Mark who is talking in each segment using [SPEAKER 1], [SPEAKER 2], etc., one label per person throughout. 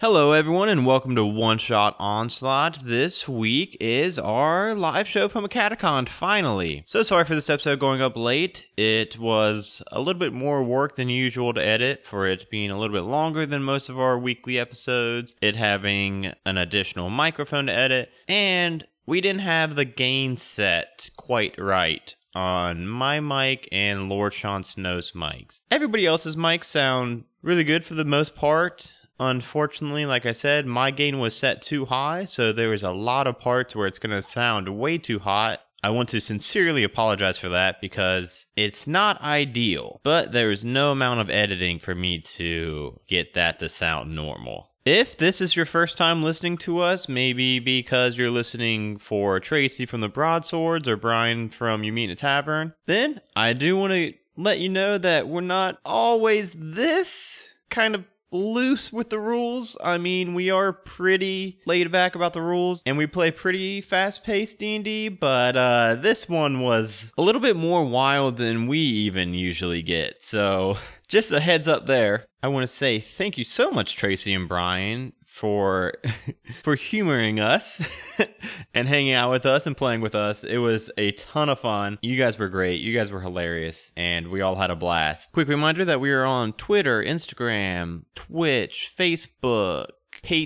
[SPEAKER 1] Hello, everyone, and welcome to One Shot Onslaught. This week is our live show from a catacomb, finally. So sorry for this episode going up late. It was a little bit more work than usual to edit, for it being a little bit longer than most of our weekly episodes, it having an additional microphone to edit, and we didn't have the gain set quite right on my mic and Lord Sean Snow's mics. Everybody else's mics sound really good for the most part. Unfortunately, like I said, my gain was set too high, so there was a lot of parts where it's going to sound way too hot. I want to sincerely apologize for that because it's not ideal, but there is no amount of editing for me to get that to sound normal. If this is your first time listening to us, maybe because you're listening for Tracy from the Broadswords or Brian from You Meet in a Tavern, then I do want to let you know that we're not always this kind of loose with the rules. I mean, we are pretty laid back about the rules and we play pretty fast-paced D&D, but uh this one was a little bit more wild than we even usually get. So, just a heads up there. I want to say thank you so much Tracy and Brian for for humoring us and hanging out with us and playing with us. It was a ton of fun. You guys were great. You guys were hilarious and we all had a blast. Quick reminder that we are on Twitter, Instagram, Twitch, Facebook,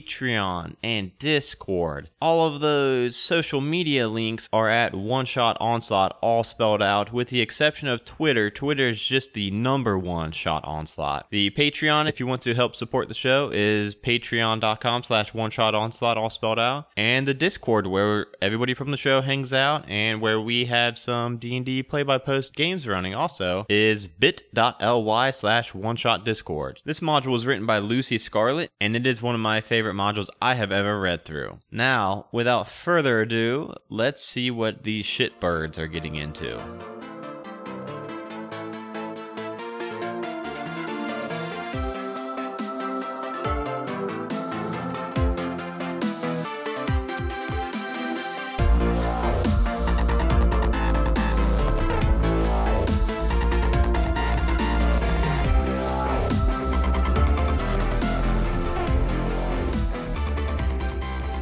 [SPEAKER 1] Patreon, and Discord. All of those social media links are at One Shot Onslaught, all spelled out, with the exception of Twitter. Twitter is just the number one shot onslaught. The Patreon, if you want to help support the show, is patreon.com slash one shot onslaught, all spelled out. And the Discord, where everybody from the show hangs out and where we have some D&D play-by-post games running also, is bit.ly slash one shot discord. This module was written by Lucy Scarlett, and it is one of my favorite modules I have ever read through. Now, without further ado, let's see what these shitbirds are getting into.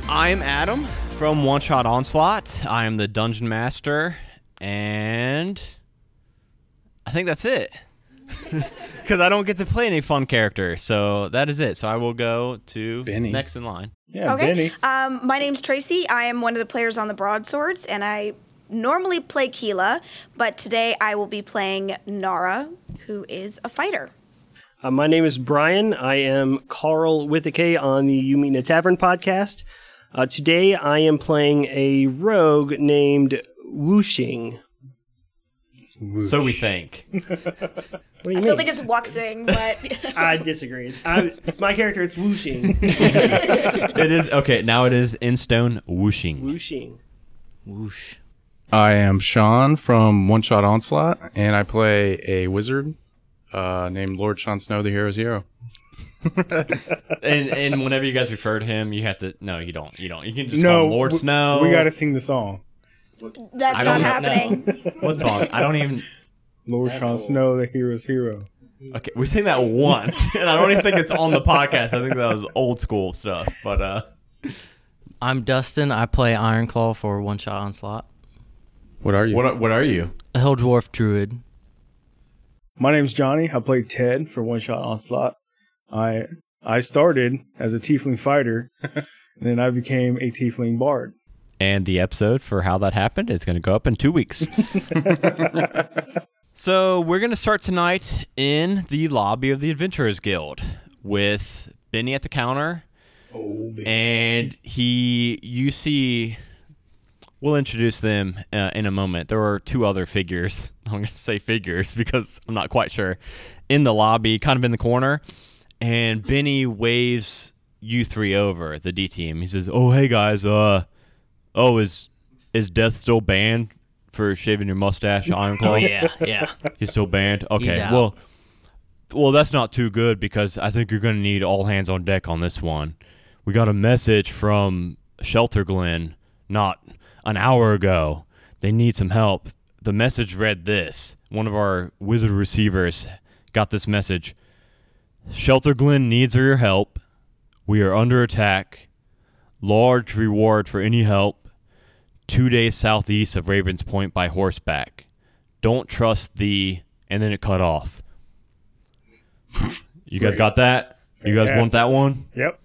[SPEAKER 1] I'm Adam from One Shot Onslaught. I am the Dungeon Master, and I think that's it. Because I don't get to play any fun character, so that is it. So I will go to
[SPEAKER 2] Benny.
[SPEAKER 1] next in line.
[SPEAKER 2] Yeah,
[SPEAKER 3] okay. Um, my name's Tracy. I am one of the players on the Broadswords, and I normally play Keela, but today I will be playing Nara, who is a fighter.
[SPEAKER 4] Uh, my name is Brian. I am Carl with a K on the You Meet in a Tavern podcast. Uh, today I am playing a rogue named Wuxing.
[SPEAKER 1] So we think.
[SPEAKER 4] What do you
[SPEAKER 3] I
[SPEAKER 4] mean?
[SPEAKER 3] still think it's Wuxing, but
[SPEAKER 4] I disagree. I, it's my character. It's Wuxing.
[SPEAKER 1] it is okay. Now it is in stone whooshing.
[SPEAKER 4] Wuxing.
[SPEAKER 1] Whoosh.
[SPEAKER 2] I am Sean from One Shot Onslaught, and I play a wizard uh, named Lord Sean Snow, the hero's hero.
[SPEAKER 1] And and whenever you guys refer to him, you have to. No, you don't. You don't. You can just call
[SPEAKER 5] no,
[SPEAKER 1] him Lord
[SPEAKER 5] we-
[SPEAKER 1] Snow.
[SPEAKER 5] We gotta sing the song.
[SPEAKER 3] that's
[SPEAKER 1] I
[SPEAKER 3] not
[SPEAKER 1] don't
[SPEAKER 3] happening.
[SPEAKER 1] know. What song? I don't even.
[SPEAKER 5] Lord Sean Snow, the hero's hero.
[SPEAKER 1] Okay, we sang that once, and I don't even think it's on the podcast. I think that was old school stuff. But uh,
[SPEAKER 6] I'm Dustin. I play Iron Claw for One Shot Onslaught.
[SPEAKER 2] What are you?
[SPEAKER 1] what what are you?
[SPEAKER 6] A Hell Dwarf Druid.
[SPEAKER 5] My name's Johnny. I played Ted for One Shot Onslaught. I I started as a tiefling fighter, and then I became a tiefling bard.
[SPEAKER 1] And the episode for how that happened is going to go up in two weeks. so we're going to start tonight in the lobby of the Adventurers Guild with Benny at the counter. and he, you see, we'll introduce them uh, in a moment. There are two other figures. I'm going to say figures because I'm not quite sure. In the lobby, kind of in the corner, and Benny waves you three over the D team. He says, "Oh, hey guys, uh, Oh, is is death still banned for shaving your mustache, Iron Claw?
[SPEAKER 6] Oh yeah, yeah.
[SPEAKER 1] he's still banned. Okay,
[SPEAKER 6] out.
[SPEAKER 1] well, well, that's not too good because I think you're going to need all hands on deck on this one. We got a message from Shelter Glen not an hour ago. They need some help. The message read this: One of our wizard receivers got this message. Shelter Glen needs your help. We are under attack. Large reward for any help. Two days southeast of Ravens Point by horseback. Don't trust the. And then it cut off. You guys got that? You guys want
[SPEAKER 5] Fantastic.
[SPEAKER 1] that one?
[SPEAKER 5] Yep.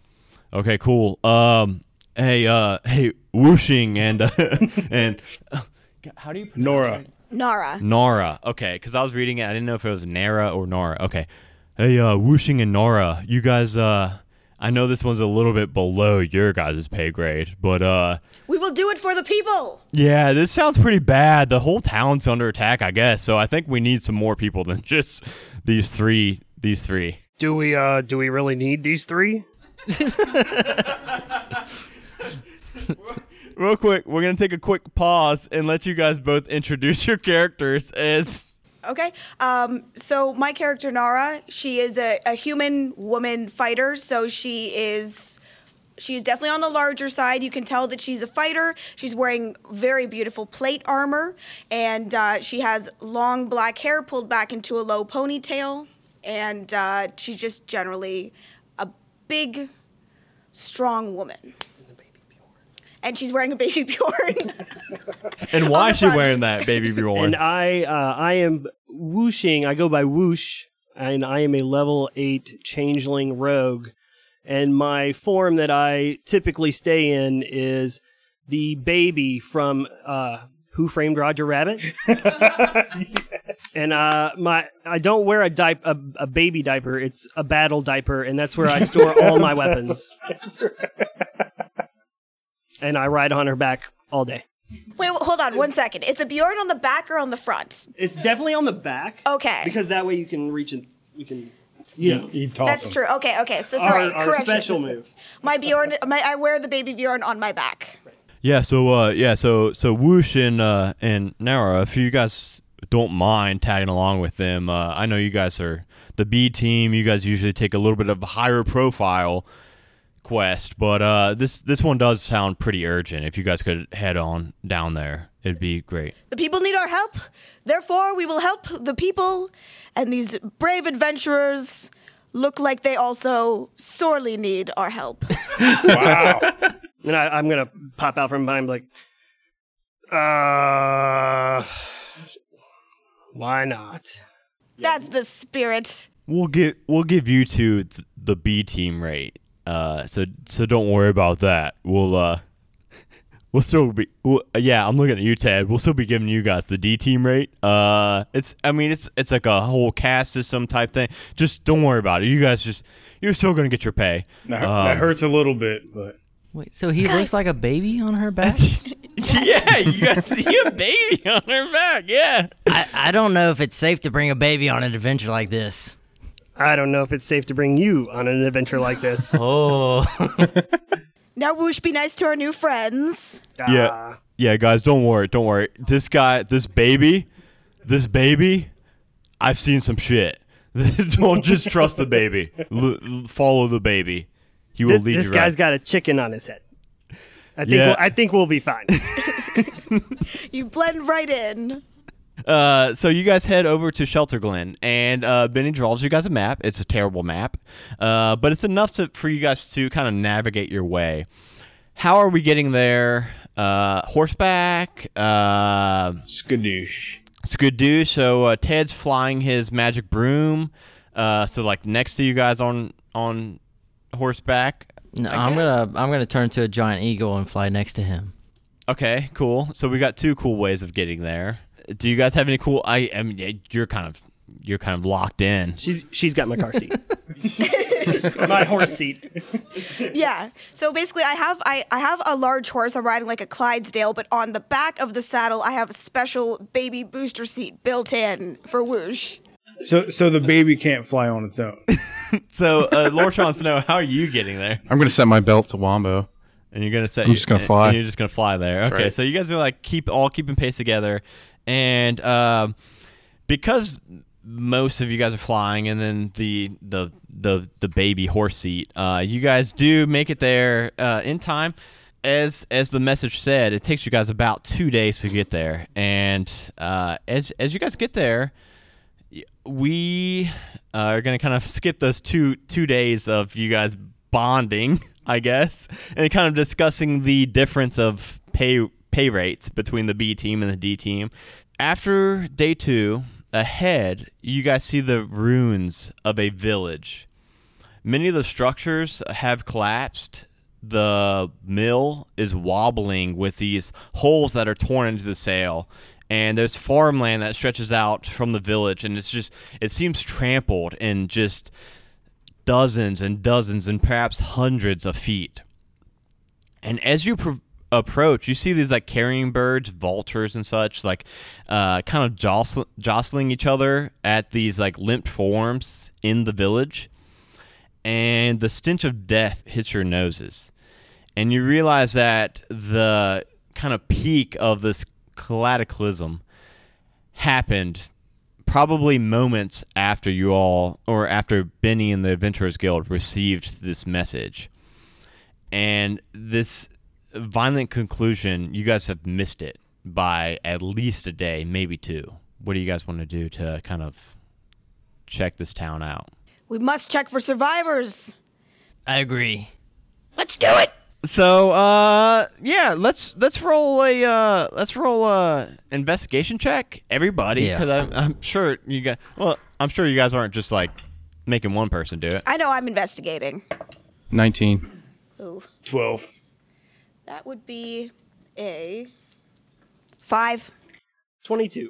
[SPEAKER 1] Okay, cool. Um, hey, uh, hey, whooshing and uh, and uh, how do you pronounce
[SPEAKER 5] Nora.
[SPEAKER 1] it?
[SPEAKER 3] Nara.
[SPEAKER 1] Nora. Okay, because I was reading it, I didn't know if it was Nara or Nora. Okay, hey, uh, whooshing and Nora, you guys. Uh, I know this one's a little bit below your guys' pay grade, but uh,
[SPEAKER 3] We will do it for the people.
[SPEAKER 1] yeah, this sounds pretty bad. The whole town's under attack, I guess. So I think we need some more people than just these three. These three.
[SPEAKER 7] Do we uh do we really need these three?
[SPEAKER 1] Real quick, we're gonna take a quick pause and let you guys both introduce your characters as
[SPEAKER 3] Okay. Um, so my character Nara, she is a, a human woman fighter. So she is she's definitely on the larger side. You can tell that she's a fighter. She's wearing very beautiful plate armor, and uh, she has long black hair pulled back into a low ponytail, and uh, she's just generally a big, strong woman. And she's wearing a baby Bjorn.
[SPEAKER 1] and why
[SPEAKER 3] the
[SPEAKER 1] is she
[SPEAKER 3] fronts.
[SPEAKER 1] wearing that baby Bjorn?
[SPEAKER 7] And I uh, I am whooshing. I go by whoosh, and I am a level eight changeling rogue. And my form that I typically stay in is the baby from uh, Who Framed Roger Rabbit. And uh, my I don't wear a di- a, a baby diaper. It's a battle diaper, and that's where I store all my weapons. and I ride on her back all day.
[SPEAKER 3] Wait, wait, hold on one second. Is the Bjorn on the back or on the front?
[SPEAKER 7] It's definitely on the back.
[SPEAKER 3] Okay.
[SPEAKER 7] Because that way you can reach and you can.
[SPEAKER 5] He tossed
[SPEAKER 3] That's
[SPEAKER 5] him.
[SPEAKER 3] true. Okay, okay. So sorry,
[SPEAKER 7] our, our
[SPEAKER 3] correction.
[SPEAKER 7] special move.
[SPEAKER 3] My Bjorn, my, I wear the baby Bjorn on my back.
[SPEAKER 1] yeah, so uh yeah, so so Woosh and uh and Nara, if you guys don't mind tagging along with them, uh I know you guys are the B team, you guys usually take a little bit of a higher profile quest, but uh this this one does sound pretty urgent. If you guys could head on down there, it'd be great.
[SPEAKER 3] The people need our help. Therefore, we will help the people. And these brave adventurers look like they also sorely need our help.
[SPEAKER 7] And I, I'm gonna pop out from behind, like, uh, why not?
[SPEAKER 3] That's the spirit.
[SPEAKER 1] We'll give we'll give you two th- the B team rate. Uh, so so don't worry about that. We'll uh, we'll still be we'll, uh, yeah. I'm looking at you, Ted. We'll still be giving you guys the D team rate. Uh, it's I mean it's it's like a whole caste system type thing. Just don't worry about it. You guys just you're still gonna get your pay.
[SPEAKER 5] That, hu- that hurts a little bit, but
[SPEAKER 6] Wait, so he looks like a baby on her back?
[SPEAKER 1] yeah, you guys see a baby on her back. Yeah.
[SPEAKER 6] I, I don't know if it's safe to bring a baby on an adventure like this.
[SPEAKER 7] I don't know if it's safe to bring you on an adventure like this.
[SPEAKER 6] Oh,
[SPEAKER 3] Now, Woosh, be nice to our new friends.
[SPEAKER 7] Uh,
[SPEAKER 1] Yeah. Yeah, guys, don't worry. Don't worry. This guy, this baby, this baby, I've seen some shit. don't just trust the baby. L- l- follow the baby. He will
[SPEAKER 7] Th-
[SPEAKER 1] lead
[SPEAKER 7] this
[SPEAKER 1] you
[SPEAKER 7] guy's
[SPEAKER 1] right.
[SPEAKER 7] got a chicken on his head. I think
[SPEAKER 1] Yeah.
[SPEAKER 7] we'll, I think we'll be fine.
[SPEAKER 3] You blend right in.
[SPEAKER 1] uh, so you guys head over to Shelter Glen, and uh, Benny draws you guys a map. It's a terrible map, uh, but it's enough to, for you guys to kind of navigate your way. How are we getting there? Uh, horseback. Uh,
[SPEAKER 5] skadoosh.
[SPEAKER 1] Skidoo. So uh, Ted's flying his magic broom. Uh, so like next to you guys on on horseback.
[SPEAKER 6] no, I'm gonna I'm gonna turn to a giant eagle and fly next to him.
[SPEAKER 1] Okay, cool. So we got two cool ways of getting there. Do you guys have any cool? I, I mean, yeah, you're kind of you're kind of locked in.
[SPEAKER 7] She's she's got my car seat, my horse seat.
[SPEAKER 3] Yeah. So basically, I have I, I have a large horse. I'm riding like a Clydesdale, but on the back of the saddle, I have a special baby booster seat built in for Woosh.
[SPEAKER 5] So, so the baby can't fly on its own.
[SPEAKER 1] So uh, Lord Sean Snow, how are you getting there?
[SPEAKER 2] I'm gonna set my belt to Wombo.
[SPEAKER 1] And you're gonna set.
[SPEAKER 2] I'm just gonna
[SPEAKER 1] and-
[SPEAKER 2] fly.
[SPEAKER 1] and you're just gonna fly there. okay,
[SPEAKER 2] right.
[SPEAKER 1] so you guys are like keep all keeping pace together, and um, because most of you guys are flying, and then the the the the baby horse seat, uh, you guys do make it there uh, in time. As as the message said, it takes you guys about two days to get there, and uh, as as you guys get there, we uh, are going to kind of skip those two two days of you guys bonding, I guess, and kind of discussing the difference of pay pay rates between the B team and the D team. After day two, ahead, you guys see the ruins of a village. Many of the structures have collapsed. The mill is wobbling with these holes that are torn into the sail. And there's farmland that stretches out from the village, and it's just, it seems trampled and just dozens and dozens and perhaps hundreds of feet. And as you pro- approach, you see these like carrying birds, vultures, and such, like uh, kind of jostl- jostling each other at these like limp forms in the village. And the stench of death hits your noses. And you realize that the kind of peak of this cataclysm happened probably moments after you all, or after Benny and the Adventurers Guild received this message. And this violent conclusion, you guys have missed it by at least a day, maybe two. What do you guys want to do to kind of check this town out?
[SPEAKER 3] We must check for survivors.
[SPEAKER 6] I agree.
[SPEAKER 3] Let's do it.
[SPEAKER 1] So, uh, yeah, let's let's roll a uh, let's roll a investigation check, everybody,
[SPEAKER 6] Yeah.
[SPEAKER 1] because I'm, I'm sure you guys. Well, I'm sure you guys aren't just like making one person do it.
[SPEAKER 3] I know I'm investigating.
[SPEAKER 2] 19.
[SPEAKER 3] Ooh,
[SPEAKER 5] 12.
[SPEAKER 3] that would be a five.
[SPEAKER 7] 22.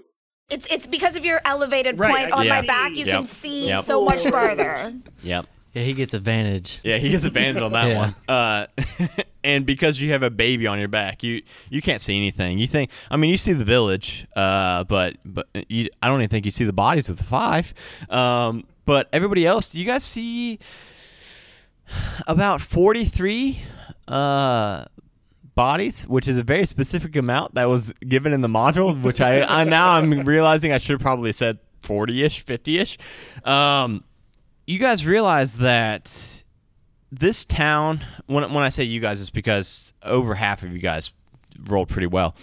[SPEAKER 3] It's it's because of your elevated
[SPEAKER 7] Right,
[SPEAKER 3] point
[SPEAKER 7] I
[SPEAKER 3] on
[SPEAKER 1] can
[SPEAKER 3] my
[SPEAKER 1] see.
[SPEAKER 3] back. You
[SPEAKER 1] Yep.
[SPEAKER 3] can see
[SPEAKER 1] Yep.
[SPEAKER 3] so much further.
[SPEAKER 1] Yep.
[SPEAKER 6] Yeah, he gets advantage.
[SPEAKER 1] Yeah, he gets advantage on that
[SPEAKER 6] Yeah.
[SPEAKER 1] one. Uh, and because you have a baby on your back, you you can't see anything. You think, I mean, you see the village, uh, but but you, I don't even think you see the bodies of the five. Um, but everybody else, you guys see about forty three uh, bodies, which is a very specific amount that was given in the module. Which I, I now I'm realizing I should have probably said forty ish, fifty ish. Um, you guys realize that this town when when I say you guys it's because over half of you guys rolled pretty well.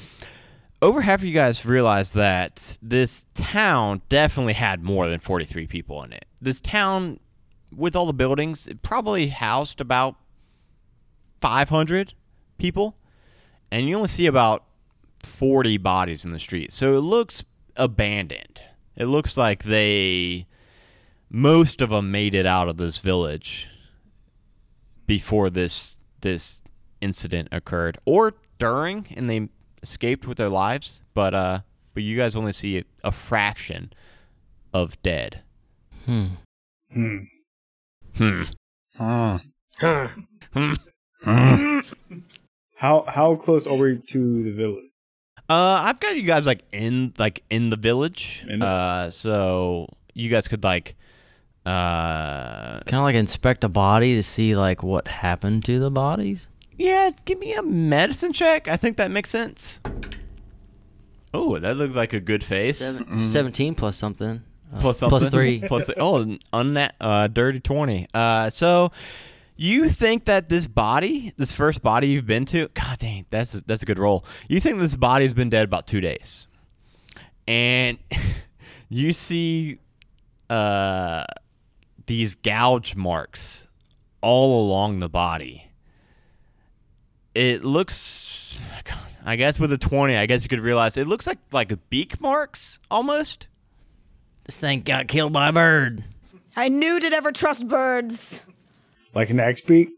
[SPEAKER 1] Over half of you guys realize that this town definitely had more than 43 people in it. This town with all the buildings it probably housed about 500 people and you only see about 40 bodies in the street. So it looks abandoned. It looks like they most of them made it out of this village before this this incident occurred or during and they escaped with their lives but uh but you guys only see a, a fraction of dead
[SPEAKER 6] Hmm.
[SPEAKER 5] Hmm.
[SPEAKER 1] hmm hmm
[SPEAKER 5] How how close are we to the village?
[SPEAKER 1] uh i've got you guys like in like in the village
[SPEAKER 5] In the-
[SPEAKER 1] uh so you guys could like uh
[SPEAKER 6] Kind of like inspect a body to see like what happened to the bodies.
[SPEAKER 1] yeah give me a medicine check i think that makes sense oh that looked like a good face
[SPEAKER 6] Seventeen plus something. Uh,
[SPEAKER 1] plus something.
[SPEAKER 6] Mm-hmm. Plus three.
[SPEAKER 1] plus oh an- on that uh, dirty 20 uh, so you think that this body this first body you've been to god dang that's a, that's a good roll you think this body has been dead about two days and you see uh, these gouge marks all along the body it looks i guess with a 20 i guess you could realize it looks like like beak marks almost
[SPEAKER 6] this thing got killed by a bird.
[SPEAKER 3] I knew to never trust birds.
[SPEAKER 5] Like an axe beak?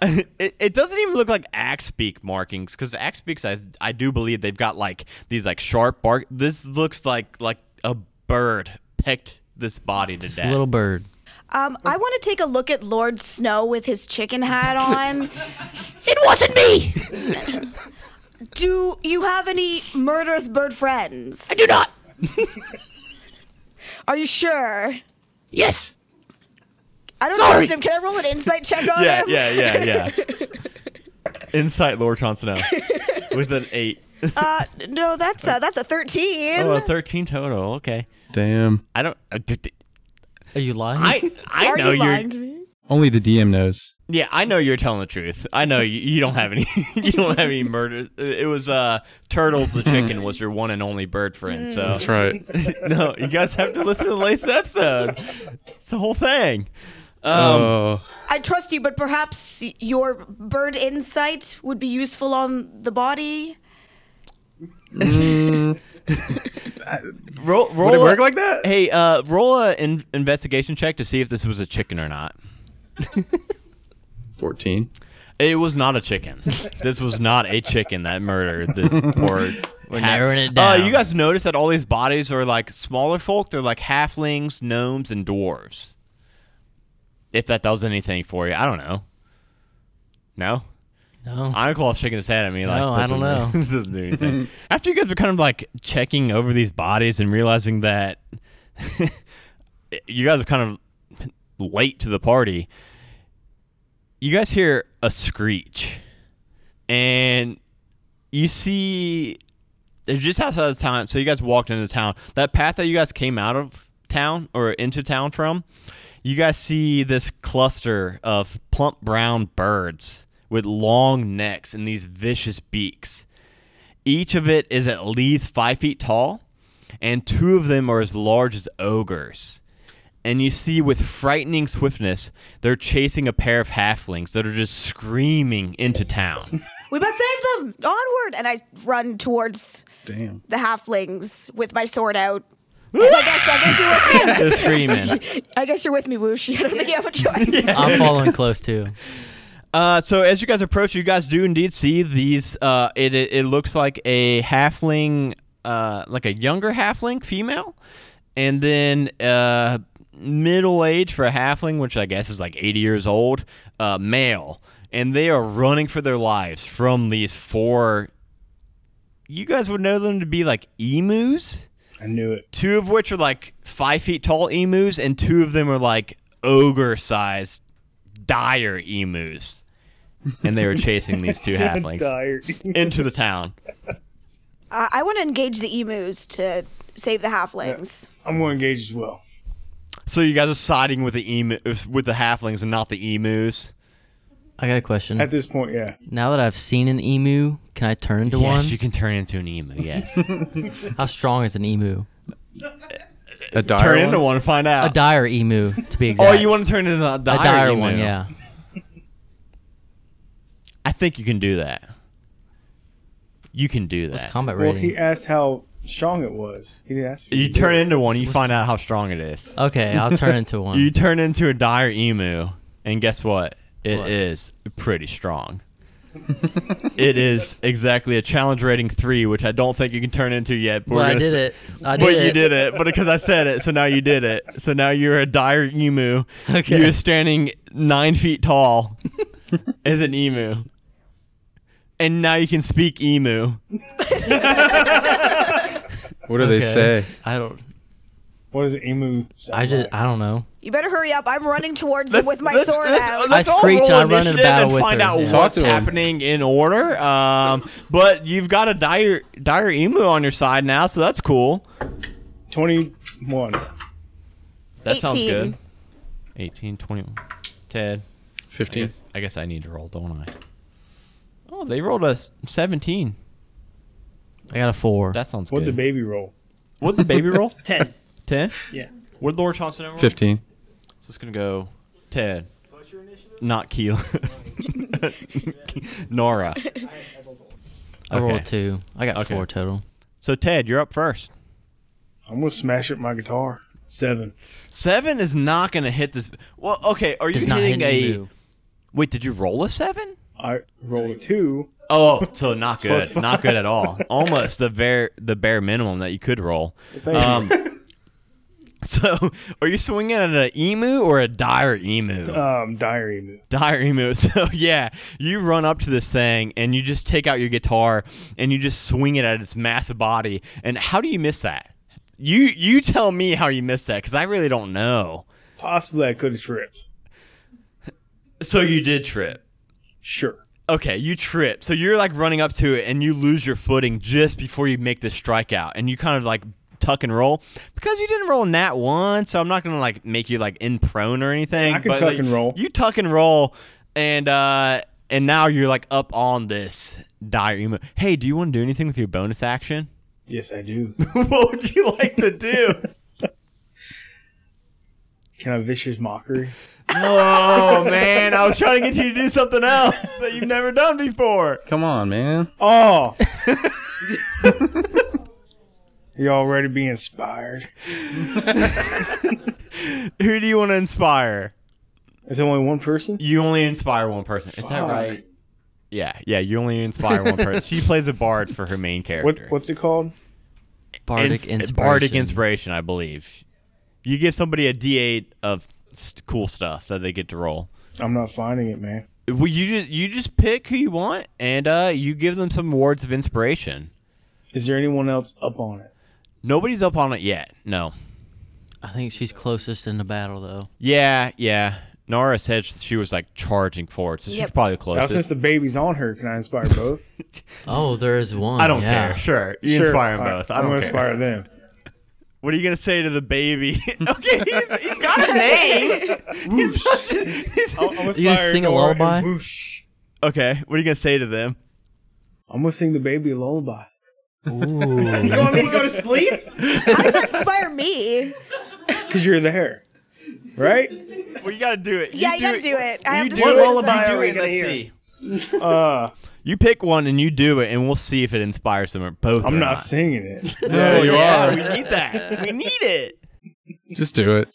[SPEAKER 1] it, it doesn't even look like axe beak markings because axe beaks I, I do believe they've got like these like sharp bark this looks like like a bird pecked this body to
[SPEAKER 6] It's a
[SPEAKER 1] death
[SPEAKER 6] little bird.
[SPEAKER 3] Um, I want to take a look at Lord Snow with his chicken hat on. it wasn't me. do you have any murderous bird friends? I do not. Are you sure?
[SPEAKER 1] yes
[SPEAKER 3] I don't trust him. Can I roll an insight check on
[SPEAKER 1] yeah
[SPEAKER 3] him?
[SPEAKER 1] yeah yeah yeah insight lord Chancellor with an 8
[SPEAKER 3] Uh, no, that's a that's a thirteen.
[SPEAKER 1] oh a 13 total okay
[SPEAKER 2] Damn.
[SPEAKER 1] i don't I d- d-
[SPEAKER 6] Are you lying?
[SPEAKER 1] i i
[SPEAKER 3] Are
[SPEAKER 1] know
[SPEAKER 3] you
[SPEAKER 1] you're
[SPEAKER 3] lying to me?
[SPEAKER 2] Only the DM knows.
[SPEAKER 1] yeah i know you're telling the truth i know you, you don't have any you don't have any murders it was uh turtles the chicken was your one and only bird friend so
[SPEAKER 2] That's right.
[SPEAKER 1] no, you guys have to listen to the latest episode. It's the whole thing.
[SPEAKER 5] Um,
[SPEAKER 2] Oh,
[SPEAKER 3] I trust you, but perhaps your bird insight would be useful on the body.
[SPEAKER 1] Roll, roll
[SPEAKER 2] would it
[SPEAKER 1] a-
[SPEAKER 2] work like that?
[SPEAKER 1] Hey, uh, roll a in- investigation check to see if this was a chicken or not.
[SPEAKER 2] Fourteen.
[SPEAKER 1] It was not a chicken. this was not a chicken that murdered this poor.
[SPEAKER 6] We're narrowing it
[SPEAKER 1] Uh,
[SPEAKER 6] down.
[SPEAKER 1] you guys notice that all these bodies are like smaller folk. They're like halflings, gnomes, and dwarves. If that does anything for you, I don't know. No,
[SPEAKER 6] No.
[SPEAKER 1] Iron Claw's shaking his head at me.
[SPEAKER 6] No,
[SPEAKER 1] like, that
[SPEAKER 6] I don't
[SPEAKER 1] doesn't-
[SPEAKER 6] know.
[SPEAKER 1] this doesn't do anything. After you guys were kind of like checking over these bodies and realizing that you guys are kind of late to the party, you guys hear a screech, and you see it's just outside of town. So you guys walked into town. That path that you guys came out of town or into town from, you guys see this cluster of plump brown birds with long necks and these vicious beaks. Each of it is at least five feet tall, and two of them are as large as ogres. And you see with frightening swiftness, they're chasing a pair of halflings that are just screaming into town.
[SPEAKER 3] We must save them! Onward! And I run towards
[SPEAKER 2] damn.
[SPEAKER 3] the halflings with my sword out. I guess, I guess you're with me.
[SPEAKER 1] They're screaming.
[SPEAKER 3] I guess you're with me, Woosh. I don't think you have a choice.
[SPEAKER 6] I'm following close too.
[SPEAKER 1] Uh, so as you guys approach, you guys do indeed see these. Uh, it, it it looks like a halfling, uh, like a younger halfling female, and then uh, middle age for a halfling, which I guess is like eighty years old, uh, male, and they are running for their lives from these four. You guys would know them to be like emus
[SPEAKER 5] I knew it.
[SPEAKER 1] two of which are like five feet tall emus, and two of them are like ogre sized dire emus. And they were chasing these two halflings
[SPEAKER 5] Tired.
[SPEAKER 1] into the town.
[SPEAKER 3] Uh, I want to engage the emus to save the halflings.
[SPEAKER 5] I'm going to engage as well.
[SPEAKER 1] So you guys are siding with the emu, with the halflings and not the emus.
[SPEAKER 6] I got a question.
[SPEAKER 5] At this point, yeah.
[SPEAKER 6] Now that I've seen an emu, can I turn into one?
[SPEAKER 1] Yes, you can turn into an emu. Yes,
[SPEAKER 6] How strong is an emu?
[SPEAKER 2] A dire
[SPEAKER 1] turn
[SPEAKER 2] one?
[SPEAKER 1] into one and find
[SPEAKER 6] A
[SPEAKER 1] out.
[SPEAKER 6] dire emu, to be
[SPEAKER 1] Uh, oh,
[SPEAKER 6] exact.
[SPEAKER 1] you want to turn into a
[SPEAKER 6] a
[SPEAKER 1] dire,
[SPEAKER 6] dire
[SPEAKER 1] emu.
[SPEAKER 6] one? Yeah.
[SPEAKER 1] I think you can do that. You can do that.
[SPEAKER 6] What's combat
[SPEAKER 5] Well,
[SPEAKER 6] rating?
[SPEAKER 5] he asked how strong it was. He didn't ask. if
[SPEAKER 1] you
[SPEAKER 5] could do
[SPEAKER 1] turn
[SPEAKER 5] it.
[SPEAKER 1] into one, you find out how strong it is.
[SPEAKER 6] Okay, I'll turn into one.
[SPEAKER 1] You turn into a dire emu, and guess what? It is
[SPEAKER 6] What?
[SPEAKER 1] pretty strong. it is exactly a challenge rating three, which I don't think you can turn into yet. But
[SPEAKER 6] well,
[SPEAKER 1] we're
[SPEAKER 6] I
[SPEAKER 1] gonna
[SPEAKER 6] did
[SPEAKER 1] s-
[SPEAKER 6] it. I did
[SPEAKER 1] but
[SPEAKER 6] it.
[SPEAKER 1] you did it, but because I said it, so now you did it. So now you're a dire emu.
[SPEAKER 6] Okay.
[SPEAKER 1] You're standing nine feet tall as an emu, and now you can speak emu.
[SPEAKER 2] What do they
[SPEAKER 6] Okay.
[SPEAKER 2] say?
[SPEAKER 6] I don't.
[SPEAKER 5] What is it, emu?
[SPEAKER 6] I just. I don't know.
[SPEAKER 3] You better hurry up. I'm running towards them
[SPEAKER 1] Let's-
[SPEAKER 3] with my
[SPEAKER 1] let's-
[SPEAKER 3] sword
[SPEAKER 1] let's-
[SPEAKER 3] out.
[SPEAKER 1] let's
[SPEAKER 6] I
[SPEAKER 1] all
[SPEAKER 6] screech
[SPEAKER 1] roll
[SPEAKER 6] and I run in a
[SPEAKER 1] initiative
[SPEAKER 6] battle
[SPEAKER 1] and
[SPEAKER 6] with
[SPEAKER 1] find
[SPEAKER 6] her.
[SPEAKER 1] out
[SPEAKER 6] Yeah.
[SPEAKER 2] Talk
[SPEAKER 1] what's
[SPEAKER 2] to him.
[SPEAKER 1] happening in order. Um, but you've got a dire dire emu on your side now, so that's cool.
[SPEAKER 5] Twenty-one.
[SPEAKER 1] That sounds
[SPEAKER 3] 18.
[SPEAKER 1] good. 18, 21. Ted, I
[SPEAKER 2] Fifteen.
[SPEAKER 1] guess, I guess I need to roll, don't I? Oh, they rolled a s- 17.
[SPEAKER 6] I got a four.
[SPEAKER 1] That sounds
[SPEAKER 5] What the
[SPEAKER 1] good.
[SPEAKER 5] baby roll?
[SPEAKER 1] What'd the baby roll?
[SPEAKER 7] Ten.
[SPEAKER 1] 10?
[SPEAKER 7] Yeah.
[SPEAKER 1] Where'd Laura Johnson roll?
[SPEAKER 2] Fifteen.
[SPEAKER 1] So it's going to go Ted. Not Keela. Nora.
[SPEAKER 6] I rolled
[SPEAKER 1] okay.
[SPEAKER 6] a two. I got
[SPEAKER 1] Okay.
[SPEAKER 6] four total.
[SPEAKER 1] So, Ted, you're up first.
[SPEAKER 5] I'm gonna smash up my guitar. Seven.
[SPEAKER 1] Seven is not going to hit this. Well, okay. Are you
[SPEAKER 6] Does not
[SPEAKER 1] hitting
[SPEAKER 6] hit an
[SPEAKER 1] a?
[SPEAKER 6] emu.
[SPEAKER 1] Wait, did you roll a seven?
[SPEAKER 5] I roll a two.
[SPEAKER 1] Oh, so not good.
[SPEAKER 5] five.
[SPEAKER 1] not good at all. Almost the bare the bare minimum that you could roll.
[SPEAKER 5] Thank
[SPEAKER 1] Um, so, are you swinging at an emu or a dire emu?
[SPEAKER 5] you. Um, dire emu.
[SPEAKER 1] dire emu. So yeah, you run up to this thing and you just take out your guitar and you just swing it at its massive body. And how do you miss that? You you tell me how you missed that because I really don't know.
[SPEAKER 5] Possibly I could have tripped.
[SPEAKER 1] So you did trip.
[SPEAKER 5] Sure.
[SPEAKER 1] Okay, you trip. So you're like running up to it and you lose your footing just before you make this strikeout and you kind of like tuck and roll because you didn't roll a nat one, so I'm not going to like make you like in prone or anything.
[SPEAKER 5] I can
[SPEAKER 1] but,
[SPEAKER 5] tuck
[SPEAKER 1] like,
[SPEAKER 5] and roll.
[SPEAKER 1] You tuck and roll and uh and now you're like up on this dire emo. Hey, do you want to do anything with your bonus action?
[SPEAKER 5] Yes, I do.
[SPEAKER 1] what would you like to do?
[SPEAKER 5] Can I vicious mockery?
[SPEAKER 1] oh man, I was trying to get you to do something else that you've never done before.
[SPEAKER 2] Come on, man.
[SPEAKER 5] Oh. You're already be inspired.
[SPEAKER 1] Who do you want to inspire?
[SPEAKER 5] Is there only one person?
[SPEAKER 1] You only inspire one person. Is that right? Yeah, yeah. You only inspire one person. she plays a bard for her main
[SPEAKER 5] What
[SPEAKER 1] character.
[SPEAKER 5] what's it called?
[SPEAKER 6] Bardic
[SPEAKER 1] Ins-
[SPEAKER 6] inspiration.
[SPEAKER 1] Bardic inspiration, I believe. You give somebody a D8 of st- cool stuff that they get to roll.
[SPEAKER 5] I'm not finding it, man.
[SPEAKER 1] Well, you just you just pick who you want, and uh, you give them some words of inspiration.
[SPEAKER 5] Is there anyone else up on it?
[SPEAKER 1] Nobody's up on it yet. No.
[SPEAKER 6] I think she's closest in the battle though.
[SPEAKER 1] Yeah, yeah. Nara said sh- she was like charging forward, so she's
[SPEAKER 3] Yep.
[SPEAKER 1] probably the
[SPEAKER 5] Now,
[SPEAKER 1] closest.
[SPEAKER 5] since the baby's on her, can I inspire both?
[SPEAKER 6] Oh, there is one.
[SPEAKER 1] I don't
[SPEAKER 6] yeah.
[SPEAKER 1] care. Sure, you inspire them both. I
[SPEAKER 5] am
[SPEAKER 1] don't
[SPEAKER 5] gonna
[SPEAKER 1] care.
[SPEAKER 5] inspire them.
[SPEAKER 1] What are you gonna say to the baby? okay, he's, he's got a name. He's not just- he's-
[SPEAKER 5] I'm, I'm
[SPEAKER 6] You just sing a lullaby?
[SPEAKER 5] Whoosh.
[SPEAKER 1] okay, what are you gonna say to them?
[SPEAKER 5] I'm gonna sing the baby a lullaby.
[SPEAKER 6] Ooh.
[SPEAKER 5] You want me to go to sleep?
[SPEAKER 3] How does that inspire me?
[SPEAKER 5] Cause you're there, right?
[SPEAKER 1] Well, you gotta do it.
[SPEAKER 3] Yeah, you gotta do it.
[SPEAKER 1] you
[SPEAKER 3] I have to
[SPEAKER 1] do
[SPEAKER 3] see
[SPEAKER 1] it.
[SPEAKER 3] what
[SPEAKER 1] You
[SPEAKER 3] it sounds
[SPEAKER 1] do
[SPEAKER 5] like.
[SPEAKER 1] it. Let's
[SPEAKER 5] Here.
[SPEAKER 1] see.
[SPEAKER 5] Uh,
[SPEAKER 1] You pick one and you do it, and we'll see if it inspires them or both.
[SPEAKER 5] I'm
[SPEAKER 1] or Oh,
[SPEAKER 5] not singing it.
[SPEAKER 2] Yeah, you
[SPEAKER 1] Yeah,
[SPEAKER 2] are.
[SPEAKER 1] we need that. We need it.
[SPEAKER 2] Just do it.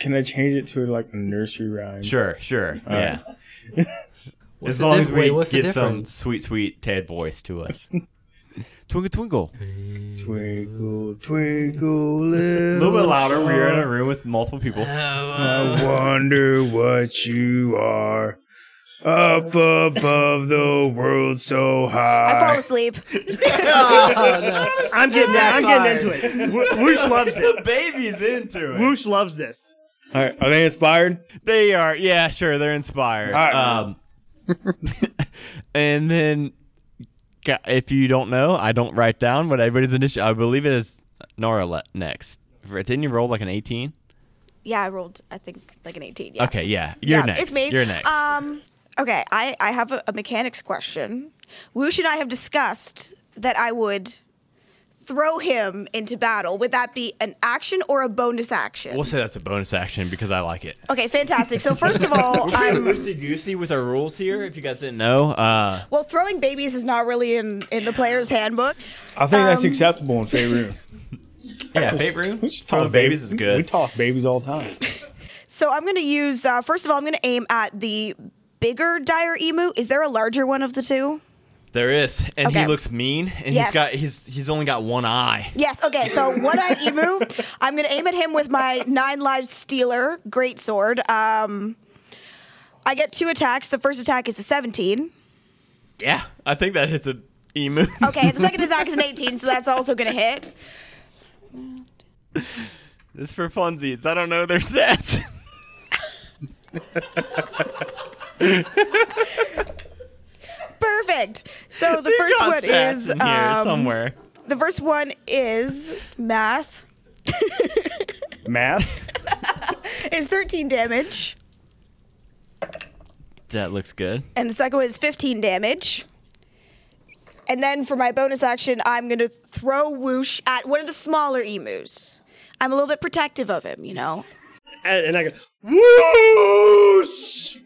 [SPEAKER 5] Can I change it to like a nursery rhyme?
[SPEAKER 1] Sure, sure. yeah. as
[SPEAKER 6] the
[SPEAKER 1] long
[SPEAKER 6] diff-
[SPEAKER 1] as we
[SPEAKER 6] wait, what's the
[SPEAKER 1] get some
[SPEAKER 6] difference?
[SPEAKER 1] sweet, sweet Ted voice to us. twinkle, twinkle.
[SPEAKER 5] Twinkle, twinkle,
[SPEAKER 1] A
[SPEAKER 5] little
[SPEAKER 1] little bit louder.
[SPEAKER 5] star.
[SPEAKER 1] We're in a room with multiple people.
[SPEAKER 6] Uh,
[SPEAKER 5] I wonder what you are up above the world so
[SPEAKER 3] I fall
[SPEAKER 5] high.
[SPEAKER 3] asleep.
[SPEAKER 4] I'm getting I'm getting into it. Wo- Woosh loves it.
[SPEAKER 1] Baby's into it.
[SPEAKER 4] Woosh loves this.
[SPEAKER 5] All right, are they inspired?
[SPEAKER 1] They are. Yeah, sure. They're inspired.
[SPEAKER 5] All right.
[SPEAKER 1] Um, and then, ga- if you don't know, I don't write down what everybody's initial. I believe it is Nora le- next. Didn't you roll like an 18?
[SPEAKER 3] Yeah, I rolled. I think like an 18. Yeah.
[SPEAKER 1] Okay, yeah. You're
[SPEAKER 3] Yeah,
[SPEAKER 1] next.
[SPEAKER 3] It's me.
[SPEAKER 1] You're next.
[SPEAKER 3] Um, okay, I, I have a, a mechanics question. Woosh and I have discussed that I would throw him into battle. Would that be an action or a bonus action?
[SPEAKER 1] we'll say that's a bonus action because I like it.
[SPEAKER 3] Okay, fantastic. So first of all, I'm
[SPEAKER 1] Loosey goosey with our rules here. If you guys didn't know, uh,
[SPEAKER 3] well, throwing babies is not really in, in the player's handbook.
[SPEAKER 5] I think that's
[SPEAKER 3] Um,
[SPEAKER 5] acceptable in Faerun.
[SPEAKER 1] yeah, paper
[SPEAKER 5] We just
[SPEAKER 1] Throw
[SPEAKER 5] toss
[SPEAKER 1] babies is
[SPEAKER 5] We
[SPEAKER 1] good.
[SPEAKER 5] toss babies all the time.
[SPEAKER 3] So I'm going to use uh, first of all, I'm going to aim at the bigger dire emu. Is there a larger one of the two?
[SPEAKER 1] There is, and he
[SPEAKER 3] Okay.
[SPEAKER 1] looks mean, and
[SPEAKER 3] Yes.
[SPEAKER 1] he's got he's he's only got one eye.
[SPEAKER 3] Yes. Okay. So one-eyed emu. I'm going to aim at him with my nine lives stealer great sword. Um, I get two attacks. The first attack is a 17.
[SPEAKER 1] Yeah, I think that hits a emu.
[SPEAKER 3] Okay. The second attack is an 18, so that's also going to hit.
[SPEAKER 1] This is for funsies. I don't know their stats.
[SPEAKER 3] Perfect. So the
[SPEAKER 1] They
[SPEAKER 3] first
[SPEAKER 1] got
[SPEAKER 3] one
[SPEAKER 1] stats
[SPEAKER 3] is
[SPEAKER 1] in here
[SPEAKER 3] um,
[SPEAKER 1] somewhere.
[SPEAKER 3] the first one is math.
[SPEAKER 5] Math?
[SPEAKER 3] Is 13 damage,
[SPEAKER 1] That looks good.
[SPEAKER 3] and the second one is 15 damage. And then for my bonus action, I'm going to throw whoosh at one of the smaller emus. I'm a little bit protective of him, you know.
[SPEAKER 4] And, and I go,
[SPEAKER 5] Whoosh!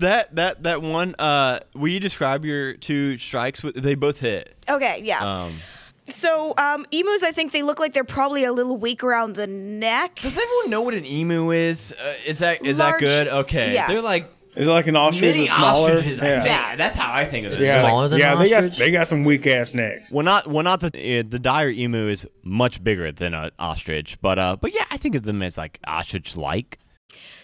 [SPEAKER 1] That that that one. Uh, will you describe your two strikes? With, they both hit.
[SPEAKER 3] Okay, yeah.
[SPEAKER 1] Um,
[SPEAKER 3] so um, emus, I think they look like they're probably a little weak around the neck.
[SPEAKER 1] does everyone know what an emu is? Uh, is that is that
[SPEAKER 3] Large-
[SPEAKER 1] good? Okay,
[SPEAKER 3] yeah.
[SPEAKER 1] they're like
[SPEAKER 5] Is it like an ostrich
[SPEAKER 1] mini
[SPEAKER 5] or smaller?
[SPEAKER 1] ostriches.
[SPEAKER 5] Yeah.
[SPEAKER 1] yeah, that's how I think of this.
[SPEAKER 5] Yeah,
[SPEAKER 6] Smaller than
[SPEAKER 5] yeah,
[SPEAKER 6] an
[SPEAKER 5] they got
[SPEAKER 6] ostrich?
[SPEAKER 5] they got some weak ass necks.
[SPEAKER 1] Well, not well, not the uh, the dire emu is much bigger than an ostrich, but uh, but yeah, I think of them as like ostrich like.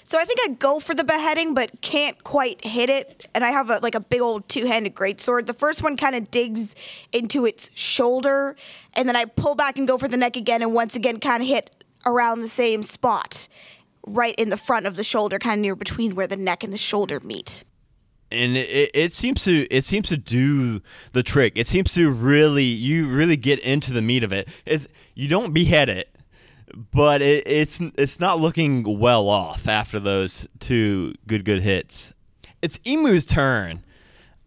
[SPEAKER 3] So I think I go for the beheading, but can't quite hit it. And I have a, like a big old two-handed greatsword. The first one kind of digs into its shoulder, and then I pull back and go for the neck again, and once again kind of hit around the same spot, right in the front of the shoulder, kind of near between where the neck and the shoulder meet.
[SPEAKER 1] And it- it, it seems to it seems to do the trick. It seems to really you really get into the meat of it. It's you don't behead it, but it, it's it's not looking well off after those two good good hits. It's emu's turn.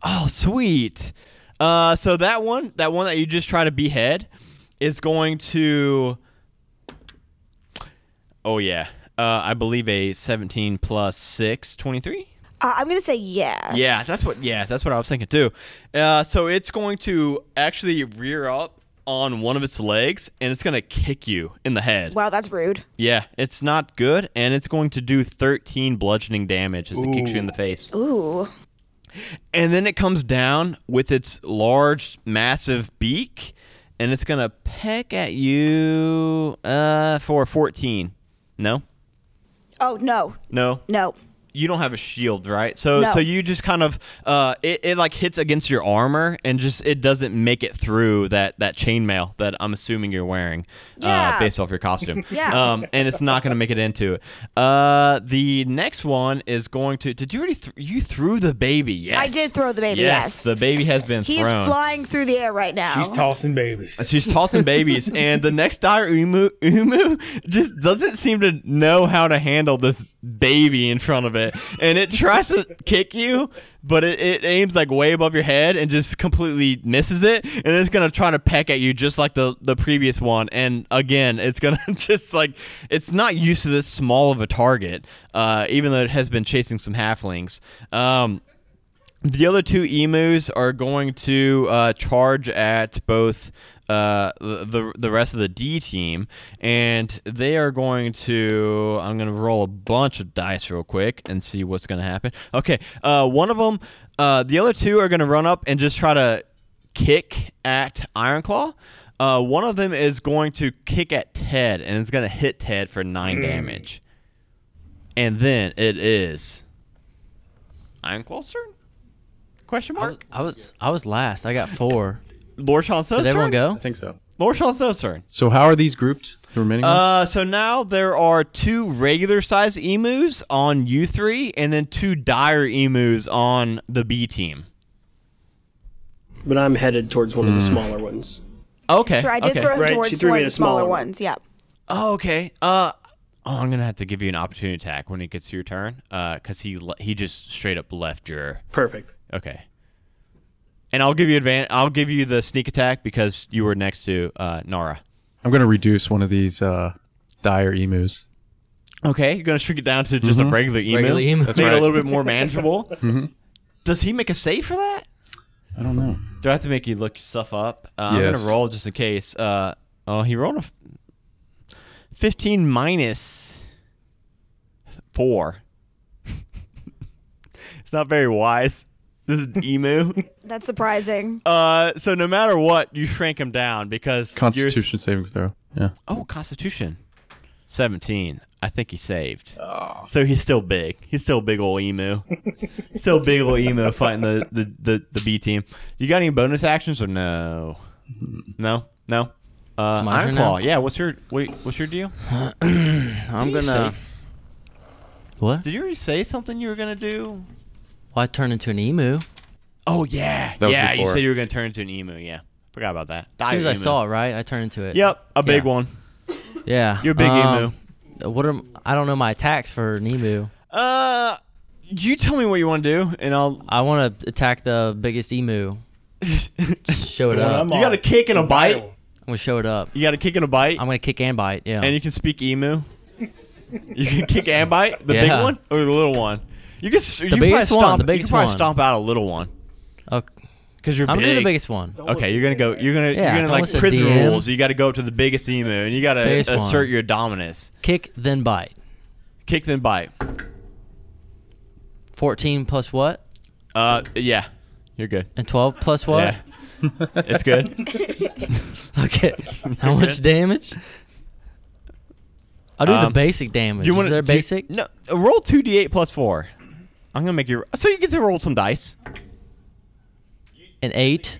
[SPEAKER 1] Oh, sweet. Uh, so that one, that one that you just try to behead, is going to Oh yeah. Uh, I believe a 17 plus 6, 23.
[SPEAKER 3] Uh, I'm gonna say yes.
[SPEAKER 1] Yeah, that's what. Yeah, that's what I was thinking too. Uh, so it's going to actually rear up on one of its legs, and it's going to kick you in the head.
[SPEAKER 3] Wow, that's rude.
[SPEAKER 1] Yeah, it's not good, and it's going to do 13 bludgeoning damage as it kicks you in the face.
[SPEAKER 3] Ooh.
[SPEAKER 1] And then it comes down with its large, massive beak, and it's going to peck at you uh, for 14. No,
[SPEAKER 3] Oh no,
[SPEAKER 1] no,
[SPEAKER 3] no.
[SPEAKER 1] you don't have a shield, right? So
[SPEAKER 3] No.
[SPEAKER 1] so you just kind of uh it, it like hits against your armor and just it doesn't make it through that that chainmail that I'm assuming you're wearing
[SPEAKER 3] Yeah.
[SPEAKER 1] uh based off your costume.
[SPEAKER 3] Yeah.
[SPEAKER 1] Um and it's not going to make it into it. Uh the next one is going to Did you already th- you threw the baby? Yes.
[SPEAKER 3] I did throw the baby, yes.
[SPEAKER 1] The baby has been
[SPEAKER 3] He's
[SPEAKER 1] thrown.
[SPEAKER 3] flying through the air right now.
[SPEAKER 5] He's tossing babies.
[SPEAKER 1] She's tossing babies, and the next dire Umu, Umu just doesn't seem to know how to handle this baby in front of it. And it tries to kick you, but it, it aims like way above your head and just completely misses it. And it's going to try to peck at you just like the, the previous one. And again, it's going to just like, it's not used to this small of a target, uh, even though it has been chasing some halflings. Um, the other two emus are going to uh, charge at both uh, the the rest of the D team, and they are going to. I'm going to roll a bunch of dice real quick and see what's going to happen. Okay, uh, one of them, uh, the other two are going to run up and just try to kick at Ironclaw. Uh, one of them is going to kick at Ted, and it's going to hit Ted for nine damage. And then it is Ironclaw's turn. Question
[SPEAKER 6] I was, I was I was last. I got four.
[SPEAKER 1] Lord Sean So's
[SPEAKER 6] Did everyone
[SPEAKER 1] turn?
[SPEAKER 6] go?
[SPEAKER 2] I think so.
[SPEAKER 1] Lord Sean So's turn.
[SPEAKER 2] So how are these grouped? The remaining ones?
[SPEAKER 1] Uh, so now there are two regular size emus on U3 and then two dire emus on the B team.
[SPEAKER 4] But I'm headed towards one of the smaller ones.
[SPEAKER 1] Okay.
[SPEAKER 3] So I did
[SPEAKER 1] okay.
[SPEAKER 3] throw him
[SPEAKER 4] Right, she
[SPEAKER 3] towards
[SPEAKER 4] threw me
[SPEAKER 3] one of
[SPEAKER 4] the
[SPEAKER 3] the smaller
[SPEAKER 4] smaller one.
[SPEAKER 3] ones. Yeah.
[SPEAKER 1] Oh, okay. Uh, oh, I'm going to have to give you an opportunity attack when it gets to your turn because he, le- he just straight up left your.
[SPEAKER 4] Perfect.
[SPEAKER 1] Okay. And I'll give you advan- I'll give you the sneak attack because you were next to uh, Nara.
[SPEAKER 2] I'm gonna reduce one of these uh, dire emus.
[SPEAKER 1] Okay, you're gonna shrink it down to
[SPEAKER 2] Mm-hmm.
[SPEAKER 1] just a regular email. Mm-hmm.
[SPEAKER 6] Regular emu. That's
[SPEAKER 1] Make it
[SPEAKER 2] right.
[SPEAKER 1] a little bit more manageable. Does he make a save for that?
[SPEAKER 2] I don't know.
[SPEAKER 1] Do I have to make you look stuff up? Uh, I'm
[SPEAKER 2] Yes.
[SPEAKER 1] gonna roll just in case. Uh, oh, he rolled a f- 15 minus four. it's not very wise. This is an emu.
[SPEAKER 3] That's surprising.
[SPEAKER 1] uh, so no matter what, you shrink him down because you're-
[SPEAKER 2] Constitution saving throw. Yeah.
[SPEAKER 1] Oh, Constitution. 17. I think he saved.
[SPEAKER 2] Oh.
[SPEAKER 1] So he's still big. He's still a big old emu. still big old emu fighting the, the, the, the B team. You got any bonus actions or no?
[SPEAKER 2] Mm-hmm.
[SPEAKER 1] No? No? Uh,
[SPEAKER 6] my
[SPEAKER 1] Iron
[SPEAKER 6] turn
[SPEAKER 1] Claw.
[SPEAKER 6] now?
[SPEAKER 1] Yeah, what's your wait, what's your deal?
[SPEAKER 6] I'm
[SPEAKER 1] you
[SPEAKER 6] gonna. What?
[SPEAKER 1] Did you already say something you were going to do?
[SPEAKER 6] Well, I turned into an emu.
[SPEAKER 1] Oh yeah.
[SPEAKER 2] That was
[SPEAKER 1] yeah, you
[SPEAKER 2] before.
[SPEAKER 1] said you were going to turn into an emu, yeah. Forgot about that.
[SPEAKER 6] As soon as
[SPEAKER 1] Dire
[SPEAKER 6] I
[SPEAKER 1] emu.
[SPEAKER 6] saw it, right, I turned into it.
[SPEAKER 1] Yep, a big
[SPEAKER 6] Yeah.
[SPEAKER 1] one.
[SPEAKER 6] Yeah.
[SPEAKER 1] You're a big
[SPEAKER 6] Um, What are I don't know my attacks for an emu.
[SPEAKER 1] emu. Uh you tell me what you want to do and I'll
[SPEAKER 6] I want to attack the biggest emu. show it
[SPEAKER 5] Well,
[SPEAKER 6] up.
[SPEAKER 5] I'm
[SPEAKER 6] I'm
[SPEAKER 1] You got a kick and a bite.
[SPEAKER 6] gonna show it up.
[SPEAKER 1] You got a kick and a bite,
[SPEAKER 6] I'm gonna kick and bite. Yeah.
[SPEAKER 1] and you can speak emu. You can kick and bite the big
[SPEAKER 6] Yeah.
[SPEAKER 1] one or the little one. You can the you can
[SPEAKER 6] biggest
[SPEAKER 1] probably
[SPEAKER 6] one,
[SPEAKER 1] stomp-
[SPEAKER 6] the
[SPEAKER 1] you
[SPEAKER 6] biggest
[SPEAKER 1] can probably
[SPEAKER 6] one.
[SPEAKER 1] stomp out a little one
[SPEAKER 6] okay.
[SPEAKER 1] because you're
[SPEAKER 6] I'm
[SPEAKER 1] big.
[SPEAKER 6] gonna do the biggest one.
[SPEAKER 1] Okay, you're gonna go. You're gonna
[SPEAKER 6] Yeah,
[SPEAKER 1] you're
[SPEAKER 6] don't
[SPEAKER 1] gonna like
[SPEAKER 6] listen to
[SPEAKER 1] prison
[SPEAKER 6] DM.
[SPEAKER 1] rules. You got to go up to the biggest emu, and you got to
[SPEAKER 6] Biggest
[SPEAKER 1] assert
[SPEAKER 6] one.
[SPEAKER 1] your dominance.
[SPEAKER 6] Kick then bite.
[SPEAKER 1] Kick then bite.
[SPEAKER 6] Fourteen plus what?
[SPEAKER 1] Uh, yeah, you're good.
[SPEAKER 6] And twelve plus what?
[SPEAKER 1] Yeah, it's good.
[SPEAKER 6] Okay. How much damage? I'll do the
[SPEAKER 1] Um,
[SPEAKER 6] basic damage.
[SPEAKER 1] You
[SPEAKER 6] Is there
[SPEAKER 1] do-
[SPEAKER 6] basic?
[SPEAKER 1] No, roll two d8 plus four. I'm gonna make you. So you get to roll some dice.
[SPEAKER 6] An eight.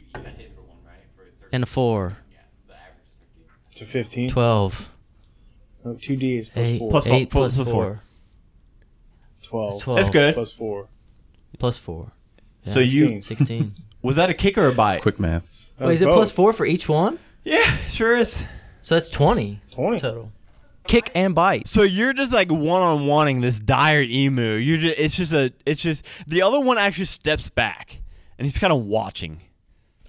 [SPEAKER 6] And a four.
[SPEAKER 5] To 15.
[SPEAKER 6] Twelve.
[SPEAKER 5] No, 2D plus
[SPEAKER 6] Eight.
[SPEAKER 5] 4.
[SPEAKER 1] Plus four,
[SPEAKER 6] eight
[SPEAKER 1] four,
[SPEAKER 6] plus
[SPEAKER 1] plus four.
[SPEAKER 6] four.
[SPEAKER 5] 12.
[SPEAKER 6] That's twelve.
[SPEAKER 1] That's good.
[SPEAKER 5] Plus 4.
[SPEAKER 6] Plus four.
[SPEAKER 1] So you
[SPEAKER 5] 16.
[SPEAKER 6] Sixteen.
[SPEAKER 1] was that a kick or a bite?
[SPEAKER 2] Quick maths.
[SPEAKER 5] That
[SPEAKER 6] Wait,
[SPEAKER 5] was
[SPEAKER 6] is it
[SPEAKER 5] both.
[SPEAKER 6] plus four for each one?
[SPEAKER 1] Yeah, sure is.
[SPEAKER 6] So that's twenty
[SPEAKER 5] 20.
[SPEAKER 6] total. Kick and bite.
[SPEAKER 1] So you're just like one on oneing this dire emu. You just it's just a it's just the other one actually steps back and he's kind of watching.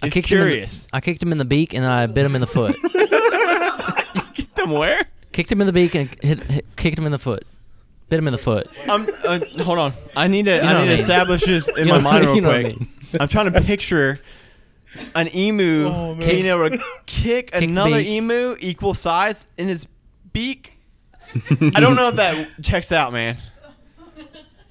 [SPEAKER 1] He's
[SPEAKER 6] kicked him in the-
[SPEAKER 1] curious.
[SPEAKER 6] I kicked him in the beak and then I bit him in the foot.
[SPEAKER 1] Get them where?
[SPEAKER 6] Kicked him in the beak and hit, hit, kicked him in the foot. Bit him in the foot.
[SPEAKER 1] I'm, uh, hold on. I need to.
[SPEAKER 6] know
[SPEAKER 1] I
[SPEAKER 6] what I
[SPEAKER 1] need to
[SPEAKER 6] mean.
[SPEAKER 1] establish this in
[SPEAKER 6] You
[SPEAKER 1] my
[SPEAKER 6] know-
[SPEAKER 1] mind real
[SPEAKER 6] you know what I
[SPEAKER 1] quick.
[SPEAKER 6] mean.
[SPEAKER 1] I'm trying to picture an emu being able to kick,
[SPEAKER 6] Oh, the
[SPEAKER 1] another
[SPEAKER 6] beak.
[SPEAKER 1] emu equal size in his beak. I don't know if that checks out, man.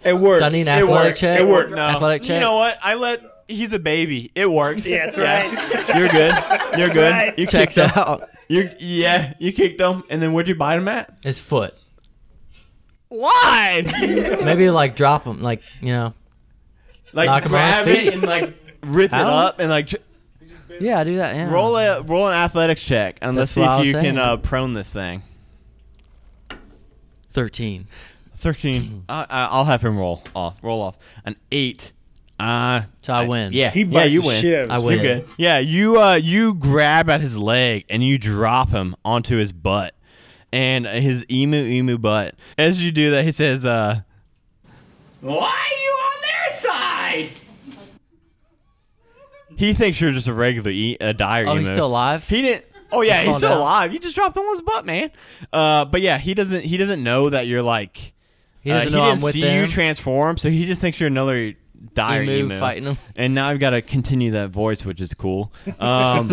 [SPEAKER 5] It works.
[SPEAKER 6] Done in
[SPEAKER 5] It
[SPEAKER 6] athletic
[SPEAKER 5] works.
[SPEAKER 6] check?
[SPEAKER 5] It worked.
[SPEAKER 1] No.
[SPEAKER 6] Athletic check.
[SPEAKER 1] You know what? I let. He's a baby. It works. Yeah,
[SPEAKER 4] that's
[SPEAKER 1] right. You're good. You're good. You
[SPEAKER 6] Checks
[SPEAKER 1] kicked him.
[SPEAKER 6] out
[SPEAKER 1] You yeah. You kicked him, and then where'd you bite him at?
[SPEAKER 6] his foot.
[SPEAKER 1] Why?
[SPEAKER 6] Maybe like drop him, like you know.
[SPEAKER 1] like
[SPEAKER 6] Knock him on his
[SPEAKER 1] grab it
[SPEAKER 6] feet.
[SPEAKER 1] and like rip
[SPEAKER 6] How?
[SPEAKER 1] it up and like j-
[SPEAKER 6] Yeah, do that. Yeah.
[SPEAKER 1] roll a roll an athletics check and let's
[SPEAKER 6] That's
[SPEAKER 1] see
[SPEAKER 6] what I
[SPEAKER 1] if
[SPEAKER 6] was
[SPEAKER 1] you can
[SPEAKER 6] saying.
[SPEAKER 1] uh, prone this thing.
[SPEAKER 6] Thirteen.
[SPEAKER 1] Thirteen. I I- I'll have him roll off. Roll off an eight. Uh,
[SPEAKER 6] So I win.
[SPEAKER 1] Yeah,
[SPEAKER 5] He
[SPEAKER 1] yeah,
[SPEAKER 5] bites
[SPEAKER 1] you
[SPEAKER 5] the
[SPEAKER 1] win.
[SPEAKER 5] shit out of
[SPEAKER 6] I
[SPEAKER 5] his-
[SPEAKER 6] win.
[SPEAKER 1] Good. Yeah, you uh, you grab at his leg and you drop him onto his butt and his emu emu butt. As you do that, he says, uh, "Why are you on their side?" He thinks you're just a regular e- a dire
[SPEAKER 6] Oh,
[SPEAKER 1] emu.
[SPEAKER 6] he's still alive.
[SPEAKER 1] He didn't. Oh yeah, he's
[SPEAKER 6] falling
[SPEAKER 1] still
[SPEAKER 6] down.
[SPEAKER 1] alive. You just dropped him on his butt, man. Uh, but yeah, he doesn't. He doesn't know that you're like.
[SPEAKER 6] He doesn't
[SPEAKER 1] uh,
[SPEAKER 6] know
[SPEAKER 1] he
[SPEAKER 6] I'm
[SPEAKER 1] didn't
[SPEAKER 6] with
[SPEAKER 1] see
[SPEAKER 6] them.
[SPEAKER 1] you transform, so he just thinks you're another dire
[SPEAKER 6] Emu fighting him.
[SPEAKER 1] And now I've got to continue that voice, which is cool. Um,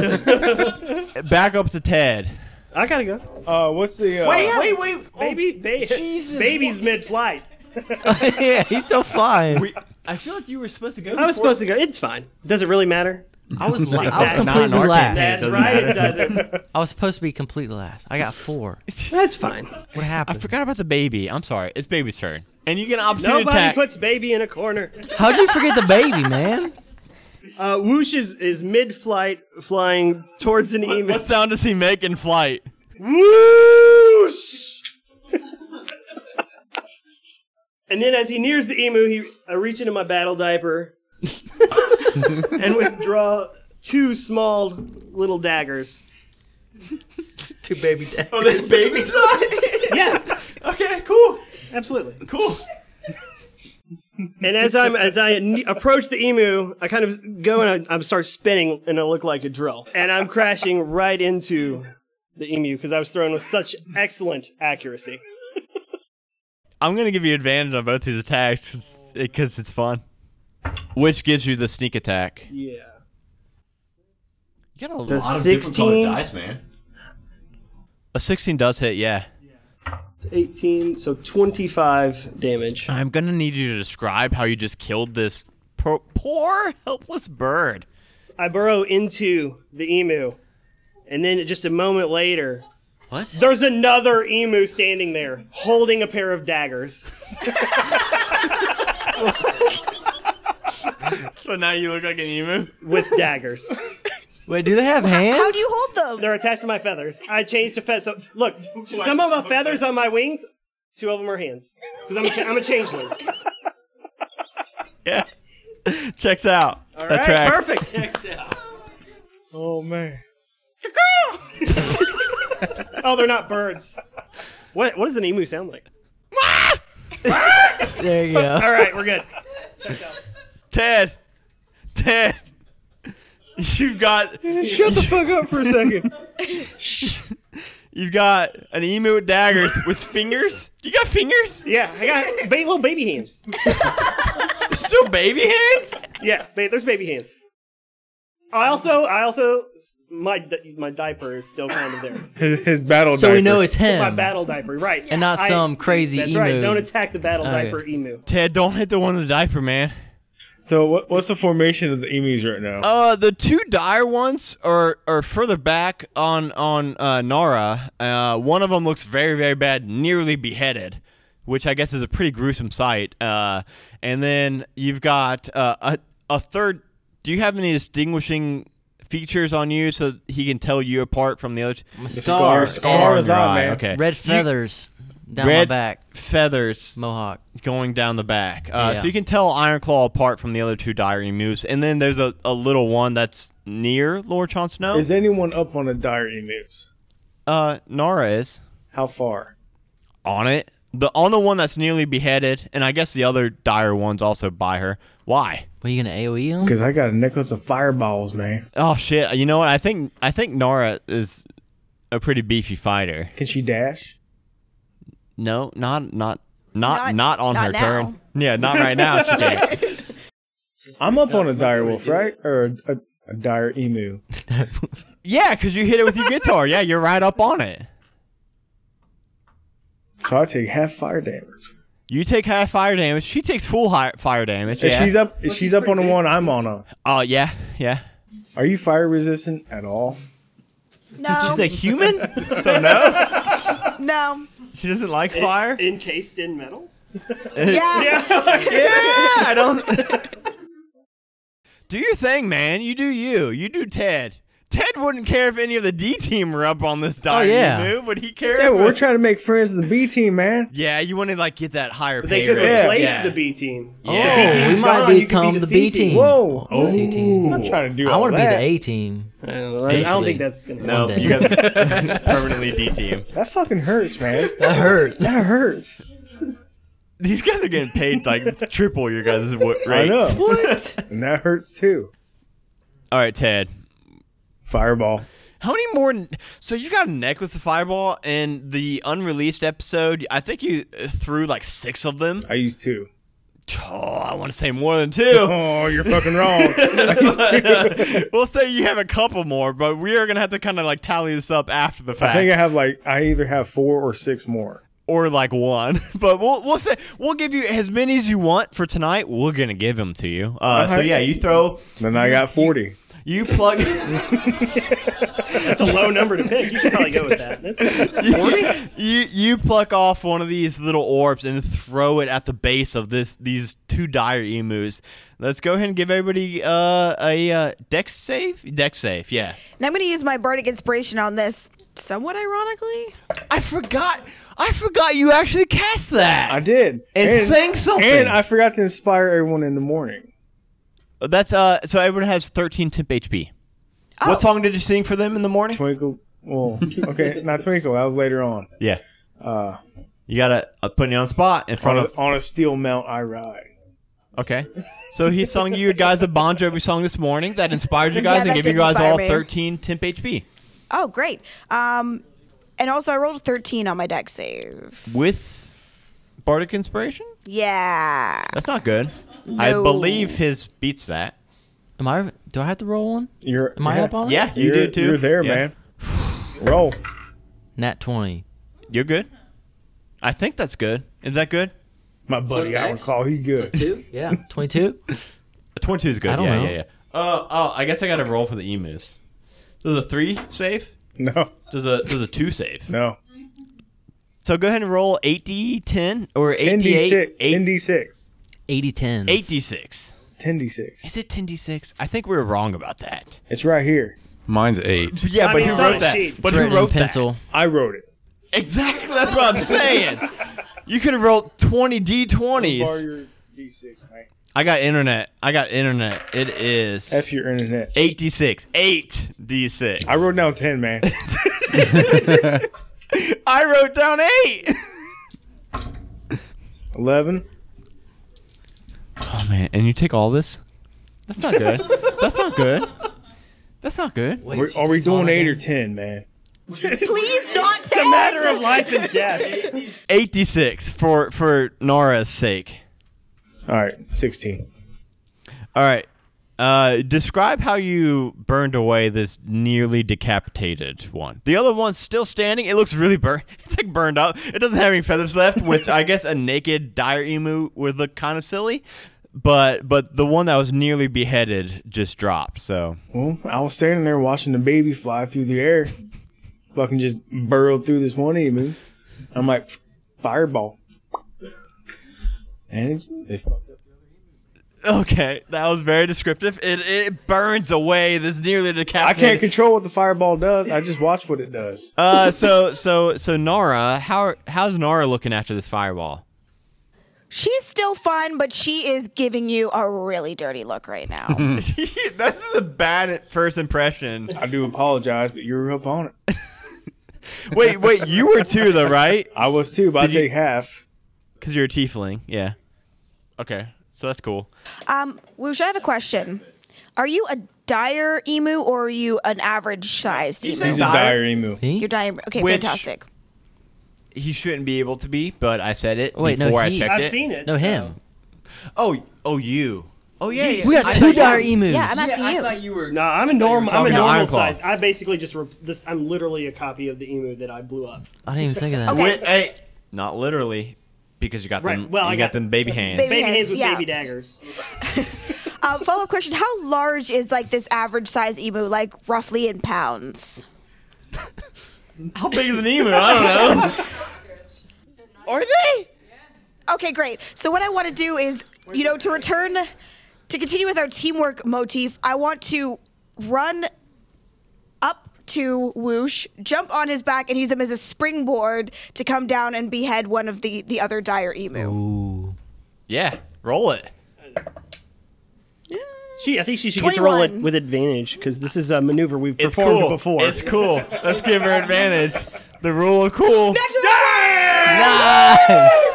[SPEAKER 1] back up to Ted.
[SPEAKER 4] I gotta go.
[SPEAKER 5] Uh, what's the uh,
[SPEAKER 1] wait, wait.
[SPEAKER 4] Baby, ba- baby's mid-flight.
[SPEAKER 6] yeah, he's still flying.
[SPEAKER 1] I feel like you were supposed to go.
[SPEAKER 4] I was supposed to go. It's fine. Does it really matter?
[SPEAKER 6] I was la- I was
[SPEAKER 4] Exactly.
[SPEAKER 1] Not in
[SPEAKER 6] completely
[SPEAKER 1] our
[SPEAKER 6] last.
[SPEAKER 1] campaign.
[SPEAKER 4] That's
[SPEAKER 1] doesn't
[SPEAKER 4] right.
[SPEAKER 1] matter.
[SPEAKER 4] It doesn't.
[SPEAKER 6] I was supposed to be completely last. I got four.
[SPEAKER 4] That's fine.
[SPEAKER 6] What
[SPEAKER 1] I
[SPEAKER 6] happened?
[SPEAKER 1] forgot about the baby. I'm sorry. It's baby's turn, and you get an opportunity
[SPEAKER 4] Nobody
[SPEAKER 1] attack.
[SPEAKER 4] puts baby in a corner.
[SPEAKER 6] How'd you forget the baby, man?
[SPEAKER 4] Uh, whoosh is, is mid-flight, flying towards an emu.
[SPEAKER 1] what sound does he make in flight?
[SPEAKER 4] Whoosh! and then as he nears the emu, he I reach into my battle diaper and withdraw two small little daggers.
[SPEAKER 6] Two baby dad.
[SPEAKER 1] Oh, that's baby size.
[SPEAKER 4] Yeah,
[SPEAKER 1] okay, cool,
[SPEAKER 4] absolutely.
[SPEAKER 1] cool.
[SPEAKER 4] And as I'm as I ne- approach the emu, I kind of go and I, I start spinning, and I look like a drill, and I'm crashing right into the emu because I was thrown with such excellent accuracy.
[SPEAKER 1] I'm gonna give you advantage on both these attacks because it's fun. Which gives you the sneak attack?
[SPEAKER 4] Yeah.
[SPEAKER 1] You got a
[SPEAKER 4] Does lot of different colored 16? dice,
[SPEAKER 1] man. A 16 does hit, yeah.
[SPEAKER 4] 18, so 25 damage.
[SPEAKER 1] I'm gonna need you to describe how you just killed this pro- poor, helpless bird.
[SPEAKER 4] I burrow into the emu, and then just a moment later,
[SPEAKER 1] What?
[SPEAKER 4] there's another emu standing there holding a pair of daggers.
[SPEAKER 1] So now you look like an emu.
[SPEAKER 4] With daggers,
[SPEAKER 6] Wait, do they have
[SPEAKER 3] How
[SPEAKER 6] hands?
[SPEAKER 3] do you hold them?
[SPEAKER 4] they're attached to my feathers. I changed to feathers. So, look, some of my feathers on my wings, two of them are hands. Because I'm, a cha- I'm a changeling.
[SPEAKER 1] Yeah. Checks out. All right,
[SPEAKER 4] Perfect.
[SPEAKER 5] Oh man.
[SPEAKER 4] Oh, they're not birds. What What does an emu sound like?
[SPEAKER 6] There you go.
[SPEAKER 4] All right, we're good.
[SPEAKER 1] Ted. Ted. You got
[SPEAKER 5] Shut the fuck up for a second.
[SPEAKER 1] you've got an emu with daggers with fingers. You got fingers?
[SPEAKER 4] Yeah, I got ba- little baby hands.
[SPEAKER 1] Still baby hands?
[SPEAKER 4] Yeah, ba- there's baby hands. I also, I also, my di- my diaper is still kind of there.
[SPEAKER 5] His, his battle.
[SPEAKER 6] So we know
[SPEAKER 5] diaper.
[SPEAKER 6] it's him.
[SPEAKER 4] My battle diaper, right?
[SPEAKER 6] And not
[SPEAKER 4] I-
[SPEAKER 6] some crazy
[SPEAKER 4] That's
[SPEAKER 6] emu.
[SPEAKER 4] right. Don't attack the battle
[SPEAKER 6] Okay.
[SPEAKER 4] diaper emu.
[SPEAKER 1] Ted, don't hit the one with the diaper, man.
[SPEAKER 5] So what, what's the formation of the emus right now?
[SPEAKER 1] Uh, the two dire ones are are further back on on uh, Nara. Uh, one of them looks very very bad, nearly beheaded, which I guess is a pretty gruesome sight. Uh, and then you've got uh, a a third. Do you have any distinguishing features on you so that he can tell you apart from the other? T-
[SPEAKER 5] the
[SPEAKER 6] scar.
[SPEAKER 5] Scar is
[SPEAKER 1] Scar on
[SPEAKER 5] on,
[SPEAKER 1] your eye,
[SPEAKER 5] man.
[SPEAKER 1] okay.
[SPEAKER 6] Red
[SPEAKER 1] You-
[SPEAKER 6] feathers down my
[SPEAKER 1] Red
[SPEAKER 6] back.
[SPEAKER 1] feathers
[SPEAKER 6] Mohawk.
[SPEAKER 1] going down the back. Uh,
[SPEAKER 6] Yeah.
[SPEAKER 1] So you can tell Ironclaw apart from the other two dire emus. And then there's a, a little one that's near Lord Chon Snow.
[SPEAKER 5] Is anyone up on the dire emus?
[SPEAKER 1] uh, Nara is
[SPEAKER 5] How far?
[SPEAKER 1] on it. The on the one that's nearly beheaded, and I guess the other dire one's also by her. Why?
[SPEAKER 6] What, are you going to AoE E him?
[SPEAKER 5] Because I got a necklace of fireballs, man.
[SPEAKER 1] Oh shit! You know what? I think I think Nara is a pretty beefy fighter.
[SPEAKER 5] Can she dash?
[SPEAKER 1] No, not not not not,
[SPEAKER 3] Not-
[SPEAKER 1] on
[SPEAKER 3] not
[SPEAKER 1] her
[SPEAKER 3] now.
[SPEAKER 1] turn. Yeah, not right now. She can't.
[SPEAKER 5] I'm up on a dire wolf, right? Or a, a, a dire emu.
[SPEAKER 1] yeah, because you hit it with your guitar. Yeah, you're right up on it.
[SPEAKER 5] So I take half fire damage.
[SPEAKER 1] You take half fire damage. She takes full hi- fire damage.
[SPEAKER 5] If
[SPEAKER 1] Yeah.
[SPEAKER 5] she's up, if she's up on the one I'm on a.
[SPEAKER 1] Oh yeah, yeah.
[SPEAKER 5] Are you fire resistant at all?
[SPEAKER 3] No,
[SPEAKER 1] She's a human, so no.
[SPEAKER 3] no.
[SPEAKER 1] She doesn't like fire.
[SPEAKER 4] Encased in metal?
[SPEAKER 3] Yeah.
[SPEAKER 1] I don't. do your thing, man. You do you. You do Ted. Ted wouldn't care if any of the D team were up on this diamond,
[SPEAKER 6] yeah.
[SPEAKER 1] you knew, but he cared.
[SPEAKER 5] Yeah, but we're
[SPEAKER 1] about-
[SPEAKER 5] trying to make friends with the B team, man.
[SPEAKER 1] yeah, you want to like get that higher
[SPEAKER 4] But
[SPEAKER 1] pay
[SPEAKER 4] they could
[SPEAKER 1] raise.
[SPEAKER 4] replace
[SPEAKER 1] yeah.
[SPEAKER 4] the B team.
[SPEAKER 1] Yeah. Oh.
[SPEAKER 6] Oh, we
[SPEAKER 4] team's
[SPEAKER 6] might
[SPEAKER 4] gone, you could be
[SPEAKER 6] become
[SPEAKER 4] the
[SPEAKER 6] the
[SPEAKER 4] C
[SPEAKER 6] B
[SPEAKER 4] team.
[SPEAKER 6] team.
[SPEAKER 5] Whoa,
[SPEAKER 6] The C team.
[SPEAKER 5] I'm not trying to do.
[SPEAKER 6] I
[SPEAKER 5] want to
[SPEAKER 6] be the A team.
[SPEAKER 4] I don't
[SPEAKER 6] Eventually.
[SPEAKER 4] think that's going to
[SPEAKER 6] No,
[SPEAKER 4] happen.
[SPEAKER 6] One you day.
[SPEAKER 1] guys permanently D team.
[SPEAKER 5] That fucking hurts, man.
[SPEAKER 6] That hurt.
[SPEAKER 5] That hurts.
[SPEAKER 1] These guys are getting paid like triple your guys' w- rates.
[SPEAKER 5] I know. and that hurts too.
[SPEAKER 1] All right, Ted.
[SPEAKER 5] Fireball.
[SPEAKER 1] How many more? So you got a necklace of fireball in the unreleased episode. I think you uh, threw like six of them.
[SPEAKER 5] I used two.
[SPEAKER 1] Oh, I want to say more than two.
[SPEAKER 5] Oh, you're fucking wrong.
[SPEAKER 1] we'll say you have a couple more, but we are gonna have to kind of like tally this up after the
[SPEAKER 5] I
[SPEAKER 1] fact,
[SPEAKER 5] think I have like I either have four or six more.
[SPEAKER 1] or like one. But we'll we'll say we'll give you as many as you want for tonight. We're gonna give them to you. Uh, so
[SPEAKER 5] right.
[SPEAKER 1] yeah, you throw,
[SPEAKER 5] Then I got forty.
[SPEAKER 1] you plug.
[SPEAKER 4] That's a low number to pick. You should probably go with that. That's
[SPEAKER 1] you you pluck off one of these little orbs and throw it at the base of this these two dire emus. Let's go ahead and give everybody uh, a uh, deck save. Deck save, yeah.
[SPEAKER 3] And I'm going to use my bardic inspiration on this, somewhat ironically.
[SPEAKER 1] I forgot. I forgot you actually cast that.
[SPEAKER 5] I did.
[SPEAKER 1] And sing something.
[SPEAKER 5] And I forgot to inspire everyone in the morning.
[SPEAKER 1] That's uh. So everyone has 13 temp HP. What song did you sing for them in the morning?
[SPEAKER 5] Twinkle. Well, okay, not twinkle. That was later on.
[SPEAKER 1] Yeah.
[SPEAKER 5] Uh,
[SPEAKER 1] You gotta uh, put me on the spot in
[SPEAKER 5] on
[SPEAKER 1] front
[SPEAKER 5] a,
[SPEAKER 1] of.
[SPEAKER 5] on a steel mount, I ride.
[SPEAKER 1] Okay. So he sung you guys the Bon Jovi song this morning that inspired you guys
[SPEAKER 3] Yeah,
[SPEAKER 1] and
[SPEAKER 3] that
[SPEAKER 1] gave you
[SPEAKER 3] did
[SPEAKER 1] guys
[SPEAKER 3] inspire
[SPEAKER 1] all
[SPEAKER 3] me.
[SPEAKER 1] 13 temp HP.
[SPEAKER 3] Oh, great. Um, and also, I rolled a 13 on my deck save.
[SPEAKER 1] with bardic inspiration.
[SPEAKER 3] Yeah.
[SPEAKER 1] That's not good. I
[SPEAKER 3] No.
[SPEAKER 1] believe his beats that.
[SPEAKER 6] Am I? Do I have to roll one?
[SPEAKER 5] You're.
[SPEAKER 6] Am I
[SPEAKER 5] yeah,
[SPEAKER 6] up on it?
[SPEAKER 1] Yeah, you
[SPEAKER 5] you're-
[SPEAKER 1] do too.
[SPEAKER 5] You're there,
[SPEAKER 1] Yeah.
[SPEAKER 5] man. Roll.
[SPEAKER 6] Nat twenty.
[SPEAKER 1] You're good. I think that's good. Is that good?
[SPEAKER 5] My buddy, I would call. He's good.
[SPEAKER 6] Two. Yeah. Twenty-two.
[SPEAKER 1] A Twenty-two is good.
[SPEAKER 6] I don't
[SPEAKER 1] yeah,
[SPEAKER 6] know.
[SPEAKER 1] yeah, yeah, Uh, oh, I guess I got to roll for the emus. Does a three save?
[SPEAKER 5] No,
[SPEAKER 1] Does a does a two save?
[SPEAKER 5] no.
[SPEAKER 1] So go ahead and roll 80, 10, or
[SPEAKER 5] 10d6.
[SPEAKER 1] 88, 8,
[SPEAKER 5] 10d6.
[SPEAKER 6] Eighty tens.
[SPEAKER 1] 86.
[SPEAKER 5] 10d6.
[SPEAKER 1] Is it 10d6? I think we were wrong about that.
[SPEAKER 5] It's right here.
[SPEAKER 2] Mine's eight.
[SPEAKER 1] Yeah,
[SPEAKER 4] I
[SPEAKER 1] but
[SPEAKER 4] mean,
[SPEAKER 1] who
[SPEAKER 4] it's on
[SPEAKER 1] wrote
[SPEAKER 4] a
[SPEAKER 1] that?
[SPEAKER 4] sheet.
[SPEAKER 1] But
[SPEAKER 6] It's
[SPEAKER 1] who
[SPEAKER 6] written in
[SPEAKER 1] wrote that?
[SPEAKER 6] pencil.
[SPEAKER 5] I wrote it.
[SPEAKER 1] Exactly. That's what I'm saying. You could have rolled 20
[SPEAKER 5] Bar
[SPEAKER 1] d20s.
[SPEAKER 5] your d6, mate.
[SPEAKER 1] I got internet. I got internet. It is
[SPEAKER 5] F your internet.
[SPEAKER 1] 86. 8 d6.
[SPEAKER 5] I wrote down 10, man.
[SPEAKER 1] I wrote down 8.
[SPEAKER 5] 11.
[SPEAKER 1] Oh man, and you take all this? That's not good. That's not good. That's not good.
[SPEAKER 6] Wait,
[SPEAKER 5] We're,
[SPEAKER 6] she
[SPEAKER 5] are we
[SPEAKER 6] takes all
[SPEAKER 5] doing 8
[SPEAKER 6] again?
[SPEAKER 5] or 10, man?
[SPEAKER 3] Please not 10.
[SPEAKER 4] matter of life and death.
[SPEAKER 1] 86 for for Nora's sake.
[SPEAKER 5] All right, 16.
[SPEAKER 1] All right. Uh, describe how you burned away this nearly decapitated one. The other one's still standing. It looks really burnt. It's like burned up. It doesn't have any feathers left, which I guess a naked dire emu would look kind of silly. But but the one that was nearly beheaded just dropped. So
[SPEAKER 5] Well, I was standing there watching the baby fly through the air. Fucking just burrowed through this one evening. I'm like, fireball. And it's, it fucked up.
[SPEAKER 1] okay, that was very descriptive. It it burns away this nearly
[SPEAKER 5] I
[SPEAKER 1] decapitated.
[SPEAKER 5] can't control what the fireball does. I just watch what it does.
[SPEAKER 1] Uh, so so so Nora, how how's Nora looking after this fireball?
[SPEAKER 3] She's still fun, but she is giving you a really dirty look right now.
[SPEAKER 1] this is a bad first impression.
[SPEAKER 5] I do apologize, but you were up on it.
[SPEAKER 1] Wait, wait, you were too though, right?
[SPEAKER 5] I was too, but I
[SPEAKER 1] Did you-
[SPEAKER 5] take half.
[SPEAKER 1] Because you're a tiefling, yeah. Okay, so that's cool.
[SPEAKER 3] um, Woosh, I have a question. Are you a dire emu or are you an average sized emu?
[SPEAKER 5] He's a dire emu.
[SPEAKER 3] You're dire. Okay,
[SPEAKER 1] Which-
[SPEAKER 3] fantastic.
[SPEAKER 1] he shouldn't be able to be, but I said it
[SPEAKER 6] Wait, no,
[SPEAKER 1] before I
[SPEAKER 6] he-
[SPEAKER 1] checked
[SPEAKER 4] I've
[SPEAKER 1] it.
[SPEAKER 4] seen it.
[SPEAKER 6] No,
[SPEAKER 4] so-
[SPEAKER 6] him.
[SPEAKER 1] Oh, oh, you. Oh yeah, yeah.
[SPEAKER 6] We
[SPEAKER 1] I
[SPEAKER 6] got
[SPEAKER 1] thought
[SPEAKER 6] two
[SPEAKER 1] you-
[SPEAKER 6] dollar emus.
[SPEAKER 8] Yeah, I'm asking
[SPEAKER 1] I
[SPEAKER 8] you.
[SPEAKER 1] thought you were.
[SPEAKER 4] No, I'm a normal. I'm a
[SPEAKER 1] talking about
[SPEAKER 4] normal
[SPEAKER 1] Iron Claw.
[SPEAKER 4] size. I basically just re- this. I'm literally a copy of the emu that I blew up.
[SPEAKER 6] I didn't even think of that.
[SPEAKER 1] Wait, hey, not literally, because you got
[SPEAKER 4] Right,
[SPEAKER 1] them.
[SPEAKER 4] well,
[SPEAKER 1] you
[SPEAKER 4] I
[SPEAKER 1] got,
[SPEAKER 4] got-
[SPEAKER 1] them baby hands.
[SPEAKER 3] Baby-
[SPEAKER 4] Baby
[SPEAKER 3] Yes,
[SPEAKER 4] hands with
[SPEAKER 3] yeah.
[SPEAKER 4] baby daggers.
[SPEAKER 3] Um, follow up question: How large is like this average size emu, like roughly in pounds?
[SPEAKER 1] How big is an emu? I don't know.
[SPEAKER 3] Are they? Okay, great. So what I want to do is, you know, to return, to continue with our teamwork motif, I want to run up to Woosh, jump on his back, and use him as a springboard to come down and behead one of the the other dire emu.
[SPEAKER 1] yeah, roll it.
[SPEAKER 4] She, I think she should get to roll it
[SPEAKER 3] 21.
[SPEAKER 4] with advantage because this is a maneuver we've
[SPEAKER 1] It's
[SPEAKER 4] performed
[SPEAKER 1] cool.
[SPEAKER 4] before.
[SPEAKER 1] It's cool. Let's give her advantage. The rule of cool.
[SPEAKER 3] Natural twenty!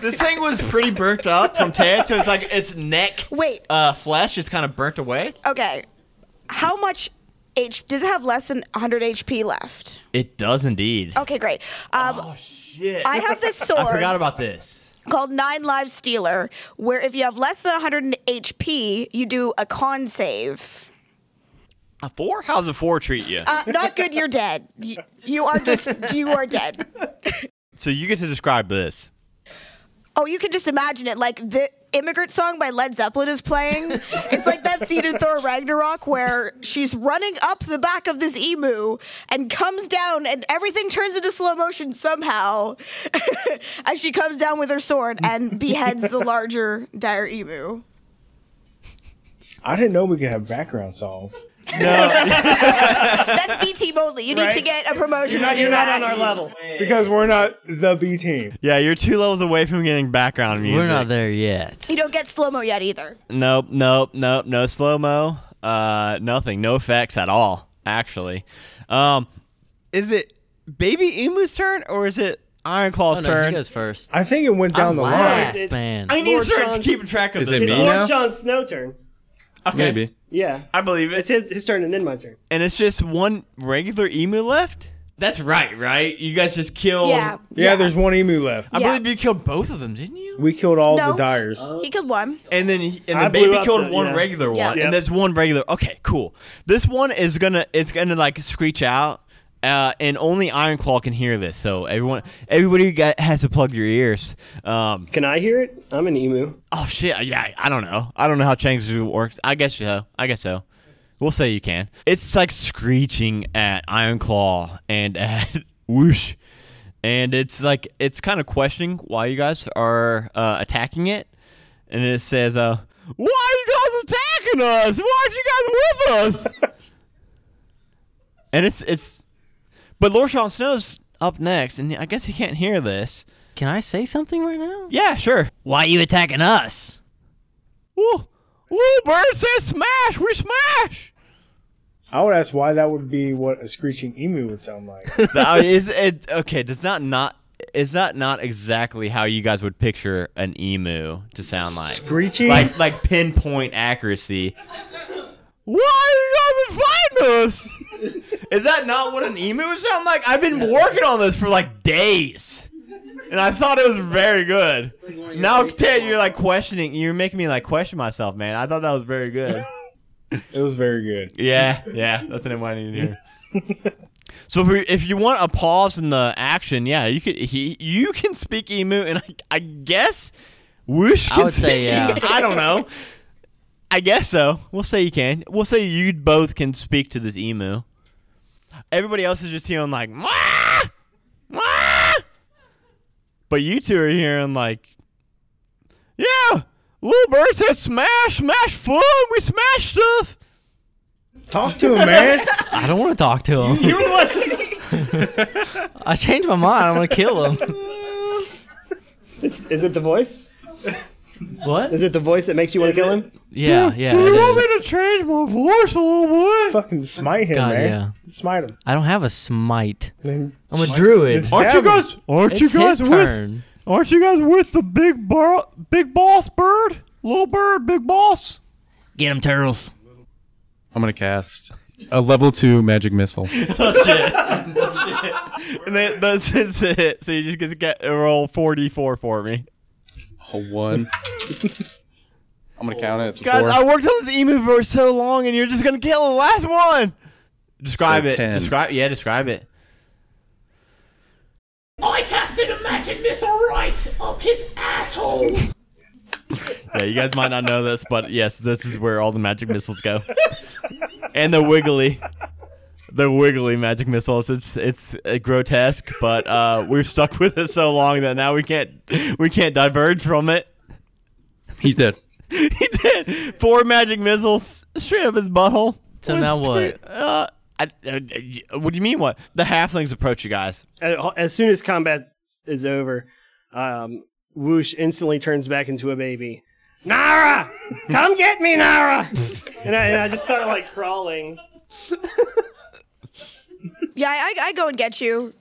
[SPEAKER 1] This thing was pretty burnt up from Ted, so it's like its neck
[SPEAKER 3] Wait.
[SPEAKER 1] uh, flesh is kind of burnt away.
[SPEAKER 3] Okay. How much H does it have less than 100 HP left?
[SPEAKER 1] It does indeed.
[SPEAKER 3] Okay, great. Um,
[SPEAKER 1] Oh, shit.
[SPEAKER 3] I have this
[SPEAKER 1] Oh, I
[SPEAKER 3] sword
[SPEAKER 1] forgot about this.
[SPEAKER 3] called Nine Lives Stealer, where if you have less than 100 HP, you do a con save.
[SPEAKER 1] A four? How's a four treat you?
[SPEAKER 3] Uh, not good, you're dead. You, you are just, you are dead.
[SPEAKER 1] so you get to describe this.
[SPEAKER 3] Oh, you can just imagine it. Like the immigrant song by Led Zeppelin is playing. It's like that scene in Thor Ragnarok where she's running up the back of this emu and comes down, and everything turns into slow motion somehow. and she comes down with her sword and beheads the larger dire emu.
[SPEAKER 5] I didn't know we could have background songs.
[SPEAKER 3] That's BT Motley. You need to get a promotion.
[SPEAKER 4] You're not, you're not on our level.
[SPEAKER 5] Because we're not the B team.
[SPEAKER 1] Yeah, you're two levels away from getting background music.
[SPEAKER 6] We're not there yet.
[SPEAKER 3] You don't get slow mo yet either.
[SPEAKER 1] Nope, nope, nope. No slow mo. Uh, nothing. No effects at all. Actually, um, is it baby emu's turn or is it Iron Claw's
[SPEAKER 6] Oh, no,
[SPEAKER 1] turn?
[SPEAKER 6] he goes first.
[SPEAKER 5] I think it went down
[SPEAKER 6] I'm
[SPEAKER 5] the
[SPEAKER 6] last,
[SPEAKER 5] line.
[SPEAKER 4] It's-
[SPEAKER 6] man.
[SPEAKER 1] I need
[SPEAKER 4] Lord
[SPEAKER 1] to start
[SPEAKER 4] John's-
[SPEAKER 1] keeping track of
[SPEAKER 2] Is
[SPEAKER 1] this.
[SPEAKER 2] it
[SPEAKER 4] It's
[SPEAKER 2] me now?
[SPEAKER 4] Lord Sean's snow turn.
[SPEAKER 1] Okay.
[SPEAKER 2] Maybe.
[SPEAKER 4] Yeah,
[SPEAKER 1] I believe
[SPEAKER 4] it's
[SPEAKER 1] it.
[SPEAKER 4] his his turn and then my turn.
[SPEAKER 1] And it's just one regular emu left. That's right, right? You guys just
[SPEAKER 4] Oh.
[SPEAKER 1] killed.
[SPEAKER 3] Yeah.
[SPEAKER 5] Yeah, there's one emu left.
[SPEAKER 1] I
[SPEAKER 3] Yeah.
[SPEAKER 1] believe you killed both of them, didn't you?
[SPEAKER 5] We killed all
[SPEAKER 3] No.
[SPEAKER 5] the dyers.
[SPEAKER 3] He killed one.
[SPEAKER 1] And then and
[SPEAKER 4] I
[SPEAKER 1] the
[SPEAKER 4] blew
[SPEAKER 1] baby
[SPEAKER 4] up
[SPEAKER 1] killed
[SPEAKER 4] the-
[SPEAKER 1] one
[SPEAKER 4] yeah.
[SPEAKER 1] regular
[SPEAKER 3] Yeah.
[SPEAKER 1] one,
[SPEAKER 4] Yep.
[SPEAKER 1] and there's one regular. Okay, cool. This one is gonna it's gonna like screech out, uh, and only Iron Claw can hear this. So everyone, everybody got, has to plug your ears. Um,
[SPEAKER 4] Can I hear it? I'm an emu.
[SPEAKER 1] oh shit, yeah, I don't know. I don't know how Chang's Zoo works. I guess so. I guess so. We'll say you can. It's like screeching at Iron Claw and at Whoosh, and it's like it's kind of questioning why you guys are uh, attacking it and it says, uh, "Why are you guys attacking us? Why are you guys with us?" and it's it's, but Lord Sean Snow's up next, and I guess he can't hear this.
[SPEAKER 6] Can I say something right now?
[SPEAKER 1] Yeah, sure.
[SPEAKER 6] Why you attacking us?
[SPEAKER 1] Ooh, little bird says, "Smash, we smash."
[SPEAKER 5] I would ask why that would be what a screeching emu would sound like.
[SPEAKER 1] Uh, is it okay? Does that not? Is that not exactly how you guys would picture an emu to sound like?
[SPEAKER 5] Screeching?
[SPEAKER 1] Like like pinpoint accuracy. Why are you guys fighting us? Is that not what an emu would sound like? I've been working on this for like days. And I thought it was very good. Now Ted, you're like questioning you're making me like question myself, man. I thought that was very good.
[SPEAKER 5] it was very good.
[SPEAKER 1] Yeah, yeah, that's the name I need to hear. so if, we, if you want a pause in the action, yeah, you could. He, you can speak emu, and I, I guess Woosh can
[SPEAKER 6] would say
[SPEAKER 1] speak
[SPEAKER 6] yeah.
[SPEAKER 1] emu. I don't know. I guess so. We'll say you can. We'll say you both can speak to this emu. Everybody else is just hearing like, Wah! Wah! but you two are hearing like, yeah, little bird said smash, smash, flood, we smash stuff.
[SPEAKER 5] Talk to him, man.
[SPEAKER 6] I don't want to talk to him. I changed my mind. I want to kill him.
[SPEAKER 4] It's, is it the voice?
[SPEAKER 6] What?
[SPEAKER 4] Is it the voice that makes you want to kill him?
[SPEAKER 6] Yeah, yeah. it is.
[SPEAKER 1] to change my voice a little bit?
[SPEAKER 5] Fucking smite him,
[SPEAKER 6] God,
[SPEAKER 5] man.
[SPEAKER 6] yeah.
[SPEAKER 5] Smite him.
[SPEAKER 6] I don't have a smite.
[SPEAKER 5] Then
[SPEAKER 6] I'm a druid.
[SPEAKER 5] then
[SPEAKER 1] Aren't you
[SPEAKER 5] stab him.
[SPEAKER 1] guys? Aren't
[SPEAKER 6] It's
[SPEAKER 1] you guys
[SPEAKER 6] his
[SPEAKER 1] with?
[SPEAKER 6] turn.
[SPEAKER 1] Aren't you guys with the big bar, big boss bird, little bird, big boss?
[SPEAKER 6] Get him, turtles.
[SPEAKER 2] I'm gonna cast a level two magic
[SPEAKER 1] Oh
[SPEAKER 2] missile.
[SPEAKER 1] shit! and then that's that's it. So you just get to get roll forty four for me.
[SPEAKER 2] A one. I'm gonna count it. It's a
[SPEAKER 1] Guys,
[SPEAKER 2] four.
[SPEAKER 1] I worked on this emu for so long, and you're just gonna kill the last one. Describe
[SPEAKER 2] So
[SPEAKER 1] it.
[SPEAKER 2] 10.
[SPEAKER 1] Describe. Yeah, describe it.
[SPEAKER 8] I cast an imagine missile right up his asshole.
[SPEAKER 1] Yeah, you guys might not know this, but yes, this is where all the magic missiles go, and the wiggly, the wiggly magic missiles. It's it's uh, grotesque, but uh, we've stuck with it so long that now we can't we can't diverge from it.
[SPEAKER 2] He's dead.
[SPEAKER 1] he did four magic missiles straight up his butthole.
[SPEAKER 6] So now
[SPEAKER 1] square- Uh, I, uh, uh, what do you mean? What the halflings approach you guys?
[SPEAKER 4] As, as soon as combat is over, um, Whoosh instantly turns back into a baby. Nara, come get me, Nara! and, I, and I just start like crawling.
[SPEAKER 3] Yeah, I, I go and get you.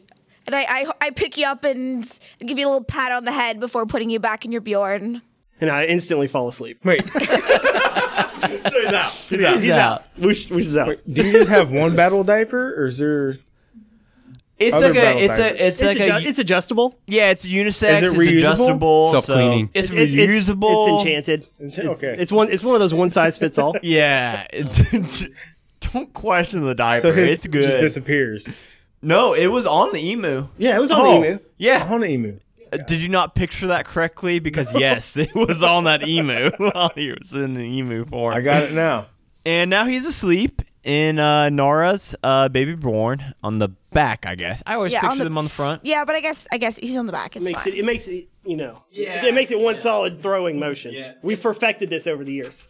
[SPEAKER 3] And I, I, I pick you up and give you a little pat on the head before putting you back in your Bjorn.
[SPEAKER 4] And I instantly fall asleep.
[SPEAKER 5] Wait,
[SPEAKER 1] He's out. He's out. He's out.
[SPEAKER 4] Whoosh, whoosh is out.
[SPEAKER 5] do you just have one battle diaper, or is there?
[SPEAKER 1] It's
[SPEAKER 5] Other
[SPEAKER 1] like a,
[SPEAKER 5] battle
[SPEAKER 1] it's
[SPEAKER 5] bags.
[SPEAKER 1] a, it's
[SPEAKER 4] It's,
[SPEAKER 1] like a,
[SPEAKER 4] adju- it's adjustable.
[SPEAKER 1] yeah, it's unisex.
[SPEAKER 5] Is it
[SPEAKER 1] it's
[SPEAKER 5] reusable?
[SPEAKER 1] adjustable. so
[SPEAKER 2] Self-cleaning.
[SPEAKER 1] it's
[SPEAKER 4] It's-
[SPEAKER 1] reusable.
[SPEAKER 4] it's- It's enchanted.
[SPEAKER 5] okay.
[SPEAKER 4] It's one. It's one of those one size fits all.
[SPEAKER 1] Yeah. It's- Don't question the diaper.
[SPEAKER 5] his
[SPEAKER 1] it's good.
[SPEAKER 5] Just disappears.
[SPEAKER 1] no, it was on the emu.
[SPEAKER 4] yeah, it was on
[SPEAKER 5] Oh.
[SPEAKER 4] the emu.
[SPEAKER 1] Yeah.
[SPEAKER 5] Hana emu.
[SPEAKER 1] Uh, Did you not picture that correctly? Because yes, it was on that emu. well, he was in the emu form.
[SPEAKER 5] I got it now.
[SPEAKER 1] And now he's asleep in uh, Nara's uh, baby born on the back, I guess. I always
[SPEAKER 3] Yeah,
[SPEAKER 1] picture
[SPEAKER 3] on the-
[SPEAKER 1] them on the front.
[SPEAKER 3] Yeah, but I guess I guess he's on the back. It's
[SPEAKER 4] Makes
[SPEAKER 3] fine.
[SPEAKER 4] it. It makes it. You know. It makes it one solid throwing motion. We perfected this over the years.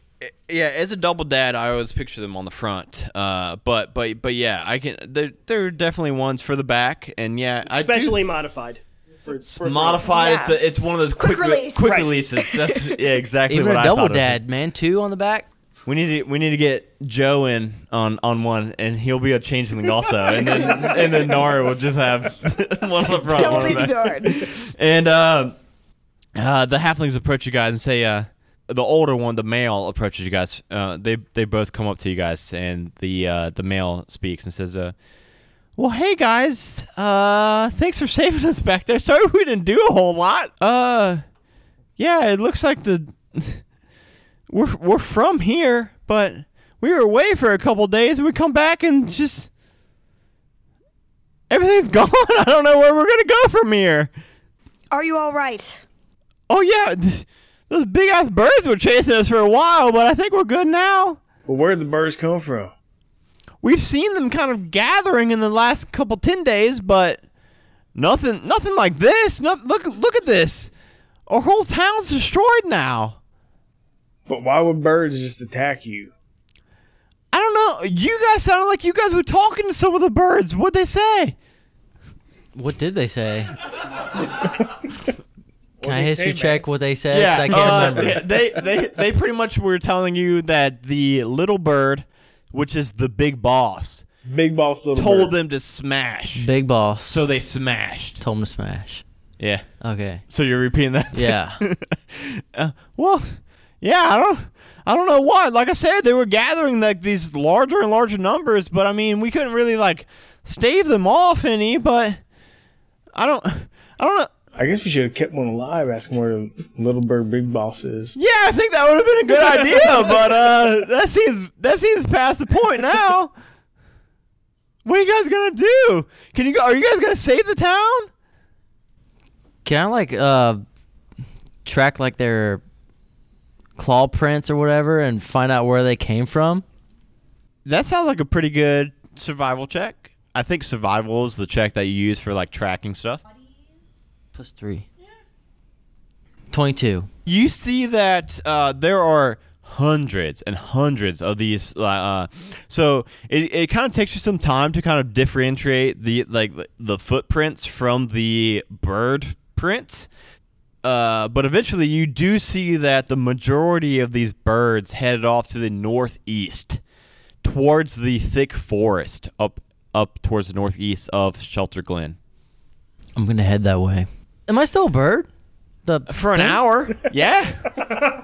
[SPEAKER 1] Yeah, as a double dad, I always picture them on the front. Uh, but but but yeah, I can. There there are definitely ones for the back, and yeah,
[SPEAKER 4] Specially modified. For,
[SPEAKER 1] I
[SPEAKER 4] for
[SPEAKER 1] do, modified.
[SPEAKER 3] Yeah.
[SPEAKER 1] It's a, it's one of those quick, re-
[SPEAKER 3] release.
[SPEAKER 1] quick
[SPEAKER 3] Right.
[SPEAKER 1] releases. That's yeah, exactly
[SPEAKER 6] Even
[SPEAKER 1] what
[SPEAKER 6] a
[SPEAKER 1] I
[SPEAKER 6] double
[SPEAKER 1] thought of it.
[SPEAKER 6] dad, man. Two on the back.
[SPEAKER 1] We need to we need to get Joe in on, on one, and he'll be a changeling also, and then and then Nara will just have one on the front.
[SPEAKER 3] Double
[SPEAKER 1] one on the
[SPEAKER 3] baby
[SPEAKER 1] back.
[SPEAKER 3] Bjorns.
[SPEAKER 1] And uh, uh, the halflings approach you guys and say, uh, the older one, the male, approaches you guys. Uh, they they both come up to you guys, and the uh, the male speaks and says, uh, "Well, hey guys, uh, thanks for saving us back there. Sorry we didn't do a whole lot. Uh, yeah, it looks like the we're we're from here, but we were away for a couple days, and we come back and just." Everything's gone. I don't know where we're gonna go from here.
[SPEAKER 3] Are you all right?
[SPEAKER 1] Oh yeah, th- those big ass birds were chasing us for a while, but I think we're good now.
[SPEAKER 5] Well, where would the birds come from?
[SPEAKER 1] We've seen them kind of gathering in the last couple ten days, but nothing, nothing like this. Noth- look, look at this. Our whole town's destroyed now.
[SPEAKER 5] But why would birds just attack you?
[SPEAKER 1] I don't know. You guys sounded like you guys were talking to some of the birds. What'd they say?
[SPEAKER 6] What did they say? Can I
[SPEAKER 5] they
[SPEAKER 6] history
[SPEAKER 5] say,
[SPEAKER 6] check what they said? 'Cause I can't
[SPEAKER 1] uh,
[SPEAKER 6] remember.
[SPEAKER 1] They, they, they pretty much were telling you that the little bird, which is the big boss,
[SPEAKER 5] Big boss little
[SPEAKER 1] told
[SPEAKER 5] bird.
[SPEAKER 1] them to smash.
[SPEAKER 6] Big boss
[SPEAKER 1] So they smashed.
[SPEAKER 6] told him to smash.
[SPEAKER 1] Yeah.
[SPEAKER 6] Okay.
[SPEAKER 1] So you're repeating that?
[SPEAKER 6] Yeah.
[SPEAKER 1] uh, well, yeah, I don't, I don't know why. Like I said, they were gathering like these larger and larger numbers, but I mean, we couldn't really like stave them off any. But I don't, I don't know.
[SPEAKER 5] I guess we should have kept one alive. Ask him where the little bird big boss is.
[SPEAKER 1] Yeah, I think that would have been a good idea, but uh, that seems that seems past the point now. What are you guys gonna do? Can you go? Are you guys gonna save the town?
[SPEAKER 6] Can I like uh track like their claw prints or whatever and find out where they came from?
[SPEAKER 1] That sounds like a pretty good survival check. I think survival is the check that you use for like tracking stuff.
[SPEAKER 6] Plus three. Twenty-two.
[SPEAKER 1] you see that uh, there are hundreds and hundreds of these uh, uh, so it, it kind of takes you some time to kind of differentiate the like the footprints from the bird prints uh, but eventually you do see that the majority of these birds headed off to the northeast towards the thick forest up up towards the northeast of shelter glen
[SPEAKER 6] I'm gonna head that way. Am I still a bird? The
[SPEAKER 1] for an hour yeah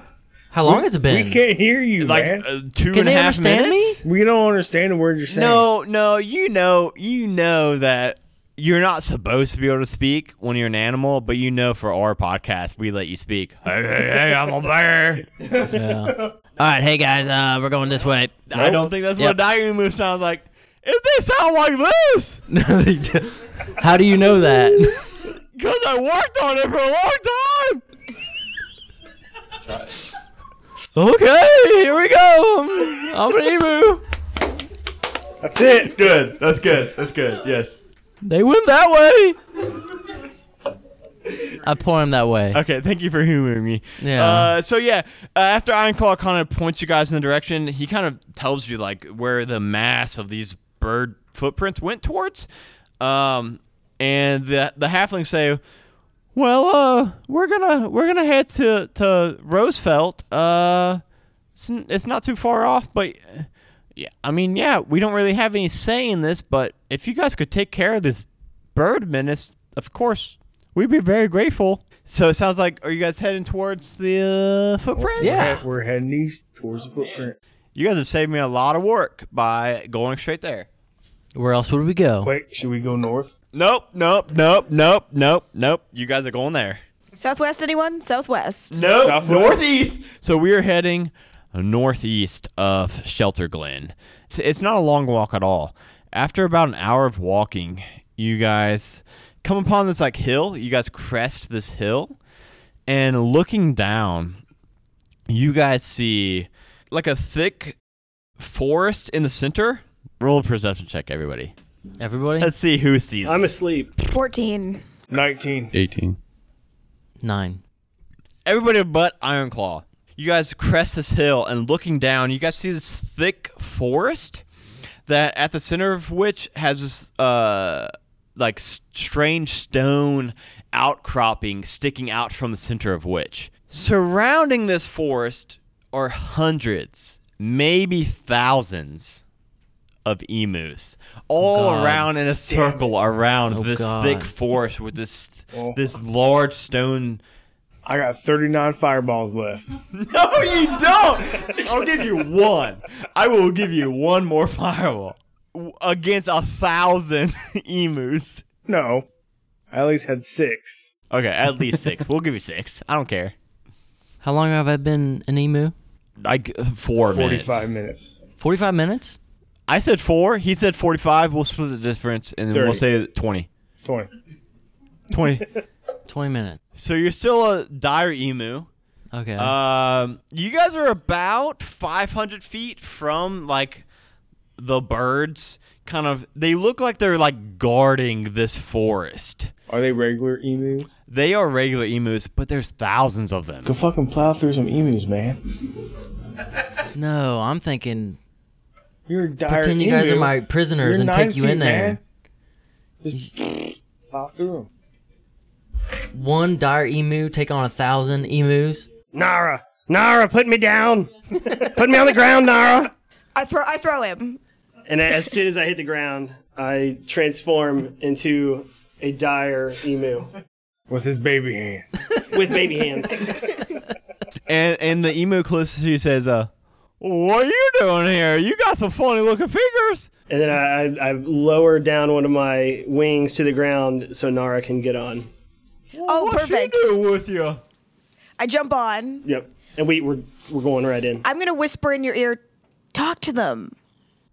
[SPEAKER 6] How long has it been?
[SPEAKER 5] We can't hear you,
[SPEAKER 1] like
[SPEAKER 5] man.
[SPEAKER 1] uh, two
[SPEAKER 6] Can
[SPEAKER 1] and a
[SPEAKER 6] they
[SPEAKER 1] half
[SPEAKER 6] understand
[SPEAKER 1] minutes
[SPEAKER 6] me?
[SPEAKER 5] we don't understand a word you're saying.
[SPEAKER 1] No, no, you know, you know that you're not supposed to be able to speak when you're an animal, but you know for our podcast we let you speak. Hey, hey, hey, I'm a bear.
[SPEAKER 6] All right, hey guys, uh, we're going this way.
[SPEAKER 1] I don't think that's what
[SPEAKER 6] Yep.
[SPEAKER 1] a diary move sounds like. If they sound like this,
[SPEAKER 6] No, they don't. How do you know that?
[SPEAKER 1] because I worked on it for a long time.
[SPEAKER 6] okay, here we go. I'm an emu.
[SPEAKER 5] That's it.
[SPEAKER 1] Good. That's good. That's good. Yes.
[SPEAKER 6] They went that way. I point them that way.
[SPEAKER 1] Okay, thank you for humoring me.
[SPEAKER 6] Yeah.
[SPEAKER 1] Uh, so yeah, uh, after Ironclaw kind of points you guys in the direction, he kind of tells you like where the mass of these bird footprints went towards, um, and the the halflings say, "Well, uh, we're gonna we're gonna head to to Roosevelt. Uh, it's, n- it's not too far off, but." uh, Yeah, I mean, yeah, we don't really have any say in this, but if you guys could take care of this bird menace, of course, we'd be very grateful. So it sounds like, are you guys heading towards the uh, footprint?
[SPEAKER 6] Yeah.
[SPEAKER 5] We're heading east towards the footprint.
[SPEAKER 1] You guys have saved me a lot of work by going straight there.
[SPEAKER 6] Where else would we go?
[SPEAKER 5] Wait, should we go north?
[SPEAKER 1] Nope, nope, nope, nope, nope, nope. You guys are going there.
[SPEAKER 3] Southwest, anyone? Southwest.
[SPEAKER 1] Nope,
[SPEAKER 5] Southwest?
[SPEAKER 1] northeast. So we are heading northeast of Shelter Glen. It's, it's not a long walk at all. After about an hour of walking, you guys come upon this like hill. You guys crest this hill, and looking down, you guys see like a thick forest in the center. Roll a perception check, everybody.
[SPEAKER 6] Everybody?
[SPEAKER 1] Let's see who sees.
[SPEAKER 4] I'm asleep.
[SPEAKER 3] 14.
[SPEAKER 5] 19.
[SPEAKER 2] 18.
[SPEAKER 6] Nine.
[SPEAKER 1] everybody but Ironclaw. You guys crest this hill and looking down, you guys see this thick forest that at the center of which has this uh like s- strange stone outcropping sticking out from the center of which. Surrounding this forest are hundreds, maybe thousands of emus all
[SPEAKER 6] Oh, God.
[SPEAKER 1] around in a circle around
[SPEAKER 6] Oh,
[SPEAKER 1] this
[SPEAKER 6] God. Oh.
[SPEAKER 1] thick forest with this this large stone
[SPEAKER 5] I got 39 fireballs left.
[SPEAKER 1] No, you don't. I'll give you one. I will give you one more firewall W- against a thousand emus.
[SPEAKER 5] No. I at least had six.
[SPEAKER 1] Okay, at least six. We'll give you six. I don't care.
[SPEAKER 6] How long have I been an emu?
[SPEAKER 1] Like uh, four
[SPEAKER 5] 45
[SPEAKER 1] minutes.
[SPEAKER 5] minutes.
[SPEAKER 6] 45 minutes?
[SPEAKER 1] I said four. He said forty-five. We'll split the difference, and then we'll say twenty.
[SPEAKER 5] 20.
[SPEAKER 1] Twenty.
[SPEAKER 6] 20 minutes.
[SPEAKER 1] so you're still a dire emu.
[SPEAKER 6] Okay.
[SPEAKER 1] Um, you guys are about 500 feet from like the birds. Kind of, they look like they're like guarding this forest.
[SPEAKER 5] Are they regular emus?
[SPEAKER 1] They are regular emus, but there's thousands of them.
[SPEAKER 5] Go fucking plow through some emus, man.
[SPEAKER 6] no, I'm thinking
[SPEAKER 5] You're a dire
[SPEAKER 6] pretend you guys
[SPEAKER 5] emu.
[SPEAKER 6] are my prisoners
[SPEAKER 5] You're
[SPEAKER 6] and
[SPEAKER 5] nine
[SPEAKER 6] take you
[SPEAKER 5] feet,
[SPEAKER 6] in there.
[SPEAKER 5] Man. Just plow through 'em.
[SPEAKER 6] One dire emu take on a thousand emus.
[SPEAKER 4] Nara, Nara, put me down. put me on the ground, Nara.
[SPEAKER 3] I throw I throw him.
[SPEAKER 4] And as soon as I hit the ground, I transform into a dire emu
[SPEAKER 5] With his baby hands.
[SPEAKER 4] with baby hands.
[SPEAKER 1] And and the emu closest to you says, "Uh, what are you doing here? You got some funny looking fingers."
[SPEAKER 4] And then I, I, I lower down one of my wings to the ground so Nara can get on.
[SPEAKER 3] Oh,
[SPEAKER 1] What's
[SPEAKER 3] perfect.
[SPEAKER 1] she doing with you?
[SPEAKER 3] I jump on.
[SPEAKER 4] Yep. And we, we're, we're going right in.
[SPEAKER 3] I'm going to whisper in your ear, talk to them.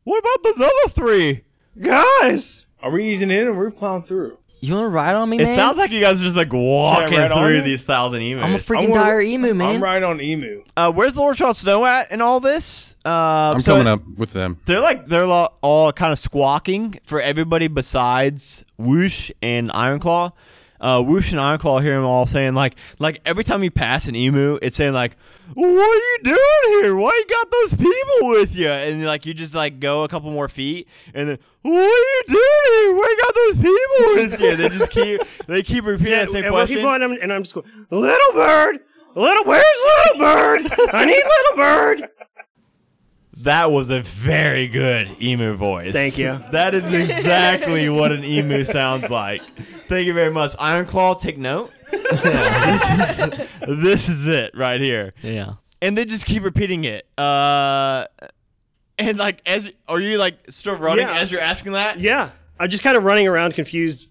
[SPEAKER 1] What about those other three?
[SPEAKER 4] Guys!
[SPEAKER 5] Are we easing in or we're plowing through?
[SPEAKER 6] You want to ride on me, man?
[SPEAKER 1] It sounds like you guys are just like walking
[SPEAKER 5] right on
[SPEAKER 1] through
[SPEAKER 5] you?
[SPEAKER 1] these thousand emus.
[SPEAKER 6] I'm a freaking
[SPEAKER 5] I'm gonna-
[SPEAKER 6] dire emu, man.
[SPEAKER 5] I'm right on emu.
[SPEAKER 1] uh, where's Lord Shaw Snow at in all this? Uh,
[SPEAKER 2] I'm coming up with them.
[SPEAKER 1] They're like they're lo- all kind of squawking for everybody besides Whoosh and Ironclaw. Uh, Whoosh and Ironclaw hear them all saying like like every time you pass an emu, it's saying like, "What are you doing here? Why you got those people with you?" And like you just like go a couple more feet, and then, "What are you doing here? Why you got those people with you?" They just keep they keep repeating that same
[SPEAKER 4] and we'll keep
[SPEAKER 1] question.
[SPEAKER 4] going, and I'm, and I'm just going, Little bird! Little, where's little bird? I need little bird!
[SPEAKER 1] That was a very good emu voice.
[SPEAKER 4] Thank you.
[SPEAKER 1] That is exactly what an emu sounds like. Thank you very much. Ironclaw, take note. this, is, this is it right here.
[SPEAKER 6] yeah.
[SPEAKER 1] And they just keep repeating it. Uh, and like, as are you like still running
[SPEAKER 4] Yeah.
[SPEAKER 1] as you're asking that?
[SPEAKER 4] Yeah. I'm just kind of running around confused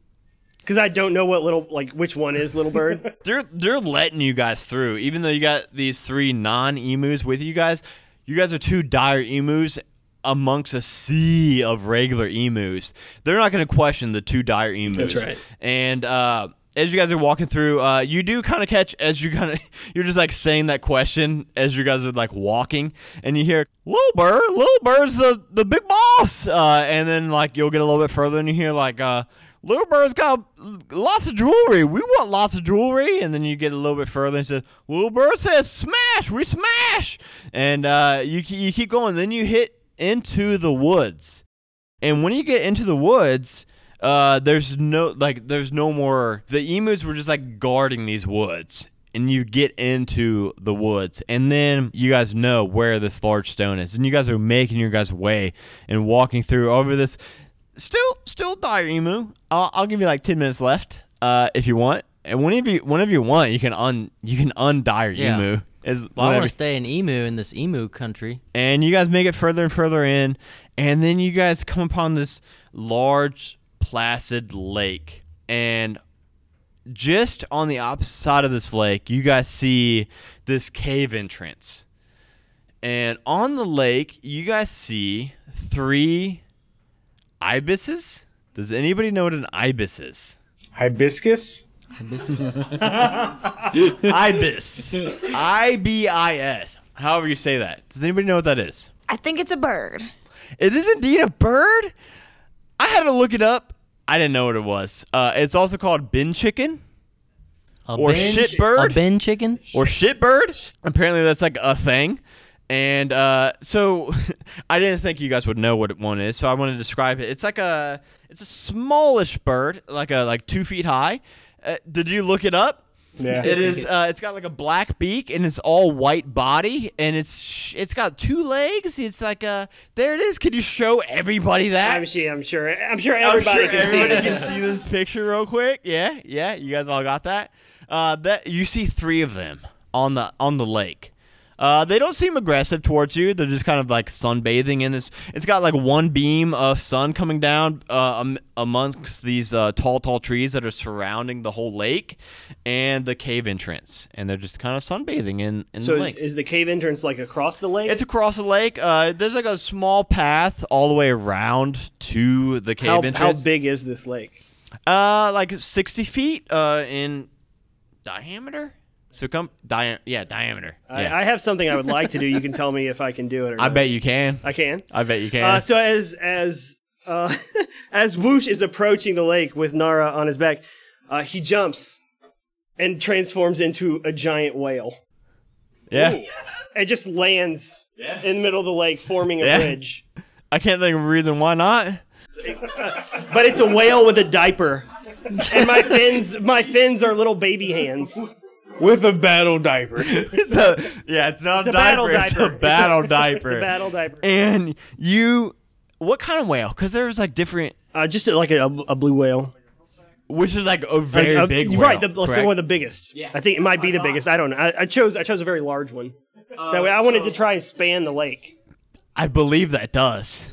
[SPEAKER 4] because I don't know what little like which one is little bird.
[SPEAKER 1] they're they're letting you guys through, even though you got these three non emus with you guys. You guys are two dire emus amongst a sea of regular emus. They're not going to question the two dire emus. That's
[SPEAKER 4] right.
[SPEAKER 1] And uh, as you guys are walking through, uh, you do kind of catch as you kind of you're just like saying that question as you guys are like walking, and you hear Lil Bird, Lil Bird's the the big boss, uh, and then like you'll get a little bit further and you hear like. Uh, Little Bird's got lots of jewelry. We want lots of jewelry. And then you get a little bit further and says, Little Bird says, smash, we smash. And uh, you, ke- you keep going. Then you hit into the woods. And when you get into the woods, uh, there's no like there's no more the emus were just like guarding these woods. And you get into the woods, and then you guys know where this large stone is, and you guys are making your guys' way and walking through over this. Still, still dire emu. I'll, I'll give you like ten minutes left, uh, if you want. And whenever you, whenever you want, you can un you can undire
[SPEAKER 6] Yeah.
[SPEAKER 1] emu. As
[SPEAKER 6] Well, I want
[SPEAKER 1] whenever-
[SPEAKER 6] to stay in emu in this emu country.
[SPEAKER 1] and you guys make it further and further in, and then you guys come upon this large, placid lake. And just on the opposite side of this lake, you guys see this cave entrance. And on the lake, you guys see three ibises. Does anybody know what an ibis is?
[SPEAKER 5] Hibiscus?
[SPEAKER 1] Ibis. I B I S. However you say that. Does anybody know what that is?
[SPEAKER 3] I think it's a bird.
[SPEAKER 1] It is indeed a bird. I had to look it up. I didn't know what it was. Uh, it's also called bin chicken
[SPEAKER 6] A
[SPEAKER 1] Or
[SPEAKER 6] bin
[SPEAKER 1] shit
[SPEAKER 6] chi-
[SPEAKER 1] bird?
[SPEAKER 6] A bin chicken?
[SPEAKER 1] or shit bird. Apparently, that's like a thing. And uh, so, I didn't think you guys would know what one is, so I want to describe it. It's like a, it's a smallish bird, like a like two feet high. Uh, did you look it up?
[SPEAKER 5] Yeah.
[SPEAKER 1] It is. Uh, it's got like a black beak and it's all white body and it's sh- it's got two legs. It's like a. There it is. Could you show everybody that?
[SPEAKER 4] I'm sure. I'm sure. I'm sure everybody
[SPEAKER 1] I'm sure
[SPEAKER 4] can
[SPEAKER 1] everybody
[SPEAKER 4] see. it.
[SPEAKER 1] can see this picture real quick. Yeah, yeah. You guys all got that. Uh, that you see three of them on the on the lake. Uh, they don't seem aggressive towards you. They're just kind of like sunbathing in this. It's got like one beam of sun coming down uh, um, amongst these uh, tall, tall trees that are surrounding the whole lake and the cave entrance. And they're just kind of sunbathing in, in
[SPEAKER 4] So
[SPEAKER 1] the
[SPEAKER 4] is,
[SPEAKER 1] lake.
[SPEAKER 4] is the cave entrance like across the lake?
[SPEAKER 1] It's across the lake. Uh, there's like a small path all the way around to the cave
[SPEAKER 4] how, how
[SPEAKER 1] entrance.
[SPEAKER 4] big is this lake?
[SPEAKER 1] Uh, like sixty feet. Uh, in diameter. So come, dia- yeah, diameter. yeah.
[SPEAKER 4] I, I have something I would like to do. You can tell me if I can do it. Or
[SPEAKER 1] I
[SPEAKER 4] not.
[SPEAKER 1] bet you can.
[SPEAKER 4] I can.
[SPEAKER 1] I bet you can.
[SPEAKER 4] Uh, so as as uh, as Woosh is approaching the lake with Nara on his back, uh, he jumps and transforms into a giant whale
[SPEAKER 1] yeah,
[SPEAKER 4] and just lands in the middle of the lake, forming a
[SPEAKER 1] Yeah.
[SPEAKER 4] bridge.
[SPEAKER 1] I can't think of a reason why not.
[SPEAKER 4] But it's a whale with a diaper, and my fins my fins are little baby hands.
[SPEAKER 5] With a battle diaper.
[SPEAKER 1] It's a yeah, it's not
[SPEAKER 4] It's a battle diaper.
[SPEAKER 1] It's a battle diaper.
[SPEAKER 4] It's a battle diaper.
[SPEAKER 1] And you, what kind of whale? Because there was like different,
[SPEAKER 4] Uh, just like a, a blue whale,
[SPEAKER 1] which is like a very
[SPEAKER 4] Like, uh,
[SPEAKER 1] big whale.
[SPEAKER 4] right? The, let's say
[SPEAKER 1] correct?
[SPEAKER 4] one of the biggest. I think it might be the biggest. I don't know. I, I chose I chose a very large one. that way, I wanted to try and span the lake.
[SPEAKER 1] I believe that does.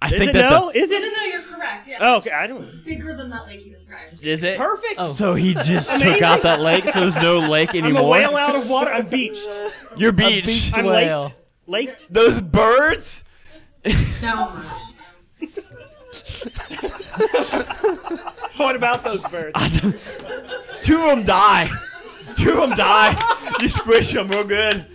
[SPEAKER 1] I
[SPEAKER 4] Is
[SPEAKER 1] think
[SPEAKER 4] it
[SPEAKER 1] that
[SPEAKER 4] no?
[SPEAKER 1] the-
[SPEAKER 4] Is
[SPEAKER 8] No,
[SPEAKER 4] it?
[SPEAKER 8] no, you're correct. Yeah.
[SPEAKER 4] Oh, okay. I don't.
[SPEAKER 8] Bigger than that lake you described.
[SPEAKER 1] is it
[SPEAKER 4] Perfect.
[SPEAKER 1] So he just took out that lake, so there's no lake
[SPEAKER 4] I'm
[SPEAKER 1] anymore.
[SPEAKER 4] a whale out of water. I'm beached.
[SPEAKER 1] Your beach.
[SPEAKER 4] I'm
[SPEAKER 6] Whale.
[SPEAKER 4] laked. Laked.
[SPEAKER 1] Those birds.
[SPEAKER 8] No.
[SPEAKER 4] What about those birds?
[SPEAKER 1] Two of them die. Two of them die. You squish them real good.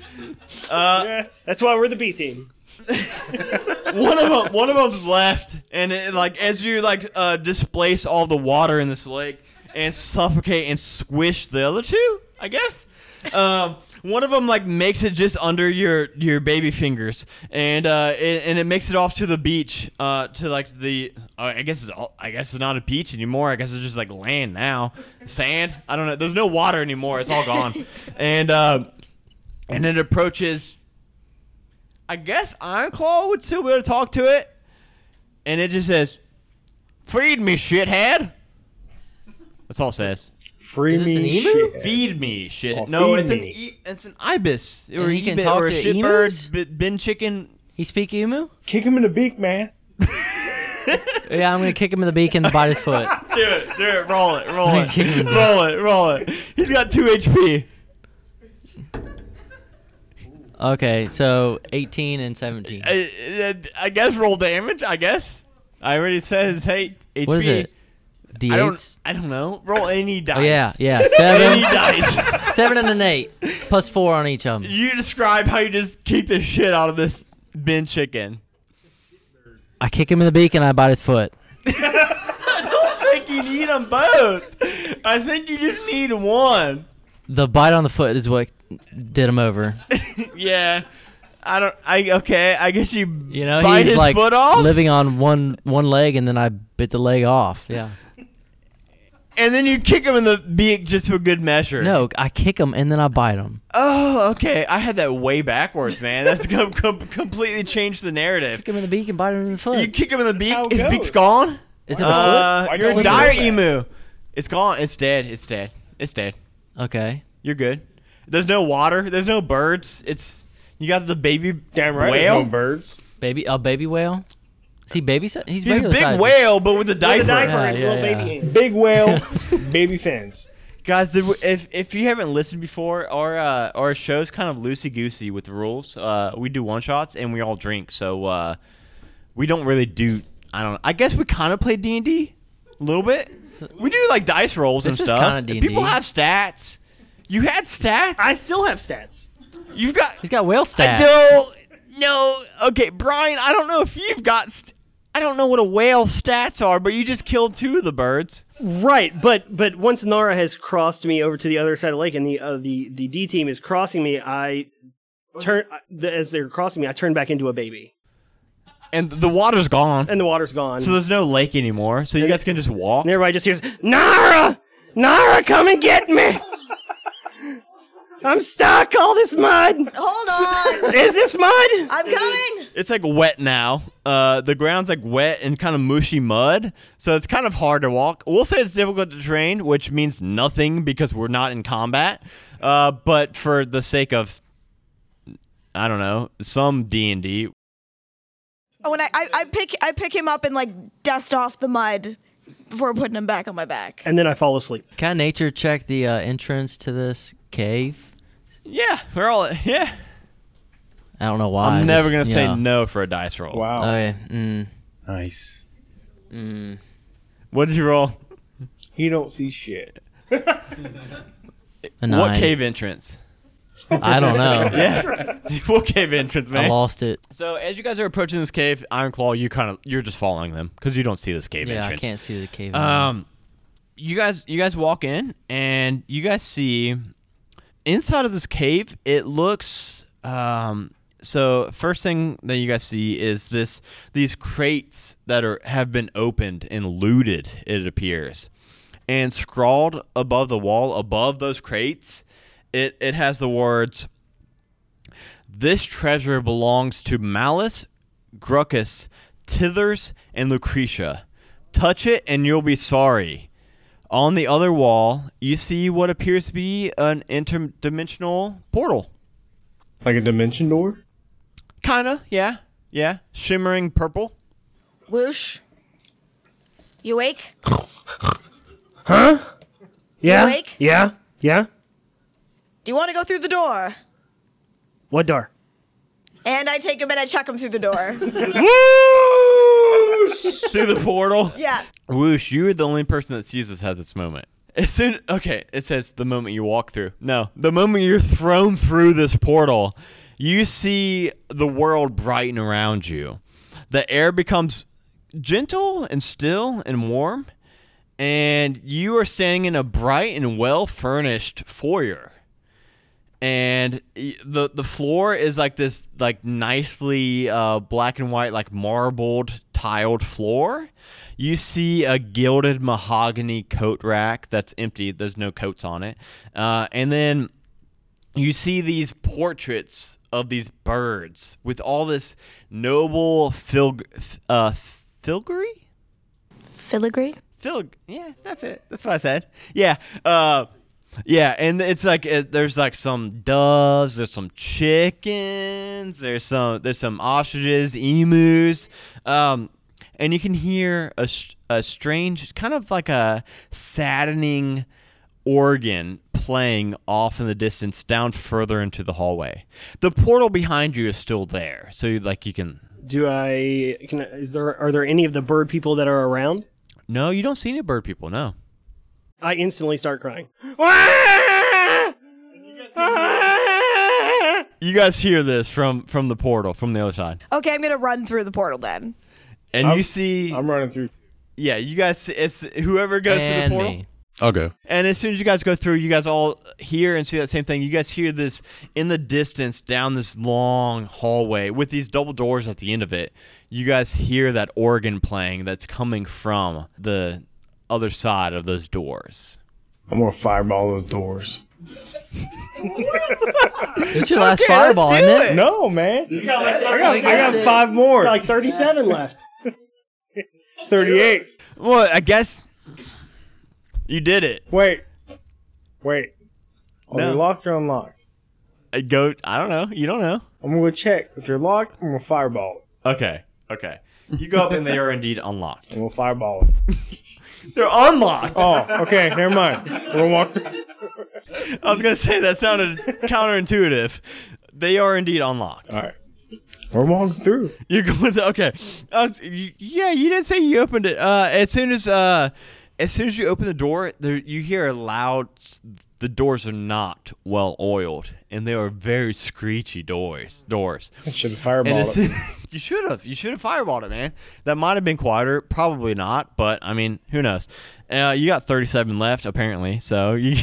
[SPEAKER 4] That's why we're the B team.
[SPEAKER 1] One of them, one of them's left, and it, like as you like uh, displace all the water in this lake and suffocate and squish the other two, I guess. Um, one of them like makes it just under your your baby fingers, and uh, it, and it makes it off to the beach, uh, to like the uh, I guess it's all, I guess it's not a beach anymore. I guess it's just like land now, sand. I don't know. There's no water anymore. It's all gone, and uh, and it approaches I guess Ironclaw would still be able to talk to it. And it just says, Feed me, shithead. That's all it says.
[SPEAKER 5] Free
[SPEAKER 6] Is this an
[SPEAKER 5] me
[SPEAKER 6] emu?
[SPEAKER 5] shit.
[SPEAKER 1] Feed me, shit.
[SPEAKER 5] Oh,
[SPEAKER 1] no,
[SPEAKER 5] feed
[SPEAKER 1] it's an
[SPEAKER 5] me.
[SPEAKER 1] e- it's an ibis or,
[SPEAKER 6] And he can
[SPEAKER 1] ebi-
[SPEAKER 6] talk
[SPEAKER 1] or a
[SPEAKER 6] to emus?
[SPEAKER 1] shitbird, b- bin chicken.
[SPEAKER 6] He speak emu?
[SPEAKER 5] Kick him in the beak, man.
[SPEAKER 6] Yeah, I'm going to kick him in the beak and bite his foot.
[SPEAKER 1] Do it. Do it. Roll it. Roll
[SPEAKER 6] I
[SPEAKER 1] it.
[SPEAKER 6] can't even-
[SPEAKER 1] Roll it. Roll it. He's got two HP.
[SPEAKER 6] Okay, so 18 and 17.
[SPEAKER 1] I, I- I guess roll damage. I guess. I already said his hate HP.
[SPEAKER 6] What is it?
[SPEAKER 1] I don't.
[SPEAKER 6] D8?
[SPEAKER 1] I don't know. Roll any dice.
[SPEAKER 6] Oh, yeah, yeah.
[SPEAKER 1] Any
[SPEAKER 6] Seven,
[SPEAKER 1] dice.
[SPEAKER 6] seven and an eight, plus four on each of them.
[SPEAKER 1] You describe how you just kick the shit out of this bin chicken.
[SPEAKER 6] I kick him in the beak and I bite his foot.
[SPEAKER 1] I think you need them both. I think you just need one.
[SPEAKER 6] The bite on the foot is what did him over.
[SPEAKER 1] Yeah. I don't. I okay. I guess you.
[SPEAKER 6] You know,
[SPEAKER 1] bite
[SPEAKER 6] he's
[SPEAKER 1] his
[SPEAKER 6] like
[SPEAKER 1] foot off,
[SPEAKER 6] living on one one leg, and then I bit the leg off. Yeah.
[SPEAKER 1] and then you kick him in the beak just for good measure.
[SPEAKER 6] No, I kick him and then I bite him.
[SPEAKER 1] Oh, okay. I had that way backwards, man. That's com- com- completely changed the narrative.
[SPEAKER 6] Kick him in the beak and bite him in the foot.
[SPEAKER 1] You kick him in the beak.
[SPEAKER 5] how it
[SPEAKER 1] His
[SPEAKER 5] goes.
[SPEAKER 1] beak's gone.
[SPEAKER 6] Is it
[SPEAKER 1] Uh,
[SPEAKER 5] Why'd
[SPEAKER 1] you're
[SPEAKER 5] you
[SPEAKER 1] a
[SPEAKER 5] do
[SPEAKER 1] dire
[SPEAKER 5] that?
[SPEAKER 1] emu. It's gone. It's dead. It's dead. It's dead.
[SPEAKER 6] a foot? Okay.
[SPEAKER 1] You're good. There's no water. There's no birds. It's you got the baby
[SPEAKER 5] Damn right. there's
[SPEAKER 1] whale.
[SPEAKER 5] No birds.
[SPEAKER 6] Baby, a baby whale. Is he baby? si- He's,
[SPEAKER 1] He's a
[SPEAKER 6] regular
[SPEAKER 1] big
[SPEAKER 6] size.
[SPEAKER 1] whale, but with a diaper.
[SPEAKER 4] The diaper and
[SPEAKER 6] Yeah, yeah,
[SPEAKER 4] little baby
[SPEAKER 6] yeah.
[SPEAKER 4] hands.
[SPEAKER 5] Big whale, baby fins.
[SPEAKER 1] Guys, did we, if if you haven't listened before, our uh, our show's kind of loosey goosey with the rules. Uh, we do one shots and we all drink, so uh, we don't really do. I don't. I guess we kind of play D and D a little bit. We do like dice rolls and
[SPEAKER 6] This is
[SPEAKER 1] stuff.
[SPEAKER 6] kinda D&D.
[SPEAKER 1] People have stats. You had stats.
[SPEAKER 4] I still have stats.
[SPEAKER 1] You've got.
[SPEAKER 6] He's got whale
[SPEAKER 1] I
[SPEAKER 6] stats.
[SPEAKER 1] no, no. Okay, Brian. I don't know if you've got. St- I don't know what a whale stats are, but you just killed two of the birds.
[SPEAKER 4] Right, but but once Nara has crossed me over to the other side of the lake, and the uh, the the D team is crossing me, I turn I- the- as they're crossing me, I turn back into a baby,
[SPEAKER 1] And the water's gone.
[SPEAKER 4] and the water's gone.
[SPEAKER 1] So there's no lake anymore. So you guys can just walk.
[SPEAKER 4] and everybody just hears Nara, Nara, come and get me. I'm stuck. All this mud.
[SPEAKER 3] Hold on.
[SPEAKER 4] Is this mud?
[SPEAKER 3] I'm coming.
[SPEAKER 1] It's like wet now. Uh, the ground's like wet and kind of mushy mud. So it's kind of hard to walk. We'll say it's difficult to train, which means nothing because we're not in combat. Uh, but for the sake of, I don't know, some D and D.
[SPEAKER 3] Oh, and I, I, I pick I pick him up and like dust off the mud before putting him back on my back.
[SPEAKER 4] And then I fall asleep.
[SPEAKER 6] Can I nature check the uh, entrance to this cave?
[SPEAKER 1] Yeah, we're all yeah.
[SPEAKER 6] I don't know why.
[SPEAKER 1] I'm
[SPEAKER 6] I
[SPEAKER 1] never
[SPEAKER 6] just-
[SPEAKER 1] gonna say
[SPEAKER 6] yeah.
[SPEAKER 1] no for a dice roll.
[SPEAKER 5] Wow.
[SPEAKER 6] Okay. Mm.
[SPEAKER 2] Nice.
[SPEAKER 1] What did you roll?
[SPEAKER 5] he don't see shit.
[SPEAKER 6] A
[SPEAKER 1] What
[SPEAKER 6] nine.
[SPEAKER 1] cave entrance?
[SPEAKER 6] I don't know.
[SPEAKER 1] Yeah, what cave entrance, man?
[SPEAKER 6] I lost it.
[SPEAKER 1] So as you guys are approaching this cave, Ironclaw, you kind of you're just following them because you don't see this cave
[SPEAKER 6] Yeah, I
[SPEAKER 1] entrance.
[SPEAKER 6] can't see the cave.
[SPEAKER 1] Um, you guys, you guys walk in and you guys see inside of this cave. It looks um. So first thing that you guys see is this these crates that are have been opened and looted. It appears, and scrawled above the wall above those crates, it it has the words. This treasure belongs to Malice, Grucus, Tithers, and Lucretia. Touch it and you'll be sorry. On the other wall, you see what appears to be an interdimensional portal.
[SPEAKER 5] Like a dimension door?
[SPEAKER 1] Kinda, yeah, yeah. Shimmering purple.
[SPEAKER 3] Whoosh. You awake?
[SPEAKER 4] Yeah.
[SPEAKER 3] awake?
[SPEAKER 4] Yeah. Yeah.
[SPEAKER 3] Do you want to go through the door?
[SPEAKER 4] What door?
[SPEAKER 3] And I take him and I chuck him through the door.
[SPEAKER 1] Through the portal.
[SPEAKER 3] yeah.
[SPEAKER 1] Whoosh, you are the only person that sees this at this moment. As soon okay, it says the moment you walk through. No, the moment you're thrown through this portal, you see the world brighten around you. The air becomes gentle and still and warm, and you are standing in a bright and well furnished foyer. And y- the the floor is like this like nicely uh, black and white like marbled tiled floor. You see a gilded mahogany coat rack that's empty. There's no coats on it, uh, and then you see these portraits of these birds with all this noble filg f- uh, filgree
[SPEAKER 3] Filigree?
[SPEAKER 1] Phil, yeah, that's it. That's what I said. Yeah, uh, yeah, and it's like it, there's like some doves, there's some chickens, there's some there's some ostriches, emus, um, and you can hear a, s- a strange, kind of like a saddening organ playing off in the distance down further into the hallway. The portal behind you is still there, so like you can.
[SPEAKER 4] Do I? Can I- is there? Are there any of the bird people that are around?
[SPEAKER 1] No, you don't see any bird people. No.
[SPEAKER 4] I instantly start crying.
[SPEAKER 1] You guys hear this from from the portal from the other side,
[SPEAKER 3] Okay, I'm gonna run through the portal then.
[SPEAKER 1] and
[SPEAKER 5] I'm-
[SPEAKER 1] you see,
[SPEAKER 5] I'm running through.
[SPEAKER 1] yeah, you guys, see- it's whoever goes through the
[SPEAKER 6] and
[SPEAKER 1] portal.
[SPEAKER 6] me.
[SPEAKER 2] I'll go.
[SPEAKER 1] And as soon as you guys go through, you guys all hear and see that same thing. You guys hear this in the distance down this long hallway with these double doors at the end of it. You guys hear that organ playing that's coming from the other side of those doors.
[SPEAKER 5] I'm gonna fireball those doors.
[SPEAKER 6] It's your last fireball, isn't it?
[SPEAKER 5] No, man.
[SPEAKER 4] I
[SPEAKER 5] I got, I got five more.
[SPEAKER 4] Like thirty-seven left.
[SPEAKER 5] 38.
[SPEAKER 1] Well, I guess you did it.
[SPEAKER 5] Wait. Wait. Are
[SPEAKER 1] No.
[SPEAKER 5] they locked or unlocked?
[SPEAKER 1] I go. I don't know. You don't know.
[SPEAKER 5] I'm gonna go check. If they're locked, I'm gonna fireball it.
[SPEAKER 1] Okay. Okay. You go up and they are indeed unlocked.
[SPEAKER 5] I'm gonna fireball it.
[SPEAKER 1] They're unlocked.
[SPEAKER 5] Oh, okay. Never mind. We're gonna walk through.
[SPEAKER 1] I was gonna say that sounded counterintuitive. They are indeed unlocked.
[SPEAKER 5] All right. We're walking through.
[SPEAKER 1] You're going with the, okay. I was- you- yeah, you didn't say you opened it. Uh, as soon as uh, as soon as you open the door, there, you hear a loud. s- The doors are not well oiled, and they are very screechy doors. Doors.
[SPEAKER 5] Should have
[SPEAKER 1] And
[SPEAKER 5] fireballed
[SPEAKER 1] as
[SPEAKER 5] it.
[SPEAKER 1] soon, you should have. You should have fireballed it, man. That might have been quieter. Probably not. But I mean, who knows? Uh, you got 37 left apparently, so you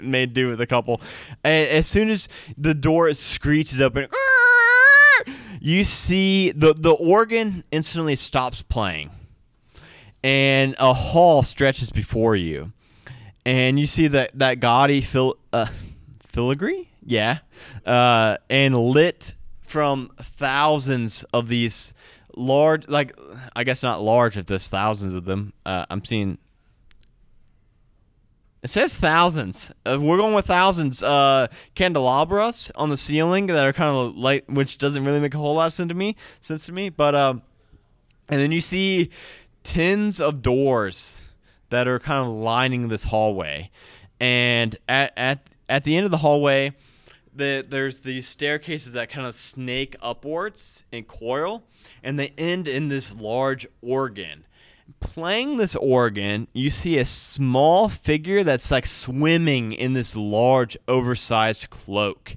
[SPEAKER 1] made do with a couple. And as soon as the door screeches open, you see the the organ instantly stops playing, and a hall stretches before you, and you see that that gaudy fil- uh, filigree, yeah, uh, and lit from thousands of these large, like I guess not large if there's thousands of them. Uh, I'm seeing. It says thousands. Uh, we're going with thousands. Uh, candelabras on the ceiling that are kind of light, which doesn't really make a whole lot of sense to me. Sense to me, but um, and then you see tens of doors that are kind of lining this hallway. And at at at the end of the hallway, the, there's these staircases that kind of snake upwards and coil, and they end in this large organ. Playing this organ, you see a small figure that's like swimming in this large, oversized cloak.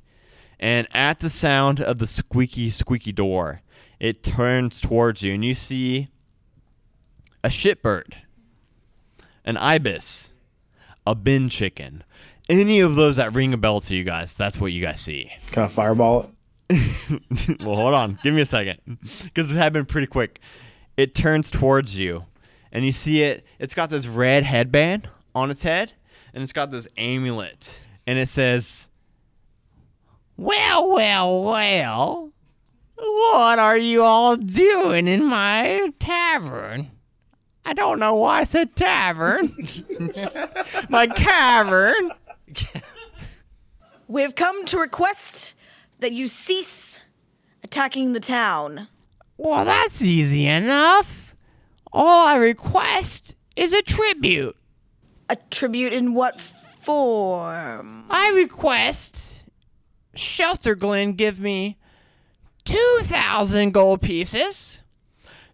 [SPEAKER 1] And at the sound of the squeaky, squeaky door, it turns towards you, and you see a shitbird, an ibis, a bin chicken. Any of those that ring a bell to you guys, that's what you guys see.
[SPEAKER 5] Can I fireball it?
[SPEAKER 1] well, hold on. Give me a second. Because it happened pretty quick. It turns towards you, and you see it. It's got this red headband on its head, and it's got this amulet. And it says, Well, well, well. What are you all doing in my tavern? I don't know why I said tavern. my cavern.
[SPEAKER 3] We have come to request that you cease attacking the town.
[SPEAKER 1] Well, that's easy enough. All I request is a tribute.
[SPEAKER 3] A tribute in what form?
[SPEAKER 1] I request Shelter Glen give me 2,000 gold pieces,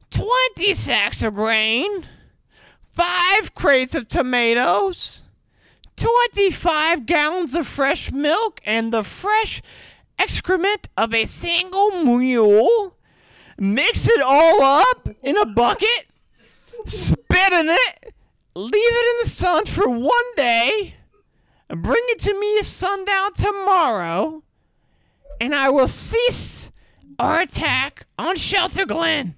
[SPEAKER 1] 20 sacks of grain, 5 crates of tomatoes, 25 gallons of fresh milk, and the fresh excrement of a single mule. Mix it all up in a bucket, spit in it, leave it in the sun for one day bring it to me at sundown tomorrow, and I will cease our attack on Shelter Glen.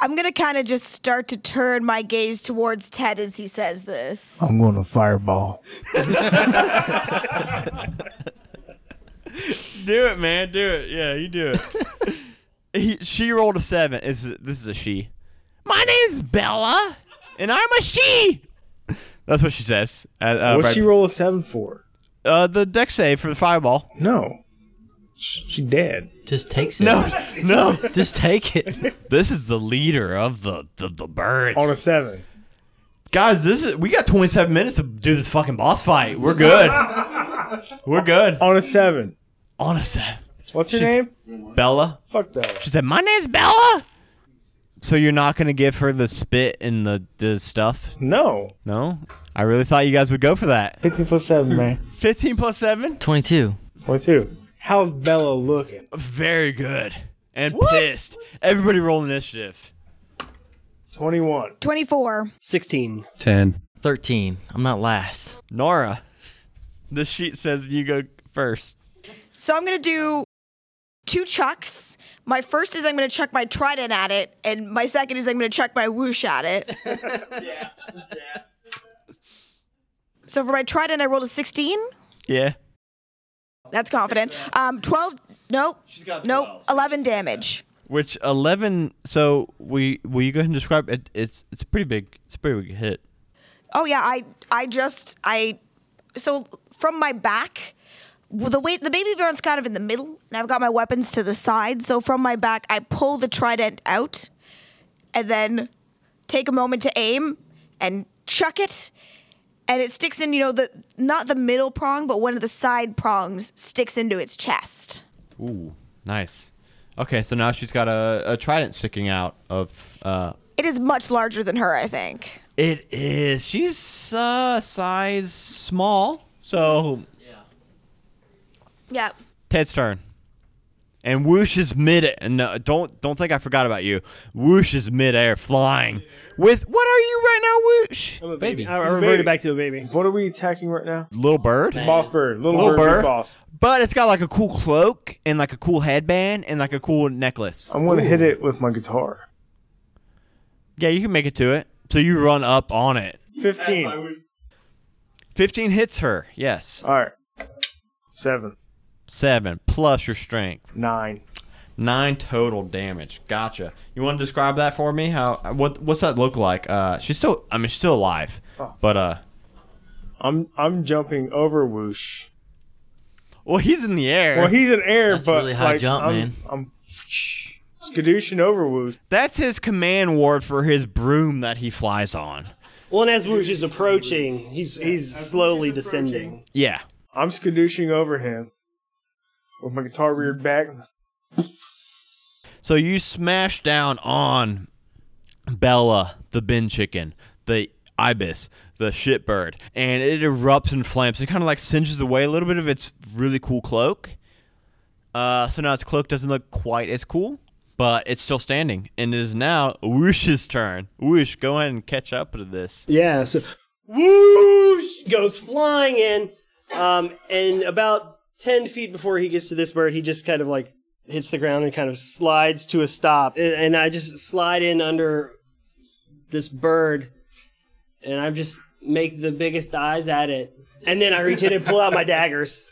[SPEAKER 3] I'm gonna kind of just start to turn my gaze towards Ted as he says this.
[SPEAKER 5] I'm going to fireball.
[SPEAKER 1] Do it, man. Do it. Yeah, you do it. he, she rolled a seven. Is this is a she? My name's Bella, and I'm a she. That's what she says. Uh, uh,
[SPEAKER 5] What'd
[SPEAKER 1] right-
[SPEAKER 5] she roll a seven for?
[SPEAKER 1] uh, the deck save for the fireball.
[SPEAKER 5] No. She dead.
[SPEAKER 6] Just takes it. No,
[SPEAKER 1] No,
[SPEAKER 6] just take it.
[SPEAKER 1] this is the leader of the the, the birds.
[SPEAKER 5] On a seven.
[SPEAKER 1] Guys, this is we got 27 minutes to do this fucking boss fight. We're good. We're good.
[SPEAKER 5] On a seven.
[SPEAKER 1] Honestly,
[SPEAKER 5] What's your
[SPEAKER 1] She's-
[SPEAKER 5] name?
[SPEAKER 1] Bella.
[SPEAKER 5] Fuck that.
[SPEAKER 1] She said, "My name's Bella." So you're not gonna give her the spit and the, the stuff?
[SPEAKER 5] No.
[SPEAKER 1] No. I really thought you guys would go for that.
[SPEAKER 5] 15 plus
[SPEAKER 6] Hmm.
[SPEAKER 5] seven, man.
[SPEAKER 1] 15 plus seven.
[SPEAKER 6] 22.
[SPEAKER 5] What's two? How's Bella looking?
[SPEAKER 1] Very good. And pissed. Everybody roll initiative.
[SPEAKER 5] 21.
[SPEAKER 3] 24.
[SPEAKER 7] 16.
[SPEAKER 2] 10.
[SPEAKER 6] 13. I'm not last.
[SPEAKER 1] Nora, the sheet says you go first.
[SPEAKER 3] So I'm going to do two chucks. My first is I'm going to chuck my trident at it, and my second is I'm going to chuck my whoosh at it. So for my trident, I rolled a 16.
[SPEAKER 1] Yeah.
[SPEAKER 3] That's confident. Um, 12. Nope. Nope. 11 damage.
[SPEAKER 1] Which eleven? So we will you go ahead and describe it? It's it's a pretty big. It's a pretty big hit.
[SPEAKER 3] Oh yeah, I I just I so from my back well, the weight the baby Baron's kind of in the middle and I've got my weapons to the side, so from my back I pull the trident out and then take a moment to aim and chuck it and it sticks in, you know, the not the middle prong, but one of the side prongs sticks into its chest.
[SPEAKER 1] Ooh, nice. Okay, so now she's got a, a trident sticking out of. Uh,
[SPEAKER 3] It is much larger than her, I think.
[SPEAKER 1] it is. She's uh, size small. So
[SPEAKER 3] Yeah.
[SPEAKER 1] Ted's turn. And Whoosh is mid. No, don't don't think I forgot about you. Whoosh is midair, flying. With what are you right now, Whoosh?
[SPEAKER 7] I'm a baby. I, I
[SPEAKER 5] He's a
[SPEAKER 7] reverted
[SPEAKER 5] baby.
[SPEAKER 7] back to a baby.
[SPEAKER 5] What are we attacking right now?
[SPEAKER 1] Little bird.
[SPEAKER 5] Boss bird. Little,
[SPEAKER 1] Little
[SPEAKER 5] bird's
[SPEAKER 1] bird.
[SPEAKER 5] boss.
[SPEAKER 1] But it's got like a cool cloak and like a cool headband and like a cool necklace.
[SPEAKER 5] I'm going to hit it with my guitar.
[SPEAKER 1] Yeah, you can make it to it. So you run up on it.
[SPEAKER 5] 15.
[SPEAKER 1] 15 hits her. Yes.
[SPEAKER 5] All right. Seven.
[SPEAKER 1] 7 plus your strength.
[SPEAKER 5] Nine.
[SPEAKER 1] 9 total damage. Gotcha. You want to describe that for me? How what what's that look like? Uh she's still I mean she's still alive. But uh
[SPEAKER 5] I'm I'm jumping over whoosh.
[SPEAKER 1] well, he's in the air.
[SPEAKER 5] Well, he's an air,
[SPEAKER 6] That's
[SPEAKER 5] but
[SPEAKER 6] really high
[SPEAKER 5] like,
[SPEAKER 6] jump,
[SPEAKER 5] I'm,
[SPEAKER 6] man.
[SPEAKER 5] I'm skadooshing over whoosh.
[SPEAKER 1] That's his command ward for his broom that he flies on.
[SPEAKER 7] Well, and as Woosh is approaching, he's he's slowly descending.
[SPEAKER 1] Yeah.
[SPEAKER 5] I'm skadooshing over him with my guitar reared back.
[SPEAKER 1] So you smash down on Bella, the bin chicken, the ibis, the shitbird, and it erupts in flames. It kind of like singes away a little bit of its really cool cloak. Uh, so now its cloak doesn't look quite as cool, but it's still standing, and it is now Woosh's turn. Woosh, go ahead and catch up to this.
[SPEAKER 7] Yeah. So whoosh goes flying in, um, and about ten feet before he gets to this bird, he just kind of like hits the ground and kind of slides to a stop. And, and I just slide in under this bird, and I just make the biggest eyes at it, and then I reach in and pull out my daggers,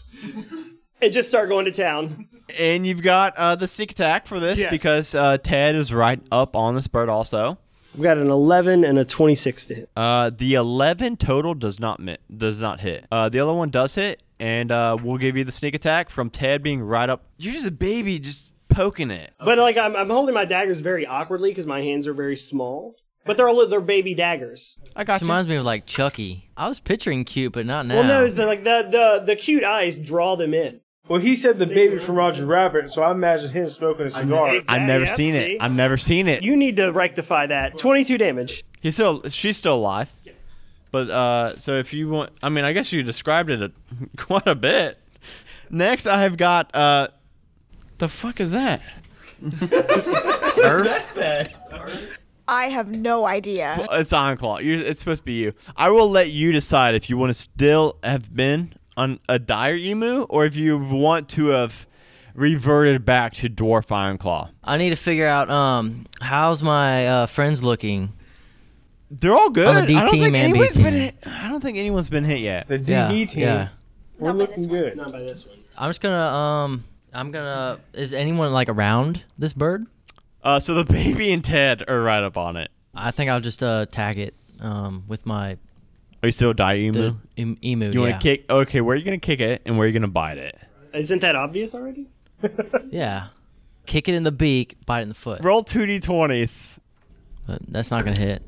[SPEAKER 7] and just start going to town.
[SPEAKER 1] And you've got uh, the sneak attack for this
[SPEAKER 7] Yes.
[SPEAKER 1] because uh, Ted is right up on this bird also.
[SPEAKER 7] We got an eleven and a twenty-six to hit.
[SPEAKER 1] Uh, the eleven total does not mi- does not hit. Uh, the other one does hit, and uh, we'll give you the sneak attack from Ted being right up. You're just a baby, just poking it.
[SPEAKER 7] But like I'm, I'm holding my daggers very awkwardly because my hands are very small. But they're all- they're baby daggers.
[SPEAKER 1] I got
[SPEAKER 6] This reminds me of like Chucky. I was picturing cute, but not now.
[SPEAKER 7] Well, no, it's the, like the the the cute eyes draw them in.
[SPEAKER 5] Well, he said the baby from Roger Rabbit, so I imagine him smoking a cigar.
[SPEAKER 1] I've never
[SPEAKER 7] Yeah,
[SPEAKER 1] seen
[SPEAKER 7] see?
[SPEAKER 1] it. I've never seen it.
[SPEAKER 7] You need to rectify that. Twenty-two damage.
[SPEAKER 1] He's still she's still alive. But uh, so if you want, I mean, I guess you described it a, quite a bit. Next, I have got uh, the fuck is that?
[SPEAKER 3] I have no idea.
[SPEAKER 1] It's Ironclaw. you it's supposed to be you. I will let you decide if you want to still have been on a dire emu or if you want to have reverted back to dwarf Ironclaw.
[SPEAKER 6] I need to figure out um how's my uh, friends looking.
[SPEAKER 1] They're all good.
[SPEAKER 6] On the
[SPEAKER 1] I
[SPEAKER 6] D
[SPEAKER 1] don't
[SPEAKER 6] team
[SPEAKER 1] think
[SPEAKER 6] and B
[SPEAKER 1] anyone's been
[SPEAKER 6] team.
[SPEAKER 1] hit. I don't think anyone's been hit yet.
[SPEAKER 5] The DB
[SPEAKER 6] Yeah,
[SPEAKER 5] team,
[SPEAKER 6] yeah.
[SPEAKER 5] we're looking good.
[SPEAKER 7] Not by this one.
[SPEAKER 6] I'm just gonna um I'm gonna is anyone like around this bird?
[SPEAKER 1] Uh, so the baby and Ted are right up on it.
[SPEAKER 6] I think I'll just uh tag it um with my
[SPEAKER 1] Are you still a dire emu?
[SPEAKER 6] the em- emu.
[SPEAKER 1] Mm-hmm. you
[SPEAKER 6] yeah.
[SPEAKER 1] want to kick? Okay, where are you gonna kick it and where are you gonna bite it?
[SPEAKER 7] Isn't that obvious already?
[SPEAKER 6] Yeah. Kick it in the beak, bite it in the foot.
[SPEAKER 1] Roll two d20s.
[SPEAKER 6] But that's not gonna hit.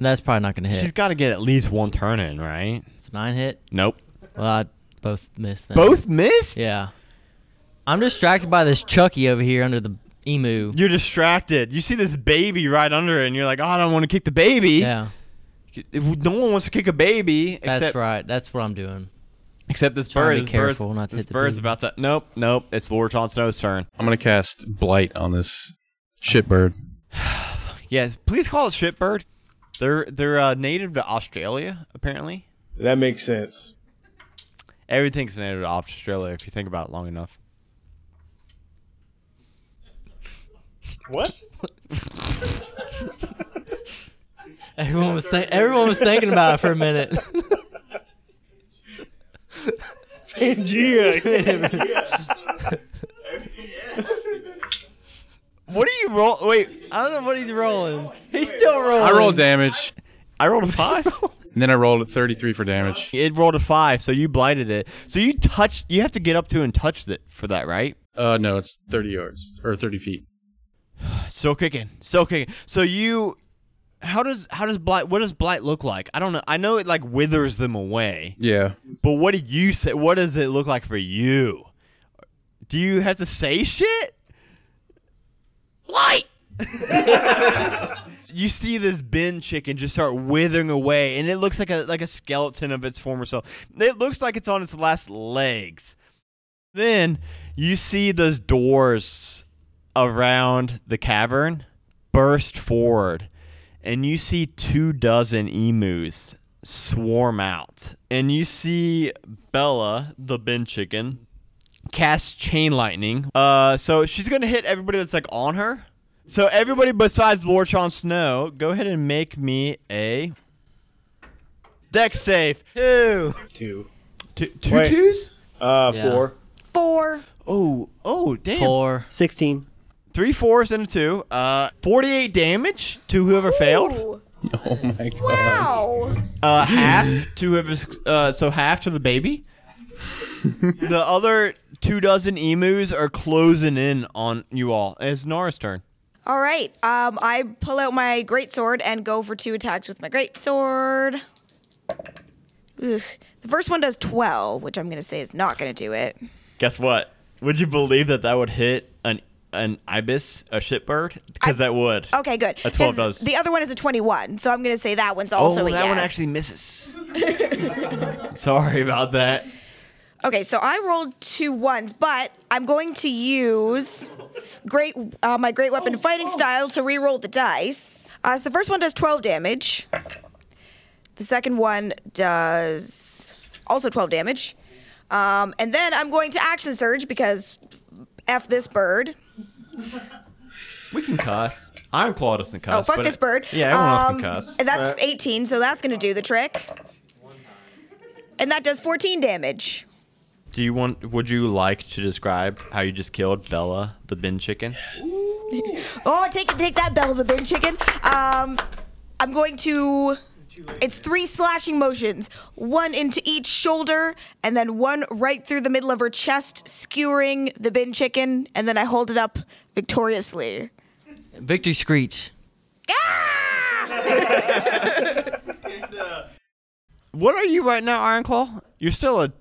[SPEAKER 6] That's probably not gonna hit.
[SPEAKER 1] She's got to get at least one turn in, right?
[SPEAKER 6] It's nine hit.
[SPEAKER 1] Nope.
[SPEAKER 6] Well, I both missed. Then.
[SPEAKER 1] Both missed?
[SPEAKER 6] Yeah. I'm distracted by this Chucky over here under the emu.
[SPEAKER 1] You're distracted. You see this baby right under it, and you're like, oh, I don't want to kick the baby.
[SPEAKER 6] Yeah.
[SPEAKER 1] If- No one wants to kick a baby.
[SPEAKER 6] That's
[SPEAKER 1] except,
[SPEAKER 6] right. That's what I'm doing.
[SPEAKER 1] Except this
[SPEAKER 6] Trying to
[SPEAKER 1] bird.
[SPEAKER 6] be
[SPEAKER 1] This
[SPEAKER 6] careful
[SPEAKER 1] bird's,
[SPEAKER 6] not to
[SPEAKER 1] this
[SPEAKER 6] hit the
[SPEAKER 1] bird's
[SPEAKER 6] baby.
[SPEAKER 1] about to. Nope, nope. It's Lord Jon Snow's turn.
[SPEAKER 2] I'm gonna cast blight on this shitbird.
[SPEAKER 1] Yes, please call it shitbird. They're they're uh, native to Australia, apparently.
[SPEAKER 5] That makes sense.
[SPEAKER 1] Everything's native to Australia if you think about it long enough.
[SPEAKER 4] What?
[SPEAKER 6] Everyone was think- everyone was thinking about it for a minute.
[SPEAKER 4] Pangea.
[SPEAKER 1] What are you roll? Wait,
[SPEAKER 6] I don't know what he's rolling. He's still rolling.
[SPEAKER 2] I
[SPEAKER 1] Oh.
[SPEAKER 2] rolled damage,
[SPEAKER 1] I rolled a five.
[SPEAKER 2] and then I rolled at 33 for damage.
[SPEAKER 1] it rolled a five, so you blighted it. So you touched. You have to get up to and touch it for that, right?
[SPEAKER 2] Uh, no, it's 30 yards or 30 feet.
[SPEAKER 1] Still kicking. Still kicking. So you. How does how does blight what does blight look like? I don't know. I know it like withers them away.
[SPEAKER 2] Yeah,
[SPEAKER 1] But what do you say? What does it look like for you? Do you have to say shit? Light. you see this bin chicken just start withering away, and it looks like a like a skeleton of its former self. It looks like it's on its last legs. Then you see those doors around the cavern burst forward, and you see two dozen emus swarm out. And you see Bella, the bin chicken, cast chain lightning. Uh, so she's gonna hit everybody that's like on her. So everybody besides Lord Sean Snow, go ahead and make me a deck safe. Two.
[SPEAKER 5] Two.
[SPEAKER 1] Two, two
[SPEAKER 5] Wait.
[SPEAKER 1] twos?
[SPEAKER 5] Uh,
[SPEAKER 6] Yeah.
[SPEAKER 5] four.
[SPEAKER 3] Four.
[SPEAKER 1] Oh, oh, damn.
[SPEAKER 6] Four.
[SPEAKER 4] 16.
[SPEAKER 1] Three fours and a two. Uh, 48 damage to whoever failed.
[SPEAKER 3] Ooh.
[SPEAKER 2] Oh my god.
[SPEAKER 3] Wow.
[SPEAKER 1] Uh, half to whoever's, uh, so half to the baby. the other two dozen emus are closing in on you all. It's Nora's turn.
[SPEAKER 3] All right. Um, I pull out my greatsword and go for two attacks with my greatsword. Ugh. The first one does 12, which I'm going to say is not going to do it.
[SPEAKER 1] Guess what? Would you believe that that would hit an an ibis, a shitbird? Because that would.
[SPEAKER 3] Okay, good.
[SPEAKER 1] A 12
[SPEAKER 3] 'Cause
[SPEAKER 1] does.
[SPEAKER 3] The other one is a 21, so I'm going to say that one's also a
[SPEAKER 1] Oh, that one
[SPEAKER 3] yes.
[SPEAKER 1] actually misses. Sorry about that.
[SPEAKER 3] Okay, so I rolled two ones, but I'm going to use great uh, my great weapon fighting style to re-roll the dice. Uh, so the first one does 12 damage. The second one does also 12 damage. Um, and then I'm going to action surge because f this bird.
[SPEAKER 1] We can cuss. I'm Claude doesn't cuss.
[SPEAKER 3] Oh fuck
[SPEAKER 1] but-
[SPEAKER 3] this bird.
[SPEAKER 1] Yeah, everyone else can
[SPEAKER 3] Um,
[SPEAKER 1] cuss.
[SPEAKER 3] And that's 18, so that's going to do the trick. And that does 14 damage.
[SPEAKER 1] Do you want? Would you like to describe how you just killed Bella, the bin chicken?
[SPEAKER 3] Oh, take take that, Bell the Bin Chicken. Um, I'm going to. It's three slashing motions, one into each shoulder, and then one right through the middle of her chest, skewering the bin chicken, and then I hold it up victoriously.
[SPEAKER 6] Victory screech.
[SPEAKER 1] What are you right now, Iron Claw? You're still a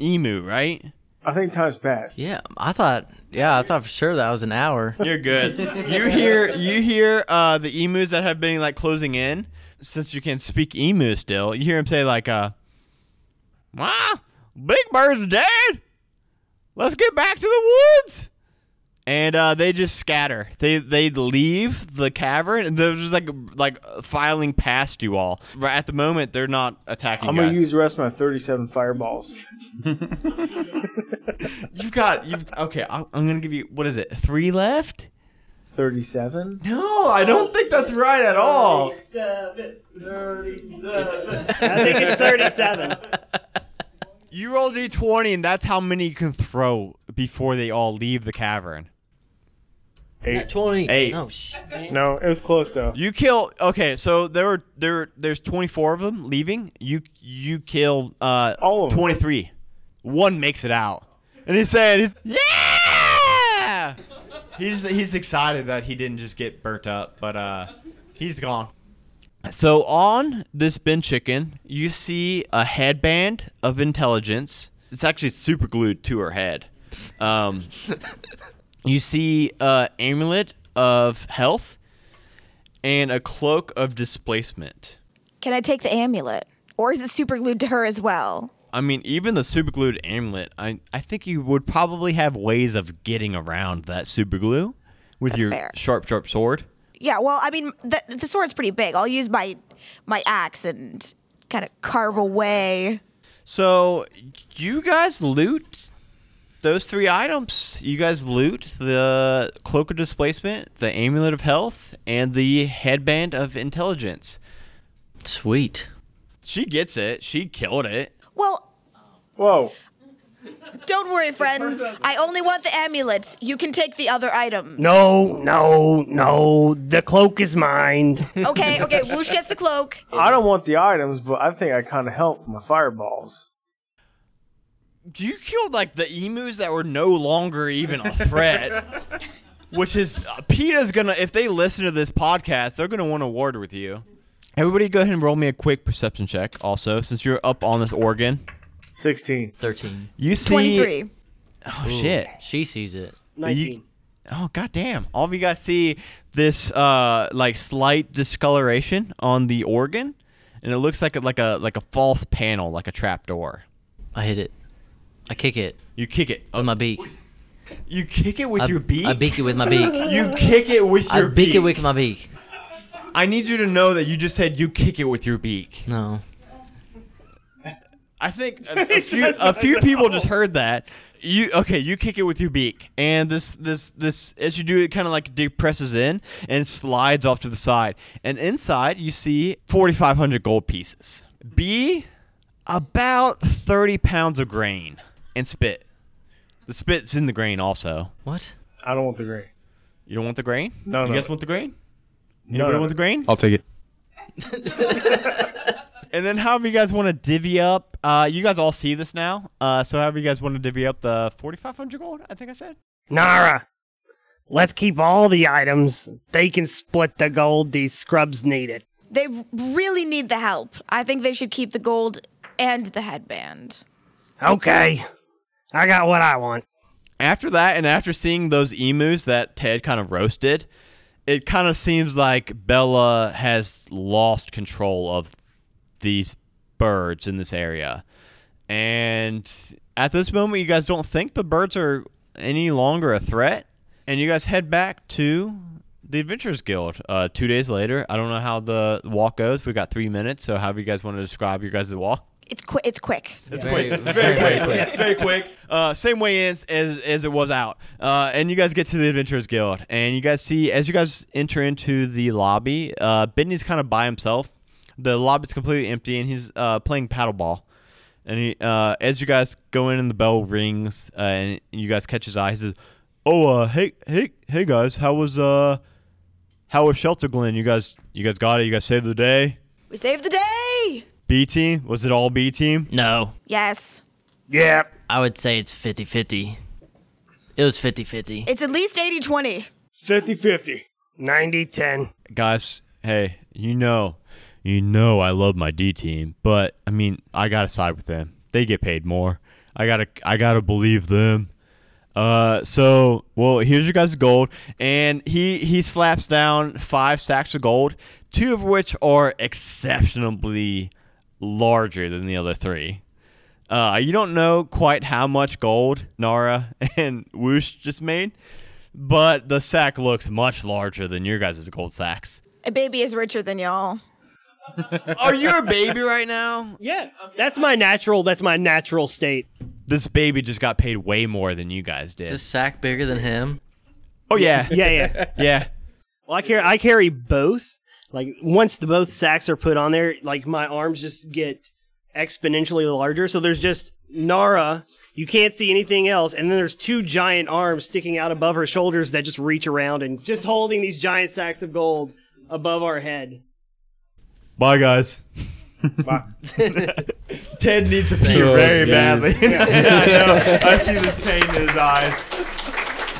[SPEAKER 1] emu, right?
[SPEAKER 5] I think time's passed.
[SPEAKER 6] Yeah, I thought. Yeah, I thought for sure that was an hour.
[SPEAKER 1] You're good. you hear you hear uh, the emus that have been like closing in since you can speak emu still. You hear him say like, uh, "Ah, Big Bird's dead. Let's get back to the woods." And uh, they just scatter. They they leave the cavern and they're just like like filing past you all. Right at the moment, they're not attacking.
[SPEAKER 5] I'm gonna
[SPEAKER 1] guys.
[SPEAKER 5] use the rest of my 37 fireballs.
[SPEAKER 1] You've got you've okay. I- I'm gonna give you what is it? Three left?
[SPEAKER 5] 37.
[SPEAKER 1] No, I don't think that's right at all.
[SPEAKER 4] I think it's 37.
[SPEAKER 1] You roll d20, and that's how many you can throw before they all leave the cavern.
[SPEAKER 6] Twenty.
[SPEAKER 1] Eight.
[SPEAKER 6] No. Sh-
[SPEAKER 5] No, it was close though.
[SPEAKER 1] You kill. Okay, so there were there there's 24 of them leaving. You you kill uh
[SPEAKER 5] All of 'em.
[SPEAKER 1] 23. One makes it out, and he's saying, he's, "Yeah!" he's he's excited that he didn't just get burnt up, but uh, he's gone. So on this bin chicken, you see a headband of intelligence. It's actually super glued to her head. Um, you see a amulet of health and a cloak of displacement.
[SPEAKER 3] Can I take the amulet? Or is it super glued to her as well?
[SPEAKER 1] I mean, even the superglued amulet, I I think you would probably have ways of getting around that superglue with your
[SPEAKER 3] fair.
[SPEAKER 1] sharp, sharp sword.
[SPEAKER 3] Yeah, well, I mean, the, the sword's pretty big. I'll use my my axe and kind of carve away.
[SPEAKER 1] So you guys loot those three items. You guys loot the cloak of displacement, the amulet of health, and the headband of intelligence.
[SPEAKER 6] Sweet.
[SPEAKER 1] She gets it. She killed it.
[SPEAKER 3] Well,
[SPEAKER 5] Whoa.
[SPEAKER 3] don't worry, friends. I only want the amulet. You can take the other items.
[SPEAKER 4] No, no, no. The cloak is mine.
[SPEAKER 3] Okay, okay. Woosh gets the cloak.
[SPEAKER 5] I don't want the items, but I think I kind of helped with my fireballs.
[SPEAKER 1] Do you kill like the emus that were no longer even a threat? Which is uh, PETA's gonna if they listen to this podcast, they're gonna want to ward with you. Everybody, go ahead and roll me a quick perception check. Also, since you're up on this organ,
[SPEAKER 5] 16.
[SPEAKER 6] 13.
[SPEAKER 1] you see.
[SPEAKER 3] Twenty-three.
[SPEAKER 1] Oh shit!
[SPEAKER 6] She sees it.
[SPEAKER 1] You- oh goddamn! All of you guys see this uh like slight discoloration on the organ, and it looks like a, like a like a false panel, like a trap door.
[SPEAKER 6] I hit it. I kick it
[SPEAKER 1] You kick it.
[SPEAKER 6] with my beak.
[SPEAKER 1] You kick it with
[SPEAKER 6] I,
[SPEAKER 1] your beak.
[SPEAKER 6] I beak it with my beak.
[SPEAKER 1] You kick it with
[SPEAKER 6] I
[SPEAKER 1] your
[SPEAKER 6] beak it with my beak.
[SPEAKER 1] I need you to know that you just said you kick it with your beak.
[SPEAKER 6] No.
[SPEAKER 1] I think a, a few, a few people just heard that. You okay? You kick it with your beak, and this this this as you do it, kind of like depresses in and slides off to the side. And inside, you see forty five hundred gold pieces. B, about thirty pounds of grain and spit. The spit's in the grain also.
[SPEAKER 6] What?
[SPEAKER 5] I don't want the grain.
[SPEAKER 1] You don't want the grain?
[SPEAKER 5] No,
[SPEAKER 1] You
[SPEAKER 5] no.
[SPEAKER 1] guys want the grain?
[SPEAKER 5] No,
[SPEAKER 1] You
[SPEAKER 5] no.
[SPEAKER 1] want the grain?
[SPEAKER 2] I'll take it.
[SPEAKER 1] And then however you guys want to divvy up, uh, you guys all see this now. Uh, so however you guys want to divvy up the 4,500 gold, I think I said.
[SPEAKER 4] Nara, let's keep all the items. They can split the gold these scrubs need it.
[SPEAKER 3] They really need the help. I think they should keep the gold and the headband.
[SPEAKER 4] Okay. I got what I want.
[SPEAKER 1] After that, and after seeing those emus that Ted kind of roasted, it kind of seems like Bella has lost control of these birds in this area. And at this moment, you guys don't think the birds are any longer a threat. And you guys head back to the Adventurers Guild uh, two days later. I don't know how the walk goes. We got three minutes. So, however, you guys want to describe your guys' walk?
[SPEAKER 3] It's quick. It's quick.
[SPEAKER 1] It's quick. It's very, quick. It's very quick. Uh, same way in as, as as it was out. Uh, and you guys get to the Adventurers Guild, and you guys see as you guys enter into the lobby, uh, Benny's kind of by himself. The lobby's completely empty, and he's uh, playing paddleball. And he, uh, as you guys go in, and the bell rings, uh, and you guys catch his eye. He says, "Oh, uh, hey, hey, hey, guys, how was uh, how was Shelter Glen? You guys, you guys got it. You guys saved the day.
[SPEAKER 3] We saved the day.
[SPEAKER 1] B team was it all B team?
[SPEAKER 6] No.
[SPEAKER 3] Yes.
[SPEAKER 4] Yeah.
[SPEAKER 6] I would say it's 50 50. It was 50 50.
[SPEAKER 3] It's at least 80 20.
[SPEAKER 5] 50 50.
[SPEAKER 4] 90 10.
[SPEAKER 1] guys, hey, you know, you know, I love my D team, but I mean, I gotta side with them. They get paid more. I gotta, I gotta believe them. Uh, so well, here's your guys' gold, and he he slaps down five sacks of gold, two of which are exceptionally larger than the other three. Uh, you don't know quite how much gold Nara and Woosh just made, but the sack looks much larger than your guys' gold sacks.
[SPEAKER 3] A baby is richer than y'all.
[SPEAKER 1] Are you a baby right now?
[SPEAKER 4] Yeah. That's my natural that's my natural state.
[SPEAKER 1] This baby just got paid way more than you guys did.
[SPEAKER 6] Is sack bigger than him?
[SPEAKER 1] oh yeah,
[SPEAKER 4] Yeah, yeah.
[SPEAKER 1] yeah.
[SPEAKER 4] well, I carry I carry both. Like once the both sacks are put on there, like my arms just get exponentially larger. So there's just Nara. You can't see anything else, and then there's two giant arms sticking out above her shoulders that just reach around and just holding these giant sacks of gold above our head.
[SPEAKER 1] Bye guys. Ted needs a pee
[SPEAKER 2] Oh,
[SPEAKER 1] very
[SPEAKER 2] geez.
[SPEAKER 1] badly. I know. I see this pain in his eyes.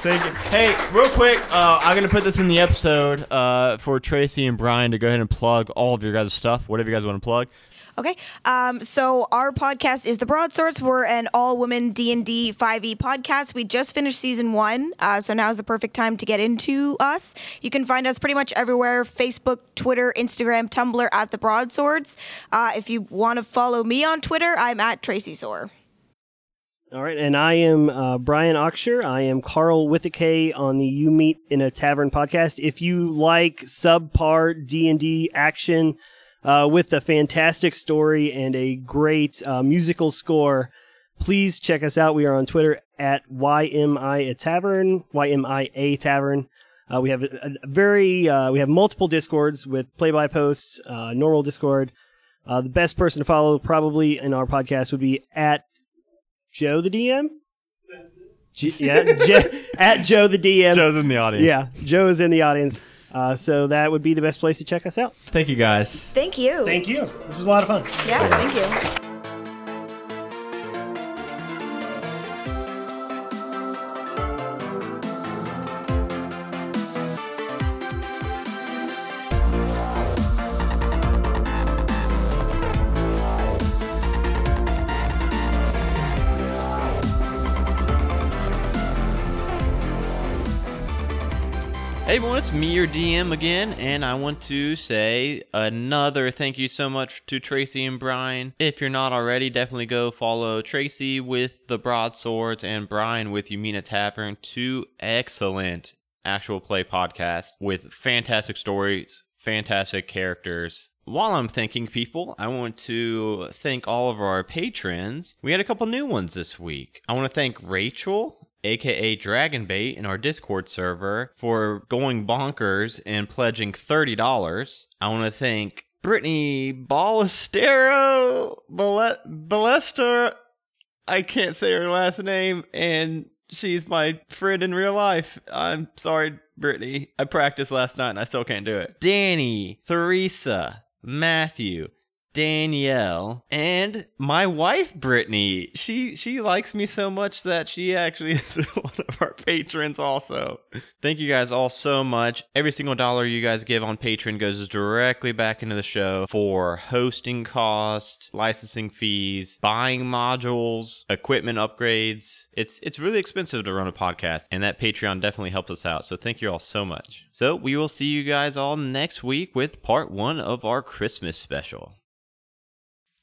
[SPEAKER 2] Thank you. Hey, real quick, uh, I'm gonna put this in the episode uh, for Tracy and Brian to go ahead and plug all of your guys' stuff, whatever you guys want to plug.
[SPEAKER 3] Okay. Um, so our podcast is The Broad Sorts. We're an all-women D&D 5e E podcast. We just finished season one, uh, so now's the perfect time to get into us. You can find us pretty much everywhere, Facebook, Twitter, Instagram, Tumblr, at The Broad Swords. Uh, if you want to follow me on Twitter, I'm at Tracy Sore.
[SPEAKER 4] All right, and I am uh, Brian Oxshire. I am Carl with a K on the You Meet in a Tavern podcast. If you like subpar D and D action uh, with a fantastic story and a great uh, musical score, please check us out. We are on Twitter at YMI a Tavern, YMI a Tavern. Uh, we have a, a very uh, we have multiple discords with play by posts, uh, normal Discord. Uh, the best person to follow probably in our podcast would be at Joe the DM. J- yeah, J- at Joe the DM.
[SPEAKER 2] Joe's in the audience.
[SPEAKER 4] yeah, Joe is in the audience. Uh, so that would be the best place to check us out.
[SPEAKER 2] Thank you guys.
[SPEAKER 3] Thank you.
[SPEAKER 9] Thank you. This was a lot of fun.
[SPEAKER 3] yeah, thank you.
[SPEAKER 1] Hey everyone, it's me, your DM again, and I want to say another thank you so much to Tracy and Brian. If you're not already, definitely go follow Tracy with the Broadswords and Brian with Umina Tavern. Two excellent actual play podcasts with fantastic stories, fantastic characters. While I'm thanking people, I want to thank all of our patrons. We had a couple new ones this week. I want to thank Rachel aka Dragonbait, in our Discord server for going bonkers and pledging $30. I want to thank Brittany Ballestero, Bale- Ballester, I can't say her last name, and she's my friend in real life. I'm sorry, Brittany. I practiced last night and I still can't do it. Danny, Theresa, Matthew, Danielle and my wife Brittany. She she likes me so much that she actually is one of our patrons also. Thank you guys all so much. Every single dollar you guys give on Patreon goes directly back into the show for hosting costs, licensing fees, buying modules, equipment upgrades. It's it's really expensive to run a podcast and that Patreon definitely helps us out. So thank you all so much. So we will see you guys all next week with part 1 of our Christmas special.